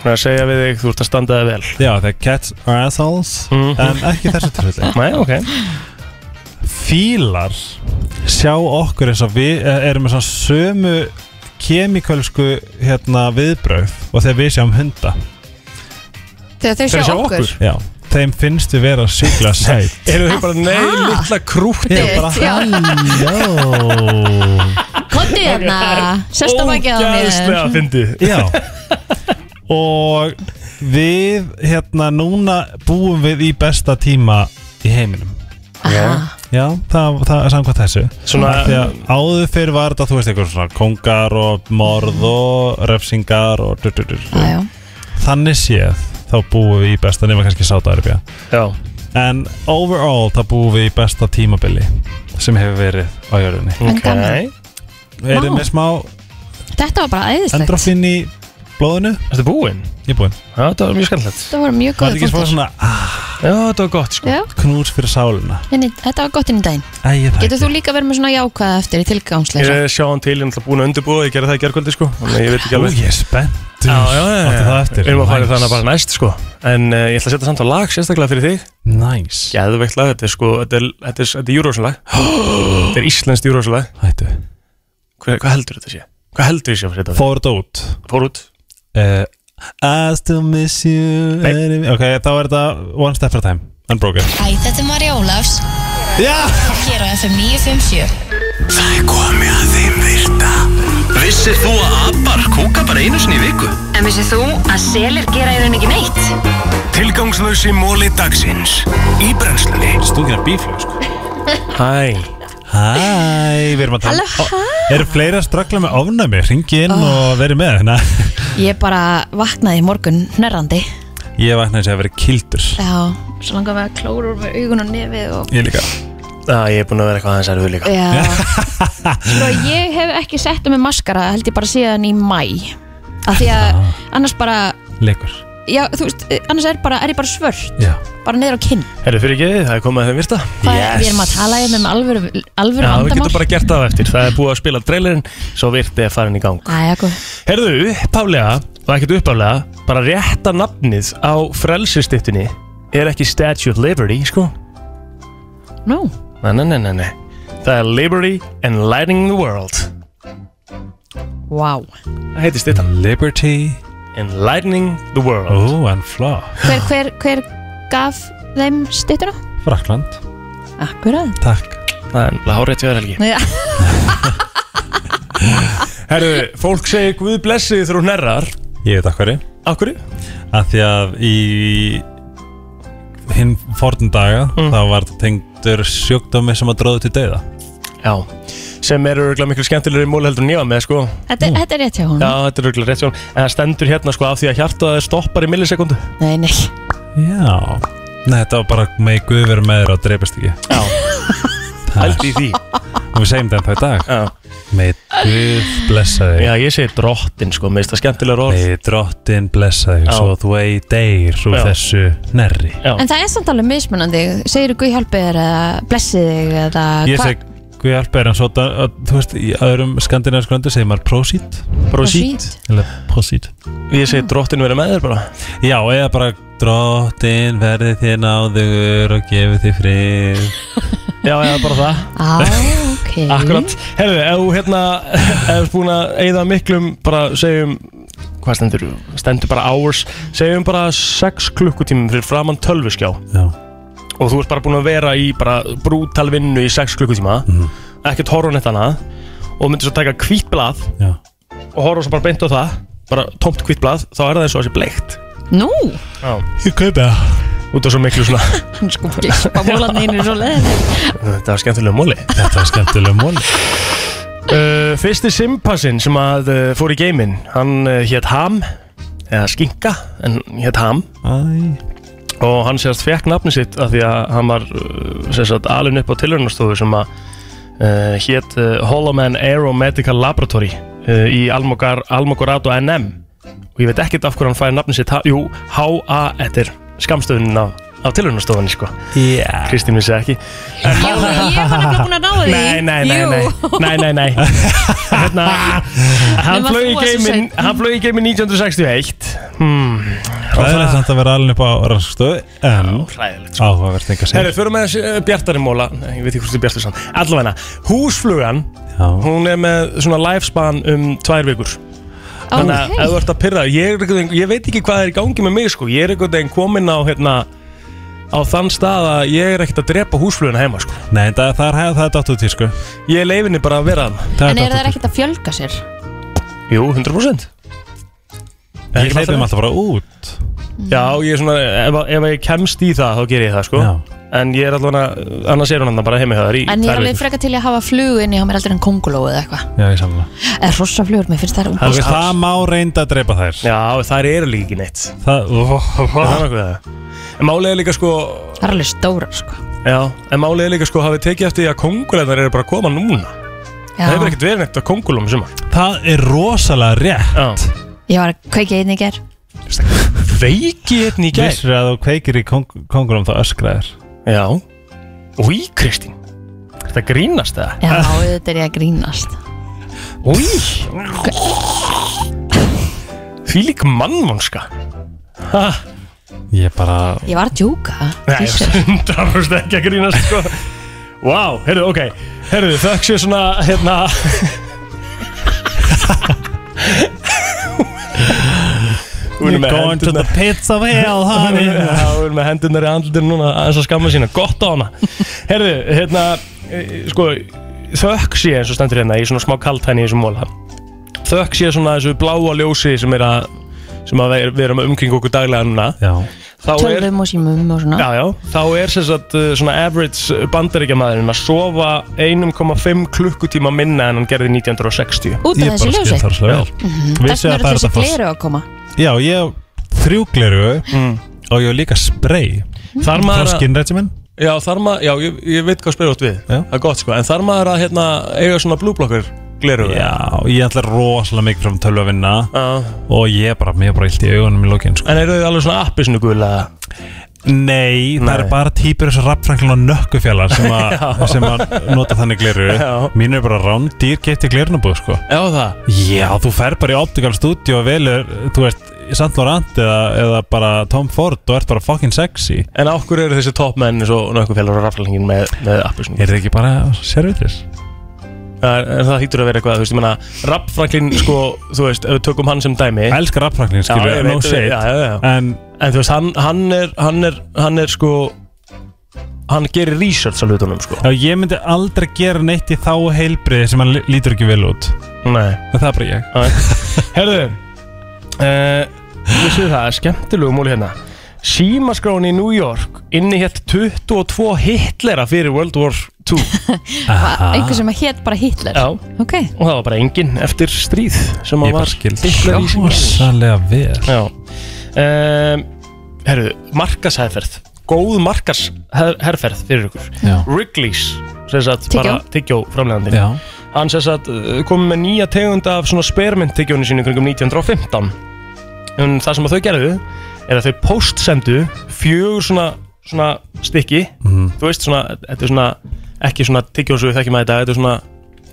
Speaker 1: Það er að segja við þig, þú ert að standa þig vel
Speaker 8: Já, þegar cats are assholes En ekki í þessu tilfelli
Speaker 1: Nei, ok
Speaker 8: Fílar sjá okkur eins og við eh, Erum með svona sömu kemikölsku hérna, viðbröð Og þegar við sjáum hunda
Speaker 2: Þegar þau sjá okkur
Speaker 8: Já, þeim finnst við vera sjúkla sæt
Speaker 1: Eru þau bara nei, litla krútið
Speaker 8: Ég er bara, halló
Speaker 2: Kottu hérna, sérst á bakið á
Speaker 1: Ógæðslega
Speaker 2: mér
Speaker 1: fyndið
Speaker 8: Já Og við hérna núna búum við í besta tíma í heiminum
Speaker 2: Ah,
Speaker 1: Já.
Speaker 8: Já, það, það er samkvæmt þessu
Speaker 1: Svona-
Speaker 8: Af Því að áður fyrir var þetta, þú veist, eitthvað svona kongar og morð og refsingar og dur, dur, dur, dur. Þannig séð þá búum við í besta nema kannski sátaðarbja
Speaker 1: Já
Speaker 8: En overall þá búum við í besta tímabili sem hefur verið á jörðinni
Speaker 2: En gaman.
Speaker 8: Er þið
Speaker 2: Vá.
Speaker 8: með smá
Speaker 2: Þetta var bara æðislegt
Speaker 8: endorfin í blóðinu?
Speaker 1: Ertu búinn?
Speaker 8: Ég er búinn
Speaker 1: Já, þetta var mjög skemmtilegt
Speaker 2: Þetta var mjög
Speaker 8: Var þetta
Speaker 2: góð
Speaker 8: ekki smá svona
Speaker 1: Já, þetta var gott sko
Speaker 2: Já,
Speaker 8: knús fyrir sáluna
Speaker 2: inni, þetta var gott inn í daginn
Speaker 8: Æ, ég
Speaker 2: Getur þú líka verið með svona jákvæða eftir í
Speaker 1: Ég
Speaker 2: tilgangsleisa?
Speaker 1: er sjá hann til, ég er náttúrulega búin að undirbúa Ég gerði það í gerkvöldi sko Þannig að ég veit ekki
Speaker 8: Ú,
Speaker 1: alveg
Speaker 8: ég er spenntur
Speaker 1: Já, já, já,
Speaker 8: Áttu það eftir
Speaker 1: Við erum að fara í
Speaker 8: Nice.
Speaker 1: þannig bara næst sko En uh, ég ætla að setja samt á lag sérstaklega fyrir þig
Speaker 8: Næs
Speaker 1: Gæðveikt lag, þetta er sko Þetta er, þetta er, þetta er Eurovision lag Þetta er íslenskt Eurovision lag
Speaker 8: Hættu
Speaker 1: Hvað, hvað heldur þetta sé? Hvað heldur ég sé að setja
Speaker 8: Fór þetta út
Speaker 1: Fór út
Speaker 8: uh, I still miss you Nei. Ok, þá er þetta One Step at a Time Unbroken
Speaker 7: Æ, þetta er Marja Ólafs
Speaker 8: Já
Speaker 7: Hér á FM 957
Speaker 3: Það er komið að þeim virta
Speaker 6: Vissir þú að abar kúka bara einu sinni í viku?
Speaker 5: En vissið þú að selir gera í raun ekki neitt?
Speaker 6: Tilgangslösi móli dagsins Í brennslunni
Speaker 8: Stungin að bíflög sko
Speaker 1: Hæ
Speaker 8: Hæ, við erum að tala Halló, hæ Eru fleiri að ströggla með ofnæmi Ringi inn
Speaker 2: Oh.
Speaker 8: og veri með hérna.
Speaker 2: Ég bara vaknaði í morgun nörrandi
Speaker 8: Ég vaknaði sér að vera kildur
Speaker 2: Já, svo langar mig að klóra úr með augun og nefið og
Speaker 8: Ég líka
Speaker 1: Já, ég er búin að vera eitthvað aðeins erfið líka
Speaker 2: Já Sko ég hef ekki sett um með maskara held ég bara síðan í mæ Af því að
Speaker 1: Ah.
Speaker 2: annars bara
Speaker 8: Leikur
Speaker 2: Já, þú veist, eh, annars er, bara, er ég bara svört
Speaker 8: Já
Speaker 2: Bara neður á kinn
Speaker 1: Herru, fyrir ekki, það er komið að þeim virta
Speaker 2: Hvað er, við erum að tala hérna um alvöru, alvöru
Speaker 1: Já, við
Speaker 2: vandamál
Speaker 1: getum bara gert það á eftir Það er búið að spila trailerinn Svo virti er farin í gang
Speaker 2: Æja, góð
Speaker 1: Herðu, uppaflega, og ekkert uppaflega Bara rétta nafnið á frelsistittunni Er ekki Statue of Liberty, sko
Speaker 2: Nú,
Speaker 1: Nei, nei, nei, nei, nei Það er Liberty and Lighting the World
Speaker 2: Vá
Speaker 1: Það heitir stittan Liberty and Lighting the World Oh, and Flaw
Speaker 2: hver, hver, hver gaf þeim stittuna?
Speaker 1: Frakland
Speaker 2: Akkurat
Speaker 1: Takk Það er lárið til helgi
Speaker 2: Já.
Speaker 1: Herru, fólk segir Guð blessi þér og nærrar
Speaker 8: Ég veit akkur
Speaker 1: Akkur
Speaker 8: Af því að í hinn fornum daga þá var þetta tengdur sjúkdómi sem að dróðu til dauða
Speaker 1: Já, sem eru örgulega miklu skemmtilegur í múli heldur en ég var með sko
Speaker 2: Þetta, þetta er rétt hjá hún
Speaker 1: Já, þetta er örgulega rétt sjón En það stendur hérna sko af því að hjartað stoppar í millisekundu
Speaker 2: Nei, nei
Speaker 8: Já Nei, þetta var bara megi Guð vera með þér og dreipast ekki Já
Speaker 1: Hældi í því
Speaker 8: Og við segjum þetta í dag
Speaker 1: Já
Speaker 8: Megi Guð blessa þig
Speaker 1: Já, ég segi drottin sko, með þetta skemmtilegur orð
Speaker 8: Megi drottin blessa þig
Speaker 1: Já.
Speaker 8: Svo þú ei deyr úr
Speaker 1: Já.
Speaker 8: þessu nærri
Speaker 1: Já.
Speaker 2: En það er samt alveg mismunandi Segir Guð hjálpi þér eða blessi þig eða
Speaker 8: Ég
Speaker 2: hva-
Speaker 8: segi Guð hjálpa þér en svo da- að, Þú veist, í öðrum skandinavísku löndu segir maður prosít
Speaker 1: Prosít.
Speaker 8: Eller prosít
Speaker 1: Ég segi drottin verið með þér bara
Speaker 8: Já, eða bara drottin verði þér náður og gefi þér frið
Speaker 1: Já, eða bara það
Speaker 2: Á, Ah, ok
Speaker 1: Akkurat, hefðu, ef þú hérna ef þú ert búin að eyða miklum bara segjum, hvað stendur stendur bara hours, segjum bara 6 klukkutímum fyrir framann tölvuskjá
Speaker 8: Já.
Speaker 1: og þú ert bara búin að vera í bara brútal vinnu í 6 klukkutíma ekkert horfa á neitt annað og myndir svo taka hvít blað
Speaker 8: Já.
Speaker 1: og horfa svo bara beint á það bara tómt hvít blað, þá er það eins og þessi bleikt
Speaker 2: Nú,
Speaker 1: Já. Ég kaupi það Út af svo miklu svona
Speaker 2: sko, gispa múlarnir er svo leið
Speaker 1: Þetta var skemmtilega móli
Speaker 8: Þetta var skemmtilega mól
Speaker 1: Uh, fyrsti simpassinn sem að uh, fór í geiminn hann uh, hétt Ham eða Skinka en hétt Ham
Speaker 8: Æ.
Speaker 1: og hann sérst fekk nafni sitt af því að hann var uh, sérst alin upp á tilhörnastofu sem að uh, hétt uh, Holoman Aeromedical Laboratory uh, í Almogar, Almogorado NM og ég veit ekkert af hverju hann fær nafni sitt ha, jú, HA, þetta er skamstöðunin af, af tilhörnastofunni sko
Speaker 8: yeah.
Speaker 1: Kristín vissi ekki
Speaker 2: Jú, ég var nefnilega búin að ná því
Speaker 1: Nei, nei, nei, nei, nei, nei, nei. Hérna, hann
Speaker 2: Nema
Speaker 1: flög í
Speaker 2: þú varst svo
Speaker 1: geiminn
Speaker 2: seinn.
Speaker 1: Hann flög í geiminn 1961 hmm.
Speaker 8: Ræðilegt samt að vera alveg upp á rannsókstofu En
Speaker 1: Hræðilegt
Speaker 8: áhugavert enga sér
Speaker 1: Herru, förum með þessi bjartari móla Nei, Ég veit ekki hvort þið er bjartari sann Allavegna, húsflugan
Speaker 8: Já.
Speaker 1: Hún er með svona lifespan um tvær vikur Þannig að
Speaker 2: Ok.
Speaker 1: ef þú ert að pyrra ég, er einhvern veginn- ég veit ekki hvað er í gangi með mig sko. Ég er einhvern veginn komin á hérna, Á þann stað að ég er ekkert að drepa húsfluguna heima sko.
Speaker 8: Nei, það, það er hæða það er dottur tísku
Speaker 1: Ég leifi henni bara að vera þarna
Speaker 2: En eru þær ekkert að fjölga sér?
Speaker 1: Jú, 100%
Speaker 8: Ég hleypi þeim alltaf bara út
Speaker 1: Já, ég er svona, ef, að- ef að ég kemst í það þá ger ég það sko
Speaker 8: Já.
Speaker 1: En ég er allavega, annars er hún andan bara heimi höðar í
Speaker 2: En ég er
Speaker 1: tvær
Speaker 2: alveg
Speaker 1: vikur.
Speaker 2: frekar til í að hafa flug inn í hann er aldrei en konguló eða eitthvað
Speaker 8: Já, ég samla
Speaker 2: Eða hrossaflugur, mér finnst það
Speaker 8: Það, veist, það má reynda að dreipa þær
Speaker 1: Já, þær eru líka ekki neitt
Speaker 8: Það, ó, ó, ó.
Speaker 1: Það er nokkuð það En málið er líka sko
Speaker 2: Það er alveg stóra, sko
Speaker 1: Já, en málið er líka sko hafið tekið eftir því að kongulegnar eru bara að koma núna
Speaker 2: Já.
Speaker 1: Það hefur ekkert verið neitt að kongulum sem að
Speaker 8: það er rosalega rétt
Speaker 1: Já,
Speaker 2: Ég var að kveikja einn í ger
Speaker 1: veiki hérna í gær
Speaker 8: Vissir að þú kveikir í kong kongurum þá öskraðir
Speaker 1: Já Új, Kristín Þetta grínast það
Speaker 2: Já, auðvitað er ég að grínast
Speaker 1: Új Því lík mannvonska Ha,
Speaker 8: Ég bara
Speaker 2: Ég var að djúka
Speaker 1: Nei,
Speaker 2: Jesus.
Speaker 1: hundra fyrst ekki að grínast sko. Vá, wow, heyrðu, ok Heyrðu, þökk sé svona, hérna Hún er með
Speaker 8: Going to the
Speaker 1: hendurnar
Speaker 8: pits of hell, honey
Speaker 1: Já, Hún er með hendurnar í andlutin núna aðeins að skamma sína, gott á hana Heyrðu, hérna, eh, sko Þökk sé eins og stendur hérna í svona smá kaltæni í þessum móla Þökk sé svona þessu bláa ljósi sem er að sem að við við erum að umkring okkur daglega núna
Speaker 8: Já,
Speaker 1: Þá er-
Speaker 2: Tölvum og símum og svona
Speaker 1: Já, já, þá er sem sagt uh, svona average bandaríkjamaðurinn að sofa 1,5 klukkutíma minna en hann gerði 1960
Speaker 2: Út af
Speaker 8: ég
Speaker 2: þessu
Speaker 8: bara skil
Speaker 2: ljósi
Speaker 8: þar svo vel
Speaker 2: Þess
Speaker 8: Vissi
Speaker 2: vegna eru
Speaker 8: að það er
Speaker 2: þessi
Speaker 8: þetta fórst
Speaker 2: fleiri að koma
Speaker 8: Já, ég hef þrjú gleru Og ég hef líka spray
Speaker 1: Þar
Speaker 8: Frá
Speaker 1: maður að,
Speaker 8: skin regimen
Speaker 1: já, þar maður, já, ég, ég veit hvað spyrir átt við
Speaker 8: Já.
Speaker 1: Það er gott sko, en þar maður að hérna eiga svona blúblokkur gleru
Speaker 8: Já, ég ætla rosalega mikið frá tölvu að vinna
Speaker 1: uh,
Speaker 8: og ég bara, mér er bara illt í augunum í lókin sko.
Speaker 1: En eru þið alveg svona appi svona gula?
Speaker 8: Nei, það
Speaker 1: Nei.
Speaker 8: er bara týpur eins og rappfrænklun og nökkufjallar sem, a, sem að nota þannig gleru
Speaker 1: Já.
Speaker 8: Mín er bara rándýr kefti glernabúð sko.
Speaker 1: Já, það
Speaker 8: Já, þú fer bara í Optical Studio og velur, þú veist, Saint Laurent eða, eða bara Tom Ford og ert bara fucking sexy
Speaker 1: En okkur eru þessi toppmenn eins og nokkuð félagur á raflingin með, með appelsinu? Er
Speaker 8: það ekki bara servitris?
Speaker 1: Það, það hýtur að vera eitthvað, þú veist, ég meina Rappfranklin, sko, þú veist, ef við tökum hann sem dæmi
Speaker 8: Elskar Rappfranklin,
Speaker 1: skilur,
Speaker 8: skilur, no shade.
Speaker 1: já, já, já.
Speaker 8: En,
Speaker 1: þú veist, hann, hann, er, hann, er, hann er, sko, hann gerir research á hlutunum, sko
Speaker 8: Já, ég myndi aldrei gera neitt í þá heilbriði sem hann lí- lítur ekki vel út
Speaker 1: Nei
Speaker 8: En það er bara ég
Speaker 1: Herðu, uh, við séum það, skemmtilegu múli hérna Símaskráin í New York innihétt 22 hitlera fyrir World War II
Speaker 2: einhver sem hétt bara Hitler
Speaker 1: Já.
Speaker 2: ok,
Speaker 1: og það var bara enginn eftir stríð sem að
Speaker 8: Ég bara
Speaker 1: var
Speaker 8: skil
Speaker 1: Hitler í sínu.
Speaker 8: Rosalega vel
Speaker 1: Já um, Herru, markasherferð Góð markasherferð fyrir ykkur
Speaker 8: Já.
Speaker 1: Wrigley's sem sagt,
Speaker 2: Tyggjó.
Speaker 1: bara tyggjó framlegandi
Speaker 8: Já.
Speaker 1: Hann sem sagt, eh, kom með nýja tegund af svona spearmint tyggjónu sínu kringum 1915 En það sem að þau gerðu er að þau postsendu fjögur svona, svona stykki Þú veist svona, þetta er svona ekki svona tyggjón sem við þekkjum að þetta Þetta er svona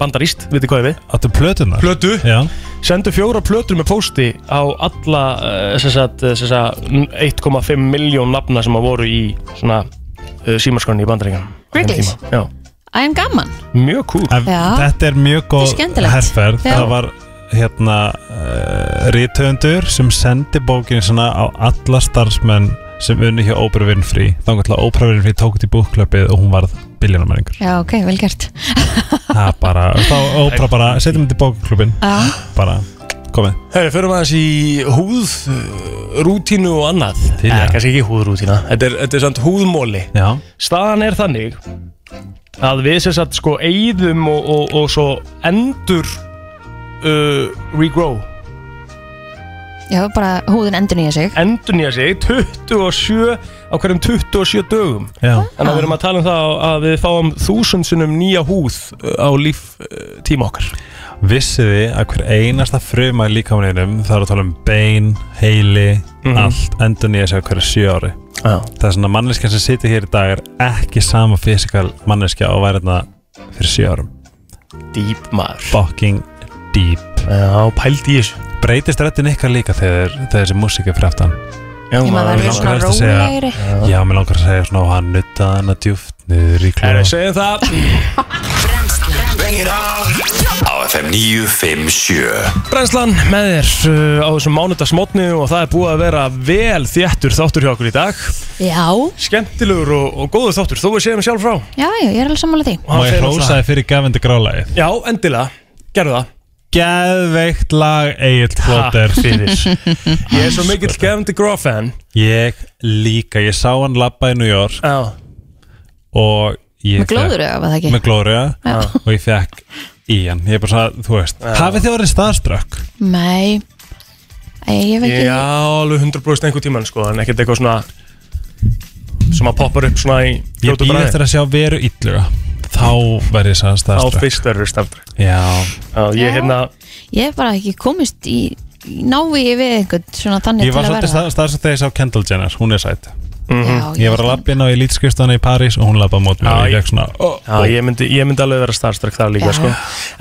Speaker 1: bandaríst, vitið hvað ég við
Speaker 8: Áttu plötunar?
Speaker 1: Plötu
Speaker 8: Já
Speaker 1: sendu fjóra plötur með pósti á alla eh, sem sagt, eh, sem sagt, n- 1,5 miljón nafna sem að voru í svona uh, símarskronni í bandaríkan
Speaker 2: Wrigley's?
Speaker 1: Já,
Speaker 2: ægum gaman
Speaker 1: mjög cool
Speaker 8: En
Speaker 2: Já.
Speaker 8: Þetta er mjög góð
Speaker 2: Þetta er skemmtilegt.
Speaker 8: herrferð
Speaker 2: Já.
Speaker 8: Það var hérna uh, rítöfundur sem sendi bókinu svona á alla starfsmenn sem unni hjá Oprah Winfrey þannig að Oprah Winfrey tók þetta í búkklöpið og hún varð biljónamæringur
Speaker 2: já ok, vel gert
Speaker 8: það er bara, þá Oprah bara setjum þetta í bókklöpin
Speaker 2: Já.
Speaker 8: bara, komið
Speaker 1: Herri, förum aðeins í húð eh, rútínu og annað
Speaker 8: Til í
Speaker 1: Eh,
Speaker 8: það.
Speaker 1: kannski ekki húðrútína Þetta er, þetta er samt húðmóli
Speaker 8: Já,
Speaker 1: Staðan er þannig að við sem sagt sko eyðum og, og, og svo endur uh, regrow
Speaker 2: já, bara húðin endur nýja sig
Speaker 1: endur nýja sig 27 á hverjum 27 dögum
Speaker 8: já,
Speaker 1: Þannig að við erum að tala um það að við fáum þúsundsunum nýja húð uh, á líftíma okkar.
Speaker 8: vissið þið að hver einasta fruma í líkamaninum það er að tala um bein, heili allt endur nýja sig á hverju sjö ári
Speaker 1: Já.
Speaker 8: það er svona manneskja sem situr hér í dag er ekki sama fysikal manneskja á værið fyrir 7 árum
Speaker 1: Dýp maður.
Speaker 8: fucking deep
Speaker 1: Já, pældi í þessu.
Speaker 8: breytist röttin ykkar líka þegar, þegar þessi músík er fyrir aftan
Speaker 1: Já,
Speaker 2: ég maður verður svona
Speaker 8: helst að segja-
Speaker 2: rólegri
Speaker 8: já, mér langar að segja svona og hann nuttaði hana djúft niður í
Speaker 1: Herri,
Speaker 8: klóa
Speaker 1: segjum það.
Speaker 3: Á FM 957
Speaker 1: Brænslan með þér uh, á þessum mánudagsmótni og það er búið að vera vel þéttur þáttur hjá okkur í dag.
Speaker 2: já,
Speaker 1: Skemmtilegur og, og góður þáttur, þó við segjum sjálf frá.
Speaker 2: já, já, ég er alveg sammála því
Speaker 1: Og hann
Speaker 8: og ég
Speaker 1: segir náttúrulega-
Speaker 8: hrósaði fyrir gafindi grálaðið
Speaker 1: Já, endilega. Gerðu það.
Speaker 8: geðveikt lag Egil Plóter
Speaker 1: fyrir. Ég er svo mikill Gavin DeGraw fan.
Speaker 8: ég líka, ég sá hann labba í New York
Speaker 1: Já.
Speaker 8: og ég
Speaker 2: með glóður eða það ekki
Speaker 8: með glóður, já og ég fekk í hann, ég er bara svona, þú veist hafið þið orðið staðströkk?
Speaker 2: nei, Æ, ég hef ekki
Speaker 1: Já, alveg 100% einhver tíman sko En ekkert eitthvað svona Sem að poppar upp svona í
Speaker 8: Ég
Speaker 1: fljótu
Speaker 8: býð
Speaker 1: bragði.
Speaker 8: eftir að sjá veru illuga Þá verð ég sann
Speaker 1: Á
Speaker 8: staðströkk
Speaker 1: fyrst verður stafnir
Speaker 8: Já,
Speaker 1: Já, ég hérna
Speaker 2: ég hef bara ekki komist í í návíi við einhvern svona þannig
Speaker 8: ég var
Speaker 2: til að
Speaker 8: svolítið
Speaker 2: verða
Speaker 8: staðströkk þegar ég sá Kendall Jenner Hún er sætt
Speaker 2: Já,
Speaker 8: Ég var að labba inn á elitskrifstana í París og hún labbaði mót mér
Speaker 1: Já,
Speaker 8: og
Speaker 1: ég-
Speaker 8: Ég fekk svona ó,
Speaker 1: Já, ég myndi, ég myndi alveg vera starstruck þar líka
Speaker 2: Já.
Speaker 1: sko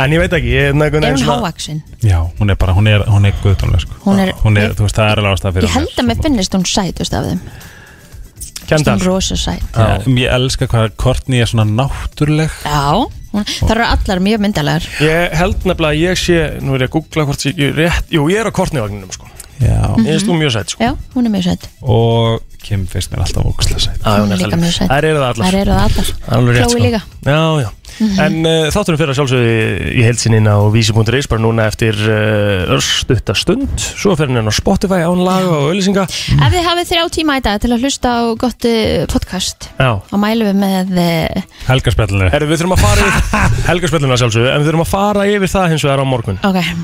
Speaker 1: En ég veit ekki, ég hérna einhvern
Speaker 2: er hún
Speaker 1: svona
Speaker 2: hávaksin
Speaker 8: Já, hún er bara, hún er, hún er guðdónlega sko.
Speaker 2: Hún er-
Speaker 8: þú veist, það er alveg ástæða fyrir
Speaker 2: ég held að mér finnist hún sætust af þeim Finnst hún
Speaker 1: Kendall
Speaker 2: rosa sæt
Speaker 8: Já, Ég elska hvað Kortni er svona náttúrleg
Speaker 2: já, hún, það eru allar mjög myndalegar
Speaker 1: Ég held nefnilega að ég sé Nú er ég að googla hvort sé ég rétt Jú, ég er á kortnivagninum sko Ég
Speaker 8: Já,
Speaker 2: Mhm.
Speaker 1: finnst þú mjög sætt sko
Speaker 2: já, hún er mjög sæt
Speaker 8: og Kim finnst mér alltaf ókslega sætt
Speaker 1: Já, hún
Speaker 2: Hún er
Speaker 1: er
Speaker 2: líka
Speaker 1: sæt.
Speaker 2: mjög sæt.
Speaker 1: Þær eru það allar
Speaker 2: þær eru það allar
Speaker 1: Það er alveg rétt,
Speaker 2: Chloe
Speaker 1: sko.
Speaker 2: líka. Mhm.
Speaker 1: Já, já En uh, þátturum fyrir að sjálfsögðu í heilsinina á vísi.is bara núna eftir uh, örstutta stund Svo fyrir henni á Spotify án laga og öllisinga
Speaker 2: Ef þið hafið þrjá tíma í dag til að hlusta á gott eh, podcast
Speaker 1: Já
Speaker 2: þá mælum við með eh,
Speaker 8: Helgarspjallinu
Speaker 1: Herru, við þurfum að fara yfir Helgarspölluna sjálfsögðu En við þurfum að fara yfir það hins vegar á morgun uh,
Speaker 2: ok,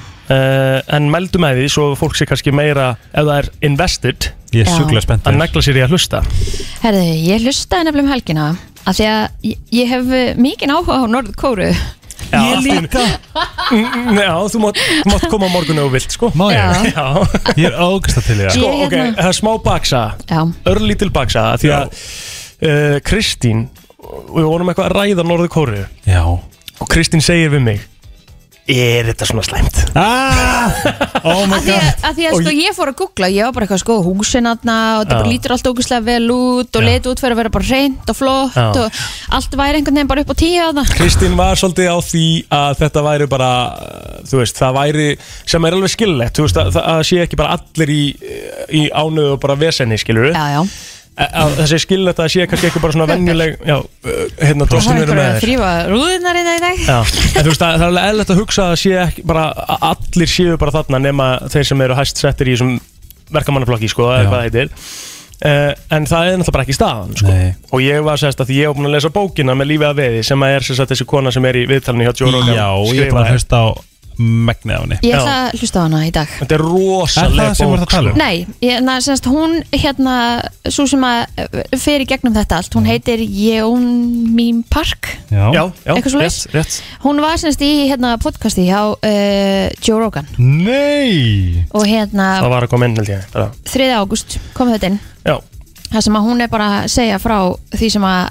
Speaker 1: En mældu með því svo fólk sé kannski meira Ef það er invested
Speaker 8: Ég er
Speaker 2: Já.
Speaker 8: sjúklega spennt
Speaker 1: Að negla sér í að hlusta
Speaker 2: herðu, ég hlustaði nefnilega um helgina af því að ég, ég hef eh, mikinn áhuga á Norðkóru
Speaker 1: já, Ég líka Já, þú mátt, þú mátt koma á morgun ef þú vilt sko
Speaker 8: Má
Speaker 2: já,
Speaker 8: ég?
Speaker 1: Já,
Speaker 8: Ég er ógsta til ég
Speaker 1: sko,
Speaker 2: Ég
Speaker 1: ok,
Speaker 2: hérna-
Speaker 1: það er smá baksa
Speaker 2: já,
Speaker 1: Oh Örlítil baksa Því að uh, Kristín Við vorum eitthvað að ræða Norður Kóru
Speaker 8: Já
Speaker 1: Og Kristín segir við mig er þetta svona slæmt?
Speaker 8: Ah, oh my
Speaker 2: Því að, að því að sko ég fór að googla Ég var bara eitthvað sko húsinatna Og þetta
Speaker 1: Já.
Speaker 2: bara lítur allt ógustlega vel út Og
Speaker 1: Já.
Speaker 2: leit út fyrir að vera bara reynd og flott
Speaker 1: Já.
Speaker 2: Og allt væri einhvern veginn bara upp á tíu að það
Speaker 1: Kristín var svolítið á því að þetta væri bara, uh, þú veist, það væri sem er alveg skillett, þú veist, að það sé ekki bara allir í, eh, í ánöðu og bara vesenni, skilur við?
Speaker 2: Já, já.
Speaker 1: Að það sé skillett að það sé kannski ekki bara svona venjuleg, já, uh, hérna,
Speaker 2: Það var
Speaker 1: dóttin verið
Speaker 2: einhver
Speaker 1: með
Speaker 2: að
Speaker 1: þér.
Speaker 2: þrýfa rúðunar innan í dag
Speaker 1: Já, en þú veist, það, það er alveg eðlægt að hugsa að það sé ekki bara, að allir séu bara þarna nema þeir sem eru hæst settir í þessum verkamannaflokki, sko, eða hvað það heitir uh, en það er náttúrulega bara ekki staðan, sko
Speaker 8: Nei.
Speaker 1: og ég var sérst að því ég hef búin að lesa bókina með lífið að veði, sem að er sérst að þessi kona sem er í viðtalinu hjá Joe Rogan
Speaker 8: Já, ég er bara að hlusta á megnið af henni
Speaker 2: Ég ætla að hlusta á hana í dag
Speaker 1: Þetta er
Speaker 8: Er
Speaker 1: rosalega
Speaker 8: það
Speaker 1: bók sko.
Speaker 8: sem við erum að tala um?
Speaker 2: Nei, ég, na, semst, hún hérna Svo sem að eh, fer í gegnum þetta allt
Speaker 1: Mhm.
Speaker 2: Hún heitir Jón Mín Park
Speaker 8: Já,
Speaker 1: Já, já,
Speaker 2: Eitthvað svoleiðis?
Speaker 1: rétt, rétt
Speaker 2: Hún var semst í hérna podcasti hjá uh, Joe Rogan
Speaker 8: Nei
Speaker 2: Og hérna
Speaker 1: Það var að koma inn, held ég bara.
Speaker 2: 3. ágúst kom þetta inn
Speaker 1: Já,
Speaker 2: það sem að hún er bara að segja frá því sem að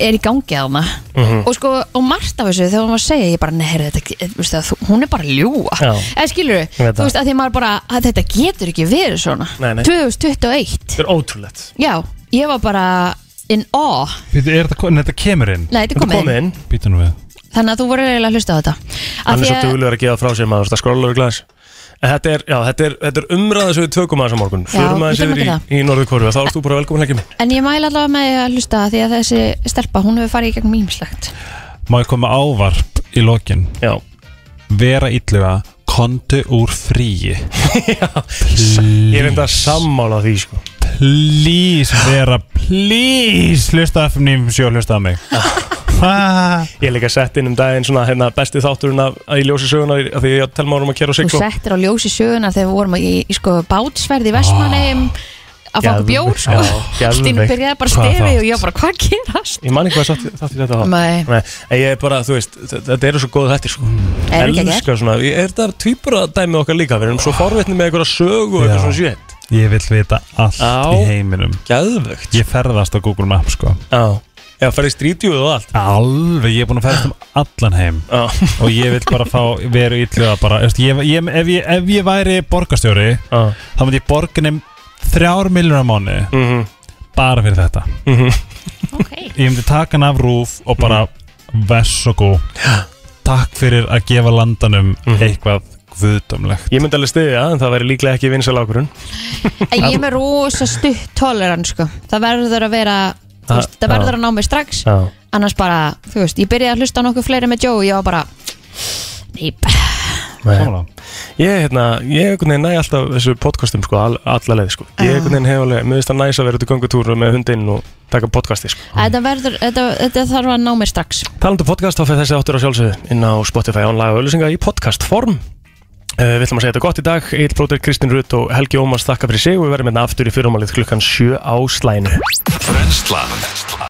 Speaker 2: er í gangi að hana
Speaker 1: Mhm.
Speaker 2: og sko, og margt af þessu þegar hún var að segja ég bara, nei, heyrðu, þetta, eh, veistu það, þú- hún er bara að ljúa
Speaker 1: Já.
Speaker 2: eða skilur
Speaker 1: Ég veit
Speaker 2: þú
Speaker 1: það.
Speaker 2: veist, að því maður bara, að þetta getur ekki verið svona
Speaker 1: Nei, nei.
Speaker 2: 2021
Speaker 1: þetta er ótrúlegt
Speaker 2: já, ég var bara in awe,
Speaker 8: Býtu, er þetta, en þetta kemur inn?
Speaker 2: nei, þetta
Speaker 1: Þetta
Speaker 2: kom
Speaker 1: kom
Speaker 2: inn
Speaker 1: inn,
Speaker 8: Býtu nú við
Speaker 2: þannig að þú voru eiginlega að hlusta á þetta Af
Speaker 1: hann er
Speaker 2: því
Speaker 1: svo
Speaker 2: að-
Speaker 1: duglegur að gefa frá sér maður, það skrólar við glas En þetta er, já, þetta er, þetta er umræða sem við tökum aðeins á morgun Förum
Speaker 2: við
Speaker 1: aðeins
Speaker 2: tökum
Speaker 1: yfir í,
Speaker 2: þetta.
Speaker 1: í Norðurkóru Þá erst þú bara velkomin ekki minn
Speaker 2: en ég mæla allavega með því að hlusta því að þessi stelpa, hún hefur farið í gegnum ímislegt
Speaker 8: Má ég koma með ávarp í lokin
Speaker 1: Já,
Speaker 8: Vera illuga Kontu úr fríi
Speaker 1: ég er enda að sammála því sko.
Speaker 8: Please vera Please Hlusta FM 957 Hlusta á mig
Speaker 1: Ah.
Speaker 8: Ha,
Speaker 1: Ég er líka sett inn um daginn svona hérna, besti þátturinn af, að ég ljósi söguna af því að ég telma árum að kera og
Speaker 2: Þú
Speaker 1: sigla
Speaker 2: settir á ljós í söguna þegar við vorum í, í sko, bátsverði í Vestmanheim að fá okkur bjór sko.
Speaker 1: Ah. Já,
Speaker 2: Allt inn
Speaker 1: geðveikt.
Speaker 2: byrjaði bara
Speaker 8: Hvað
Speaker 2: stefi
Speaker 8: þátt?
Speaker 2: og ég var bara hvað gerast?
Speaker 1: Ég man ekki hvað þátt- þátt í þetta var
Speaker 2: Nei.
Speaker 1: Nei, en ég er bara, þú veist, þ- þetta eru svo góð þetta sko.
Speaker 2: Er ekki ekki?
Speaker 1: Elskar svona, ég er þetta týpur að dæmi okkar líka Við erum svo forvitni með einhverja sögu og
Speaker 8: Já.
Speaker 1: eitthvað svona sétt
Speaker 8: Ég vil vita allt
Speaker 1: Á.
Speaker 8: í heiminum
Speaker 1: Gæðvögt
Speaker 8: Ég ferðast á Google Maps sko
Speaker 1: Já, já, ferði strítjúð og allt
Speaker 8: Alveg, ég er búin að ferðast um allan heim
Speaker 1: Já,
Speaker 8: Og ég vil bara fá veru illuga bara Eftir, ég, ég, ef, ég, ef ég væri borgarstjóri
Speaker 1: já,
Speaker 8: Þá myndi ég borginni Þrjár miljonar mánu
Speaker 1: mhm
Speaker 8: Bara fyrir þetta
Speaker 1: Mhm.
Speaker 8: Ég myndi taka hann af rúf og bara
Speaker 1: Mhm.
Speaker 8: Vess og gó Takk fyrir að gefa landanum
Speaker 1: Mhm.
Speaker 8: eitthvað guðdómlegt
Speaker 1: Ég myndi alveg stiðja en það væri líklega ekki vinsal ákvörun
Speaker 2: En ég er með rosa stutt tolerant sko. það verður að vera þú veist,
Speaker 1: Ah,
Speaker 2: það verður að ná mig strax
Speaker 1: Já.
Speaker 2: annars bara, þú veist, ég byrjaði að hlusta á nokkuð fleiri með Joe og ég var bara nýp,
Speaker 8: Sammála.
Speaker 1: Eh, Ég, hérna, ég einhvern veginn næ alltaf þessu podcastum sko, all, alla leið sko. Ég einhvern veginn hef alveg, mér finnst það næs að vera út í göngutúru með hundinn og taka podcasti sko.
Speaker 2: þetta verður þetta, þetta þarf að ná mig strax
Speaker 1: Talandu podcast, þá fyrir þessi áttur á sjálfsögðu inn á Spotify án laga og auðlýsinga í podcast form Uh, við ætlum að segja þetta gott í dag Egil Bróður, Kristinn Rutt og Helgi Ómars þakka fyrir sig og við verðum hérna aftur í fyrrumalið klukkan 7 á slænu
Speaker 3: Brenslan